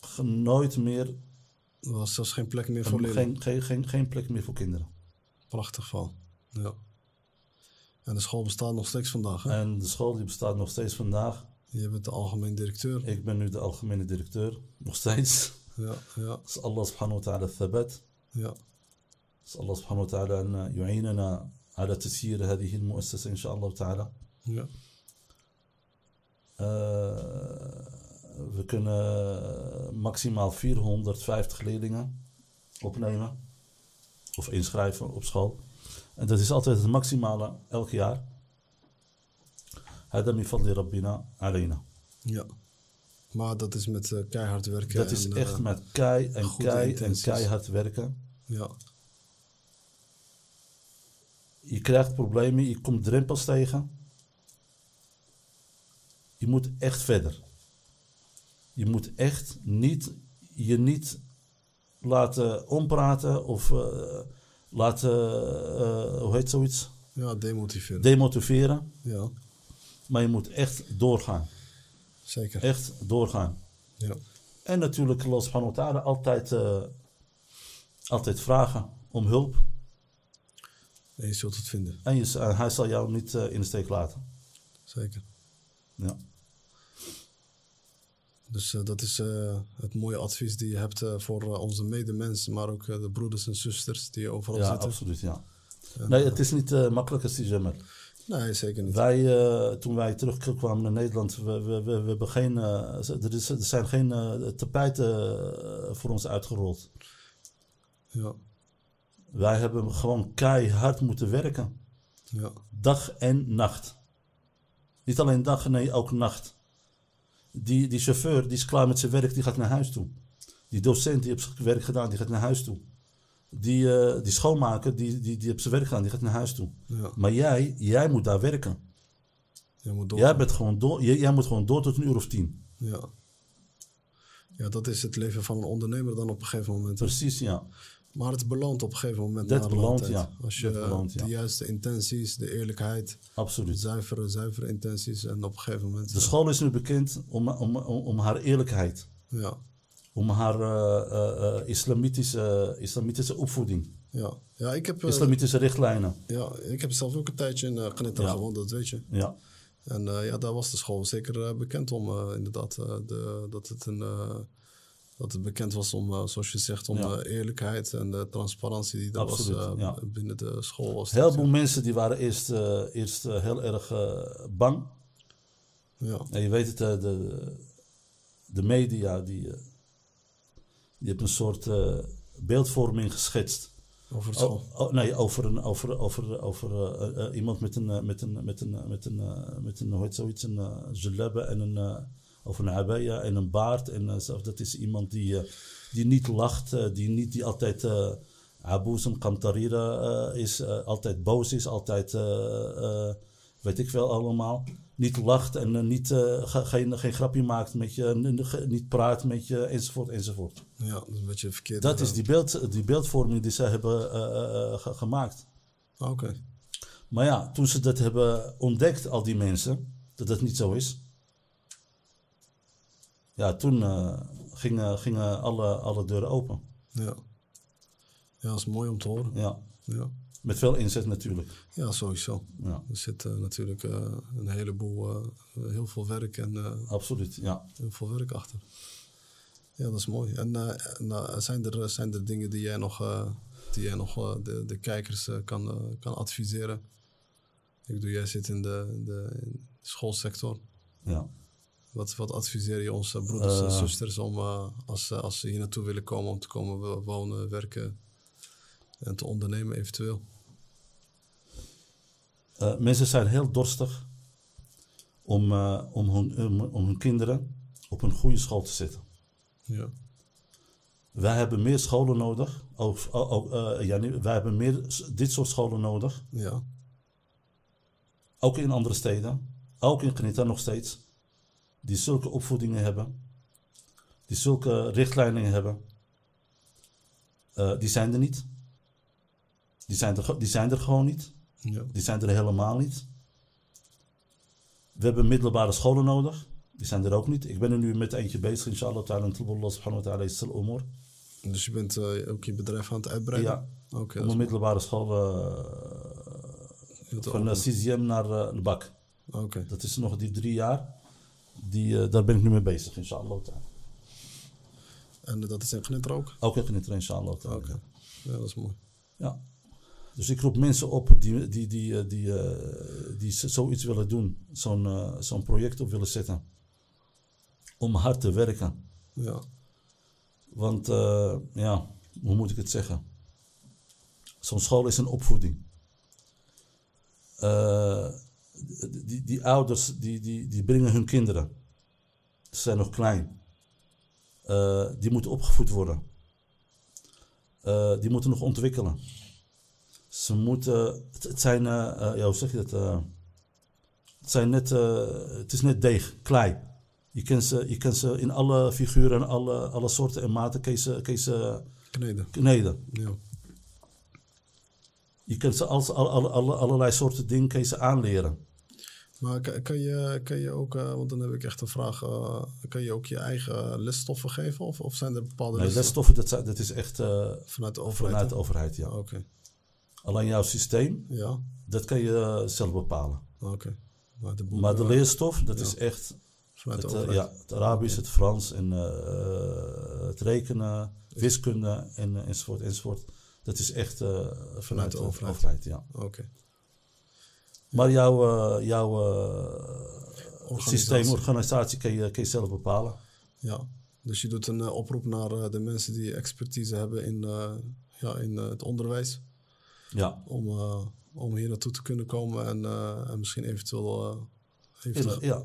[SPEAKER 2] Ge- Nooit meer,
[SPEAKER 1] Er was zelfs geen plek meer voor leerlingen.
[SPEAKER 2] geen, geen, geen, geen plek meer voor kinderen.
[SPEAKER 1] Prachtig van. Ja. En de school bestaat nog steeds vandaag. Hè?
[SPEAKER 2] En de school die bestaat nog steeds vandaag.
[SPEAKER 1] Je bent de algemeen directeur.
[SPEAKER 2] Ik ben nu de algemene directeur, nog steeds.
[SPEAKER 1] Ja, ja,
[SPEAKER 2] Als Allah subhanahu wa ta'ala thabat.
[SPEAKER 1] ja.
[SPEAKER 2] نسأل الله سبحانه وتعالى أن يعيننا على تسيير هذه المؤسسة إن شاء الله تعالى
[SPEAKER 1] ja.
[SPEAKER 2] Eh, we kunnen maximaal 450 leerlingen opnemen of inschrijven op school. En dat is altijd het maximale elk jaar. هذا من فضل ربنا علينا.
[SPEAKER 1] ja. Maar dat is met eh, keihard werken.
[SPEAKER 2] Dat is
[SPEAKER 1] en,
[SPEAKER 2] echt
[SPEAKER 1] eh,
[SPEAKER 2] met kei en
[SPEAKER 1] goede
[SPEAKER 2] kei en
[SPEAKER 1] intenties.
[SPEAKER 2] keihard werken.
[SPEAKER 1] ja,
[SPEAKER 2] Je krijgt problemen, je komt drempels tegen. Je moet echt verder. Je moet echt niet, je niet laten ompraten of eh, laten, eh, hoe heet zoiets,
[SPEAKER 1] ja, demotiveren.
[SPEAKER 2] demotiveren.
[SPEAKER 1] ja,
[SPEAKER 2] Maar je moet echt doorgaan.
[SPEAKER 1] zeker.
[SPEAKER 2] Echt doorgaan.
[SPEAKER 1] Ja.
[SPEAKER 2] En natuurlijk, los van elkaar altijd, eh, altijd vragen om hulp.
[SPEAKER 1] En je zult het vinden.
[SPEAKER 2] En je, en hij zal jou niet eh, in de steek laten.
[SPEAKER 1] Zeker.
[SPEAKER 2] Ja.
[SPEAKER 1] Dus eh, dat is eh, het mooie advies die je hebt eh, voor eh, onze medemensen, maar ook eh, de broeders en zusters die overal
[SPEAKER 2] Ja,
[SPEAKER 1] zitten.
[SPEAKER 2] absoluut, ja. Nee, het is niet eh, makkelijk als die zwemmer.
[SPEAKER 1] Nee, zeker niet.
[SPEAKER 2] Wij, eh, toen wij terugkwamen naar Nederland, we, we, we, we hebben geen, eh, er, is, er zijn geen eh, tapijten eh, voor ons uitgerold.
[SPEAKER 1] Ja,
[SPEAKER 2] Wij hebben gewoon keihard moeten werken.
[SPEAKER 1] ja,
[SPEAKER 2] Dag en nacht. Niet alleen dag, nee, ook nacht. Die, die chauffeur, die is klaar met zijn werk, die gaat naar huis toe. Die docent, die heeft zijn werk gedaan, die gaat naar huis toe. Die, eh, die schoonmaker, die, die, die heeft zijn werk gedaan, die gaat naar huis toe.
[SPEAKER 1] ja.
[SPEAKER 2] Maar jij, jij moet daar werken.
[SPEAKER 1] Je moet door.
[SPEAKER 2] Jij, bent gewoon door, jij, jij moet gewoon door tot een uur of tien.
[SPEAKER 1] Ja. ja, dat is het leven van een ondernemer dan op een gegeven moment.
[SPEAKER 2] Precies, ja.
[SPEAKER 1] Maar het beloont op een gegeven moment.
[SPEAKER 2] Dat
[SPEAKER 1] na een
[SPEAKER 2] beloont,
[SPEAKER 1] lange tijd.
[SPEAKER 2] ja.
[SPEAKER 1] Als je
[SPEAKER 2] Dat beloont, ja.
[SPEAKER 1] de juiste intenties, de eerlijkheid, de
[SPEAKER 2] Absoluut.
[SPEAKER 1] zuivere, zuivere intenties en op een gegeven moment.
[SPEAKER 2] De school is nu bekend om, om, om, om haar eerlijkheid.
[SPEAKER 1] ja,
[SPEAKER 2] Om haar eh, eh, eh, islamitische, islamitische opvoeding.
[SPEAKER 1] ja. ja, ik heb, eh,
[SPEAKER 2] Islamitische richtlijnen.
[SPEAKER 1] ja, ik heb zelf ook een tijdje in eh Knitter
[SPEAKER 2] Ja.
[SPEAKER 1] gewoond, dat weet je.
[SPEAKER 2] Ja,
[SPEAKER 1] En eh, ja, daar was de school zeker eh, bekend om, eh, inderdaad. eh, de, dat, het een, eh, dat het bekend was om, eh, zoals je zegt, om
[SPEAKER 2] Ja.
[SPEAKER 1] eh, eerlijkheid en de transparantie die daar was
[SPEAKER 2] Absoluut,
[SPEAKER 1] eh,
[SPEAKER 2] ja.
[SPEAKER 1] binnen de school. Was
[SPEAKER 2] heel veel mensen die waren eerst, eh, eerst eh, heel erg eh, bang.
[SPEAKER 1] Ja,
[SPEAKER 2] En je weet het, eh, de, de media die, eh, die hebben een soort eh, beeldvorming geschetst.
[SPEAKER 1] over het school.
[SPEAKER 2] Oh, oh, nee, over, een, over, over, over eh, eh, iemand met een, eh, met een, met een, met een, eh, met een, hoe heet zoiets, een eh jalaba en een, eh, of een abaya en een baard. En eh, zo. dat is iemand die, eh, die niet lacht, eh, die, niet, die altijd eh aboes en kamtarira eh, is, eh, altijd boos is, altijd, eh, eh, weet ik wel allemaal, niet lacht en eh, niet, eh, ge- geen, geen grapje maakt met je, n- ge- niet praat met je, enzovoort, enzovoort.
[SPEAKER 1] Ja, dat is een beetje verkeerd.
[SPEAKER 2] Dat is die, beeld, die beeldvorming die zij hebben eh, eh, eh, ge- gemaakt.
[SPEAKER 1] Ah, Oké.
[SPEAKER 2] Maar ja, toen ze dat hebben ontdekt, al die mensen, dat dat niet zo is. Ja, toen eh, gingen, gingen alle, alle deuren open.
[SPEAKER 1] Ja. Ja, dat is mooi om te horen.
[SPEAKER 2] Ja,
[SPEAKER 1] Ja,
[SPEAKER 2] met veel inzet natuurlijk.
[SPEAKER 1] ja sowieso.
[SPEAKER 2] Ja,
[SPEAKER 1] Er zit eh, natuurlijk eh, een heleboel, eh, heel veel werk en eh,
[SPEAKER 2] absoluut. Ja.
[SPEAKER 1] heel veel werk achter. Ja, dat is mooi. En eh, en, eh, zijn, er, zijn er dingen die jij nog, eh, die jij nog eh, de, de kijkers eh, kan, eh, kan adviseren? Ik bedoel, jij zit in de, in de, in de schoolsector.
[SPEAKER 2] Ja.
[SPEAKER 1] Wat, wat adviseer je onze broeders en
[SPEAKER 2] Eh.
[SPEAKER 1] zusters om, eh, als, ze- als ze hier naartoe willen komen, om te komen wo- wonen, werken en te ondernemen eventueel?
[SPEAKER 2] Eh, mensen zijn heel dorstig om, eh, om, hun, om, om hun kinderen op een goede school te zetten.
[SPEAKER 1] Ja,
[SPEAKER 2] Wij hebben meer scholen nodig. Of, oh, oh, eh, ja, nee, wij hebben meer s- dit soort scholen nodig.
[SPEAKER 1] ja,
[SPEAKER 2] Ook in andere steden. Ook in Grenita nog steeds. Die zulke opvoedingen hebben. Die zulke richtlijnen hebben. Eh, die zijn er niet. Die zijn er, ge- die zijn er gewoon niet.
[SPEAKER 1] ja,
[SPEAKER 2] Die zijn er helemaal niet. We hebben middelbare scholen nodig. Die zijn er ook niet. Ik ben er nu met eentje bezig, inshallah ta'ala. En Allah subhanahu wa ta'ala is al omor.
[SPEAKER 1] Dus je bent eh, ook je bedrijf aan het uitbreiden? Oké,
[SPEAKER 2] Ja, om
[SPEAKER 1] dat
[SPEAKER 2] een
[SPEAKER 1] is-
[SPEAKER 2] middelbare school eh,
[SPEAKER 1] je hebt er
[SPEAKER 2] van
[SPEAKER 1] ook-
[SPEAKER 2] eh, CZM naar eh, de bak.
[SPEAKER 1] Oké,
[SPEAKER 2] Dat is nog die drie jaar. Die, eh, daar ben ik nu mee bezig, inshallah ta'ala.
[SPEAKER 1] en dat is in Gnitter ook?
[SPEAKER 2] Ook echt in het inshallah ta'ala.
[SPEAKER 1] Oké, ja, dat is mooi.
[SPEAKER 2] Ja. Dus ik roep mensen op die, die, die, eh, die, eh, die z- zoiets willen doen. Zo'n eh, zo'n project op willen zetten. Om hard te werken.
[SPEAKER 1] Ja.
[SPEAKER 2] Want eh, ja, hoe moet ik het zeggen? Zo'n school is een opvoeding. Eh, die, die, die ouders die, die, die brengen hun kinderen. Ze zijn nog klein. Eh, die moeten opgevoed worden. Eh, die moeten nog ontwikkelen. Ze moeten. Het, het zijn. eh eh, ja, hoe zeg je dat? eh, het, zijn net, eh, het is net deeg, klei. Je kan ze, je kan ze in alle figuren en alle, alle soorten en maten kan je ze, kan je ze
[SPEAKER 1] Kneden.
[SPEAKER 2] kneden.
[SPEAKER 1] Ja.
[SPEAKER 2] Je kan ze als, alle, alle, alle- allerlei soorten dingen kan je ze aanleren.
[SPEAKER 1] Maar kan, kan, je, kan je ook, eh, want dan heb ik echt een vraag, eh, kan je ook je eigen lesstoffen geven? Of, of zijn er bepaalde
[SPEAKER 2] Nee,
[SPEAKER 1] lesstoffen
[SPEAKER 2] lesstoffen, dat, zijn- dat is echt eh,
[SPEAKER 1] vanuit de overheid?
[SPEAKER 2] vanuit de
[SPEAKER 1] hè?
[SPEAKER 2] overheid.
[SPEAKER 1] Ah,
[SPEAKER 2] Ja.
[SPEAKER 1] Oké,
[SPEAKER 2] Alleen jouw systeem,
[SPEAKER 1] ja,
[SPEAKER 2] dat kan je eh, zelf bepalen.
[SPEAKER 1] Ah, oké. Maar de boeken,
[SPEAKER 2] Maar de
[SPEAKER 1] eh,
[SPEAKER 2] leerstof, dat
[SPEAKER 1] Ja.
[SPEAKER 2] is echt
[SPEAKER 1] vanuit de
[SPEAKER 2] het, eh,
[SPEAKER 1] overheid?
[SPEAKER 2] ja, het Arabisch, het Frans en eh, het rekenen, wiskunde en, eh, enzovoort, enzovoort. Dat is echt eh, vanuit,
[SPEAKER 1] de
[SPEAKER 2] de
[SPEAKER 1] overheid.
[SPEAKER 2] overheid. ja.
[SPEAKER 1] Oké.
[SPEAKER 2] Maar jouw, eh, jouw eh
[SPEAKER 1] Organisatie.
[SPEAKER 2] systeem, organisatie kan je, kan je zelf bepalen.
[SPEAKER 1] Ja, dus je doet een eh, oproep naar eh, de mensen die expertise hebben in, eh, ja, in eh, het onderwijs.
[SPEAKER 2] Ja,
[SPEAKER 1] Om, eh, om hier naartoe te kunnen komen en, eh, en misschien eventueel eh, even
[SPEAKER 2] Eerlijk, ja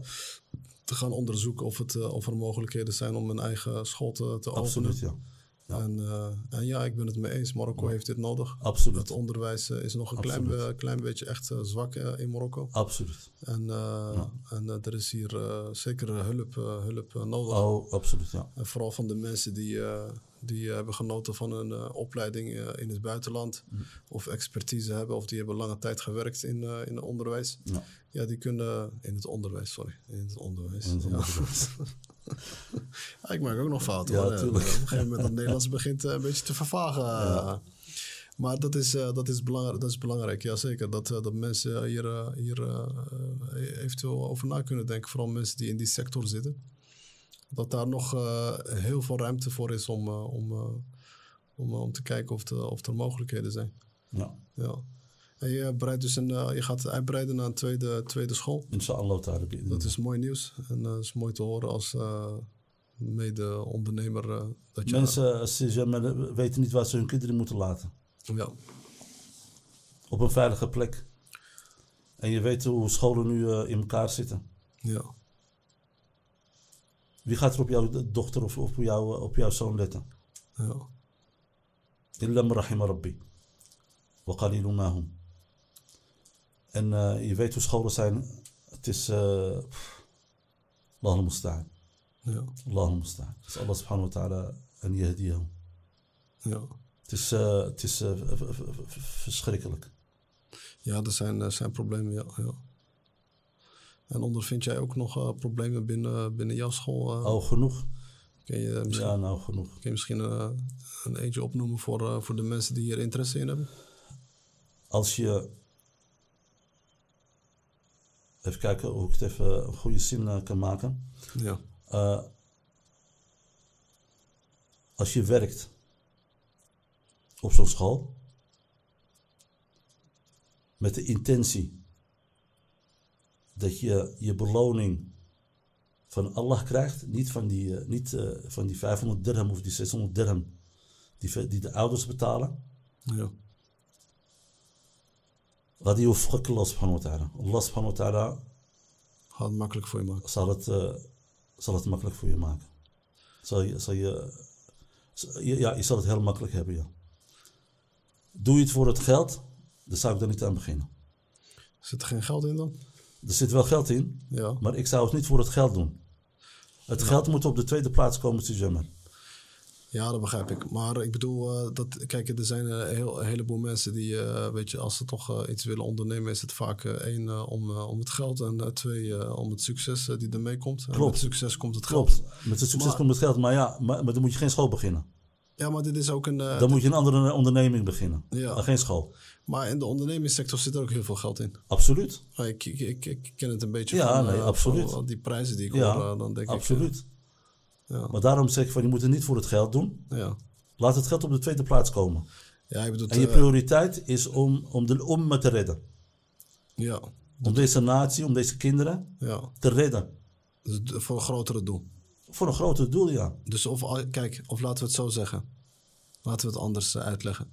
[SPEAKER 1] te gaan onderzoeken of, het, eh, of er mogelijkheden zijn om een eigen school te, te openen.
[SPEAKER 2] absoluut. Ja. Ja.
[SPEAKER 1] En, eh, en ja, ik ben het mee eens. Marokko heeft dit nodig. Het
[SPEAKER 2] Absoluut,
[SPEAKER 1] onderwijs eh, is nog een klein,
[SPEAKER 2] Absoluut.
[SPEAKER 1] be- klein beetje echt eh, zwak eh, in Marokko.
[SPEAKER 2] absoluut.
[SPEAKER 1] En, eh, en eh, er is hier eh, zeker hulp, eh, hulp eh, nodig.
[SPEAKER 2] Oh, absoluut, ja.
[SPEAKER 1] En vooral van de mensen die, eh, die eh, hebben genoten van een eh, opleiding eh, in het buitenland. Of expertise hebben, of die hebben lange tijd gewerkt in, eh, in het onderwijs.
[SPEAKER 2] ja.
[SPEAKER 1] Ja, die kunnen in het onderwijs, sorry. In het onderwijs.
[SPEAKER 2] In het
[SPEAKER 1] ja. Ja, ik maak ook nog fouten.
[SPEAKER 2] Ja,
[SPEAKER 1] hoor. Eh,
[SPEAKER 2] tuurlijk.
[SPEAKER 1] Op een gegeven moment dat Nederlands begint eh, een beetje te vervagen. Maar dat is, eh, dat is belangrijk, dat is belangrijk. ja zeker. Dat, eh, dat mensen hier, eh, hier eh, eh, eventueel over na kunnen denken. Vooral mensen die in die sector zitten. Dat daar nog eh, heel veel ruimte voor is om, eh, om, eh, om, eh, om te kijken of, de, of er mogelijkheden zijn.
[SPEAKER 2] ja.
[SPEAKER 1] Ja. En je, breidt dus een, eh, je gaat uitbreiden naar een tweede, tweede school.
[SPEAKER 2] Inshallah, daar heb je-
[SPEAKER 1] Dat is mooi nieuws. En dat is mooi te horen als eh, mede-ondernemer. eh, dat je,
[SPEAKER 2] Mensen eh, ze zeggen, weten niet waar ze hun kinderen moeten laten.
[SPEAKER 1] Ja,
[SPEAKER 2] Op een veilige plek. En je weet hoe scholen nu eh, in elkaar zitten.
[SPEAKER 1] ja,
[SPEAKER 2] Wie gaat er op jouw dochter of op jouw, op jouw zoon letten?
[SPEAKER 1] ja.
[SPEAKER 2] Illa man rahima rabbi. Wa qalilun ma hum. En eh, je weet hoe scholen zijn. Het is... eh pff. Allahul musta'an.
[SPEAKER 1] ja,
[SPEAKER 2] Allahul musta'an. Het is Allah subhanahu wa ta'ala en yahdiyahum.
[SPEAKER 1] ja.
[SPEAKER 2] Het is, eh, het is eh, v- v- v- v- verschrikkelijk.
[SPEAKER 1] Ja, er zijn, er zijn problemen, ja, ja. En ondervind jij ook nog eh, problemen binnen, binnen jouw school? eh?
[SPEAKER 2] Oh, genoeg?
[SPEAKER 1] Kun je misschien,
[SPEAKER 2] Ja, nou genoeg.
[SPEAKER 1] kun je misschien eh, een eentje opnoemen voor, eh, voor de mensen die hier interesse in hebben?
[SPEAKER 2] Als je... Even kijken hoe ik het even een goede zin eh, kan maken.
[SPEAKER 1] Ja,
[SPEAKER 2] Eh, als je werkt op zo'n school met de intentie dat je je beloning van Allah krijgt, niet van die, eh, niet, eh, van die 500 dirham of die 600 dirham die, ve- die de ouders betalen.
[SPEAKER 1] Ja.
[SPEAKER 2] Laat die وفقك الله سبحانه وتعالى الله سبحانه وتعالى
[SPEAKER 1] Gaat het makkelijk voor je maken.
[SPEAKER 2] zal het, eh, zal het makkelijk voor je maken. Zal je, zal je, z- je- ja, je zal het heel makkelijk hebben, ja. Doe je het voor het geld, dan zou ik daar niet aan beginnen.
[SPEAKER 1] Zit er geen geld in dan?
[SPEAKER 2] Er zit wel geld in,
[SPEAKER 1] Ja.
[SPEAKER 2] maar ik zou het niet voor het geld doen. Het geld moet op de tweede plaats komen, Sujammer.
[SPEAKER 1] Ja, dat begrijp ik. Maar ik bedoel, eh, dat, kijk, er zijn eh, heel, een heleboel mensen die, eh, weet je, als ze toch eh, iets willen ondernemen, is het vaak eh, één eh, om, eh, om het geld en eh, twee eh, om het succes eh, die ermee komt. En
[SPEAKER 2] Klopt.
[SPEAKER 1] met succes komt het geld.
[SPEAKER 2] Klopt, met het succes
[SPEAKER 1] Maar-
[SPEAKER 2] komt het geld, maar ja, maar, maar dan moet je geen school beginnen.
[SPEAKER 1] Ja, maar dit is ook een. eh,
[SPEAKER 2] Dan moet je een andere onderneming beginnen,
[SPEAKER 1] Ja.
[SPEAKER 2] maar geen school.
[SPEAKER 1] Maar in de ondernemingssector zit er ook heel veel geld in.
[SPEAKER 2] Absoluut,
[SPEAKER 1] Nou, Ik, ik, ik, ik ken het een beetje
[SPEAKER 2] Ja,
[SPEAKER 1] van,
[SPEAKER 2] nee,
[SPEAKER 1] eh,
[SPEAKER 2] absoluut.
[SPEAKER 1] van die prijzen die ik
[SPEAKER 2] Ja,
[SPEAKER 1] hoor, eh, dan denk ik...
[SPEAKER 2] absoluut.
[SPEAKER 1] eh, ja,
[SPEAKER 2] Maar daarom zeg ik van, je moet het niet voor het geld doen.
[SPEAKER 1] ja.
[SPEAKER 2] Laat het geld op de tweede plaats komen.
[SPEAKER 1] ja, je bedoelt...
[SPEAKER 2] En je
[SPEAKER 1] eh,
[SPEAKER 2] prioriteit is om, om de umma te redden.
[SPEAKER 1] ja,
[SPEAKER 2] Om deze natie, om deze kinderen
[SPEAKER 1] ja.
[SPEAKER 2] te redden.
[SPEAKER 1] Dus d- voor een grotere doel.
[SPEAKER 2] Voor een groter doel, ja.
[SPEAKER 1] Dus of, al- kijk, of laten we het zo zeggen. Laten we het anders eh, uitleggen.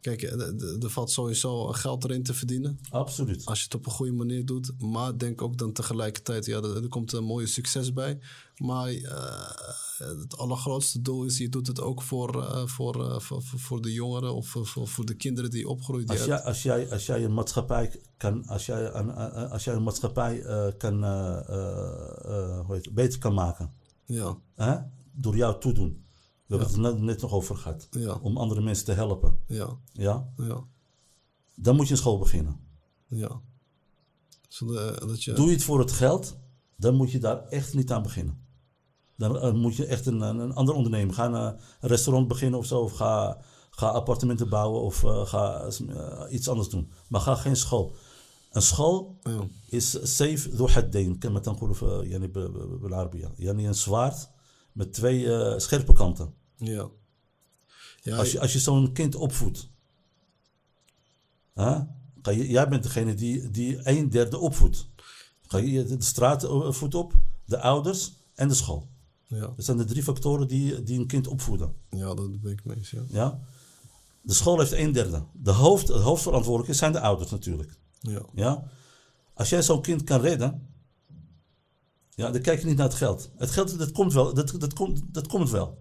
[SPEAKER 1] Kijk, eh, d- d- er valt sowieso geld erin te verdienen.
[SPEAKER 2] Absoluut.
[SPEAKER 1] Als je het op een goede manier doet. Maar denk ook dan tegelijkertijd, ja, er, er komt een mooie succes bij. Maar eh, het allergrootste doel is, je doet het ook voor, eh, voor, eh, voor, voor, voor de jongeren of voor, voor, voor de kinderen die opgroeien. Die
[SPEAKER 2] Als jij, als jij, als jij een maatschappij kan, als jij een, eh, als jij een maatschappij eh, kan, eh, eh, eh, hoe heet het, beter kan maken.
[SPEAKER 1] uit- ja,
[SPEAKER 2] Hè? Door jouw toedoen. We hebben het er net, net nog over gehad.
[SPEAKER 1] Ja.
[SPEAKER 2] Om andere mensen te helpen.
[SPEAKER 1] ja,
[SPEAKER 2] Ja?
[SPEAKER 1] ja,
[SPEAKER 2] Dan moet je een school beginnen.
[SPEAKER 1] ja. Zodat eh, dat je,
[SPEAKER 2] Doe je het voor het geld, dan moet je daar echt niet aan beginnen. Dan eh, moet je echt een, een, een ander ondernemen. Ga een, eh, een restaurant beginnen of zo. Of ga, ga appartementen bouwen of eh, ga eh, iets anders doen. Maar ga geen school. Een school
[SPEAKER 1] ja,
[SPEAKER 2] is safe ذو حدين كما تنقول في يعني ب- ب- بالعربية يعني een zwaard met twee eh, scherpe kanten.
[SPEAKER 1] ja. Ja,
[SPEAKER 2] Als je, als je zo'n kind opvoedt. hè, ga je- jij bent degene die, die een derde opvoedt. Ga je de straat eh, voedt op, de ouders en de school.
[SPEAKER 1] ja,
[SPEAKER 2] Dat zijn de drie factoren die, die een kind opvoeden.
[SPEAKER 1] ja, dat ben ik mee eens, ja.
[SPEAKER 2] Ja? De school heeft een derde. De hoofd, het hoofdverantwoordelijke zijn de ouders natuurlijk.
[SPEAKER 1] Ja,
[SPEAKER 2] Ja? Als jij zo'n kind kan redden, ja, dan kijk je niet naar het geld. Het geld, dat komt wel. Dat, dat, komt, dat komt wel.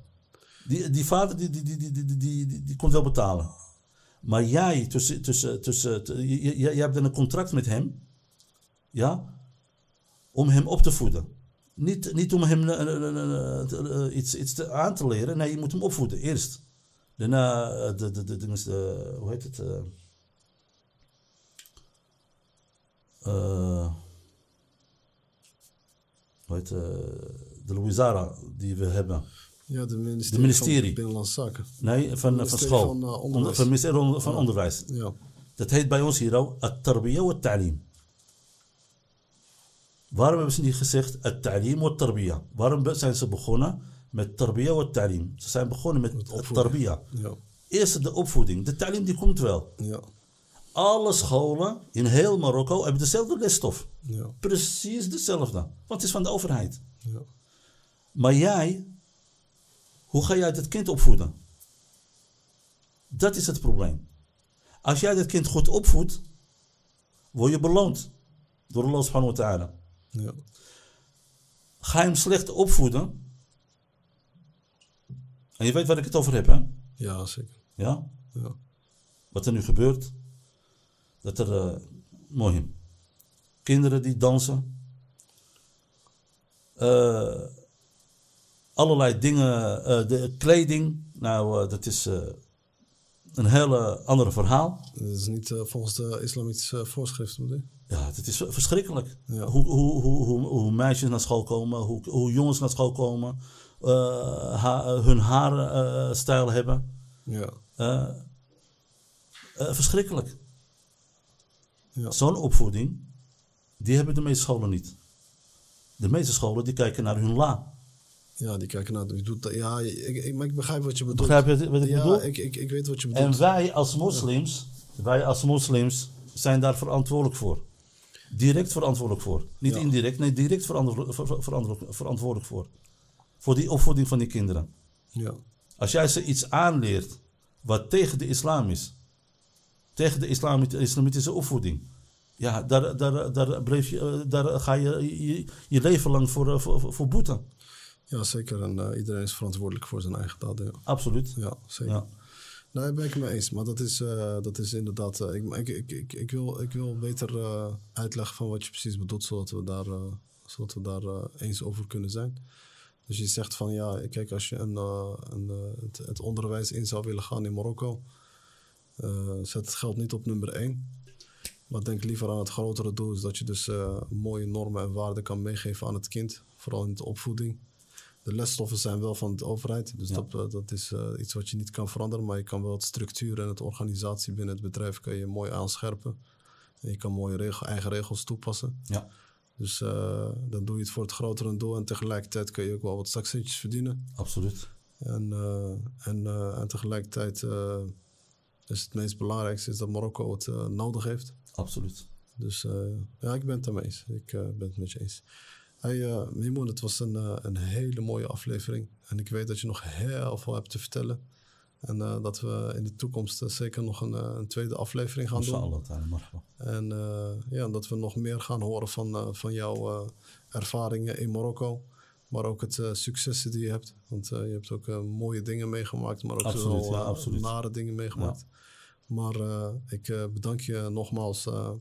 [SPEAKER 2] Die, die vader, die, die, die, die, die, die, die, die komt wel betalen. Maar jij, tussen, tussen, tussen, t- j- j- jij hebt dan een contract met hem, ja, om hem op te voeden. Niet, niet om hem eh, eh, eh, eh, te- eh, iets, iets te, aan te leren. Nee, je moet hem opvoeden eerst. Daarna, eh, de, de, de, de, de- hoe heet het? eh, eh, hoe heet, eh, de Louisara die we hebben.
[SPEAKER 1] ja de ministerie, van
[SPEAKER 2] ministerie.
[SPEAKER 1] Binnenlandse Zaken.
[SPEAKER 2] Nee, van, eh, van
[SPEAKER 1] Ministerie
[SPEAKER 2] school.
[SPEAKER 1] van, eh,
[SPEAKER 2] Onder-
[SPEAKER 1] onderwijs.
[SPEAKER 2] Van ministerie on- van onderwijs.
[SPEAKER 1] Ja,
[SPEAKER 2] Dat heet bij ons hier ook At-Tarbiya wa Ta'lim. Waarom hebben ze niet gezegd At-Ta'lim wa Tarbiya? Waarom be- zijn ze begonnen met Tarbiya wa Ta'lim? Ze zijn begonnen met
[SPEAKER 1] opvoeding.
[SPEAKER 2] Tarbiya.
[SPEAKER 1] ja,
[SPEAKER 2] Eerst de opvoeding. De Ta'lim die komt wel.
[SPEAKER 1] ja,
[SPEAKER 2] Alle scholen in heel Marokko hebben dezelfde lesstof.
[SPEAKER 1] ja,
[SPEAKER 2] Precies dezelfde. Want het is van de overheid.
[SPEAKER 1] ja.
[SPEAKER 2] Maar jij, hoe ga jij dat kind opvoeden? Dat is het probleem. Als jij dat kind goed opvoedt, word je beloond door Allah subhanahu wa ta'ala.
[SPEAKER 1] ja.
[SPEAKER 2] Ga je hem slecht opvoeden, en je weet waar ik het over heb, hè?
[SPEAKER 1] Ja, zeker.
[SPEAKER 2] Ja?
[SPEAKER 1] Ja.
[SPEAKER 2] Wat er nu gebeurt, dat er, eh, mooi, kinderen die dansen, Eh, allerlei dingen, eh, de kleding, nou, eh, dat is eh, een hele andere verhaal.
[SPEAKER 1] Dat is niet eh, volgens de islamitische voorschriften, bedoel je?
[SPEAKER 2] Ja, het is verschrikkelijk.
[SPEAKER 1] Ja.
[SPEAKER 2] Hoe, hoe, hoe, hoe, hoe meisjes naar school komen, hoe, hoe jongens naar school komen, eh, ha- hun haarstijl hebben.
[SPEAKER 1] Ja,
[SPEAKER 2] Eh, eh, verschrikkelijk.
[SPEAKER 1] Ja.
[SPEAKER 2] Zo'n opvoeding, die hebben de meeste scholen niet. De meeste scholen die kijken naar hun la.
[SPEAKER 1] Ja, die kijken naar. Je doet, dat- ja, ik, ik, maar ik begrijp wat je bedoelt.
[SPEAKER 2] Begrijp je wat ik
[SPEAKER 1] ja,
[SPEAKER 2] bedoel?
[SPEAKER 1] Ik, ik, ik weet wat je bedoelt.
[SPEAKER 2] En wij als moslims, wij als moslims zijn daar verantwoordelijk voor. Direct verantwoordelijk voor. Niet
[SPEAKER 1] Ja.
[SPEAKER 2] indirect, nee, direct verantwoordelijk, ver- ver- verantwoordelijk, verantwoordelijk voor. Voor die opvoeding van die kinderen.
[SPEAKER 1] Ja.
[SPEAKER 2] Als jij ze iets aanleert wat tegen de islam is, tegen de islamit- islamitische opvoeding, ja, daar, daar, daar, bleef je, eh, daar ga je, je je leven lang voor, eh, voor, voor boeten.
[SPEAKER 1] ja, zeker. En eh, iedereen is verantwoordelijk voor zijn eigen daden. Ja,
[SPEAKER 2] Absoluut.
[SPEAKER 1] ja zeker.
[SPEAKER 2] Ja.
[SPEAKER 1] Nee, daar ben ik het mee eens. Maar dat is, eh, dat is inderdaad. eh, ik, maar ik, ik, ik, ik wil, ik wil beter eh uitleg van wat je precies bedoelt, zodat we daar, eh, zodat we daar eh, eens over kunnen zijn. Dus je zegt van ja, kijk, als je een, eh, een, eh, het, het onderwijs in zou willen gaan in Marokko, eh, zet het geld niet op nummer één. Maar denk liever aan het grotere doel, is dat je dus eh, mooie normen en waarden kan meegeven aan het kind, vooral in de opvoeding. De lesstoffen zijn wel van de overheid, dus dat, eh, dat is eh, iets wat je niet kan veranderen, maar je kan wel het structuur en het organisatie binnen het bedrijf kan je mooi aanscherpen. En je kan mooie regel, eigen regels toepassen.
[SPEAKER 2] Ja.
[SPEAKER 1] Dus eh, dan doe je het voor het grotere doel en tegelijkertijd kun je ook wel wat zakcentjes verdienen.
[SPEAKER 2] absoluut.
[SPEAKER 1] En, eh, en, eh, en tegelijkertijd eh, is het meest belangrijkste is dat Marokko het eh, nodig heeft.
[SPEAKER 2] Absoluut.
[SPEAKER 1] Dus eh, ja, ik ben het ermee eens. Ik eh, ben het met je eens. Hey, eh, Mimoen, het was een, eh, een hele mooie aflevering. En ik weet dat je nog heel veel hebt te vertellen. En eh, dat we in de toekomst eh, zeker nog een, eh, een tweede aflevering gaan doen.
[SPEAKER 2] Inshallah, ta'ala, marhaba.
[SPEAKER 1] En eh, ja, dat we nog meer gaan horen van, eh, van jouw eh, ervaringen in Marokko. Maar ook het eh, successen die je hebt. Want eh, je hebt ook eh, mooie dingen meegemaakt, maar ook
[SPEAKER 2] Absoluut,
[SPEAKER 1] wel,
[SPEAKER 2] ja,
[SPEAKER 1] eh,
[SPEAKER 2] absoluut.
[SPEAKER 1] nare dingen meegemaakt. Maar eh, ik eh, bedank je nogmaals eh,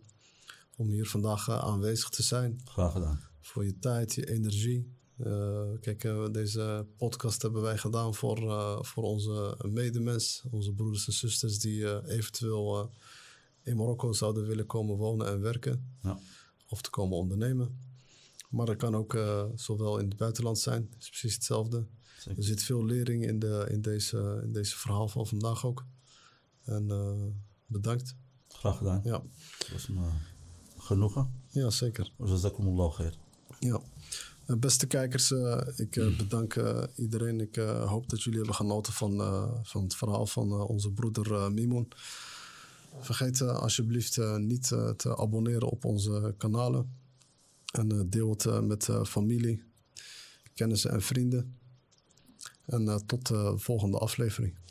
[SPEAKER 1] om hier vandaag eh, aanwezig te zijn.
[SPEAKER 2] Graag gedaan.
[SPEAKER 1] Voor je tijd, je energie. Eh, kijk, eh, deze podcast hebben wij gedaan voor, eh, voor onze medemens, onze broeders en zusters die eh, eventueel eh, in Marokko zouden willen komen wonen en werken
[SPEAKER 2] Ja.
[SPEAKER 1] of te komen ondernemen. Maar dat kan ook eh, zowel in het buitenland zijn, is precies hetzelfde.
[SPEAKER 2] Zeker.
[SPEAKER 1] Er zit veel lering in, de, in, deze, in deze verhaal van vandaag ook. En eh, bedankt.
[SPEAKER 2] Graag gedaan.
[SPEAKER 1] Ja,
[SPEAKER 2] Het was me genoegen.
[SPEAKER 1] ja zeker.
[SPEAKER 2] Jazakumullah khair.
[SPEAKER 1] Ja. Eh, Beste kijkers, eh, ik eh, bedank eh, iedereen. Ik eh, hoop dat jullie hebben genoten van, eh, van het verhaal van eh, onze broeder eh Mimoen. Vergeet eh, alsjeblieft eh, niet eh, te abonneren op onze kanalen. En eh, deel het eh, met eh, familie, kennissen en vrienden. En eh, tot de eh, volgende aflevering.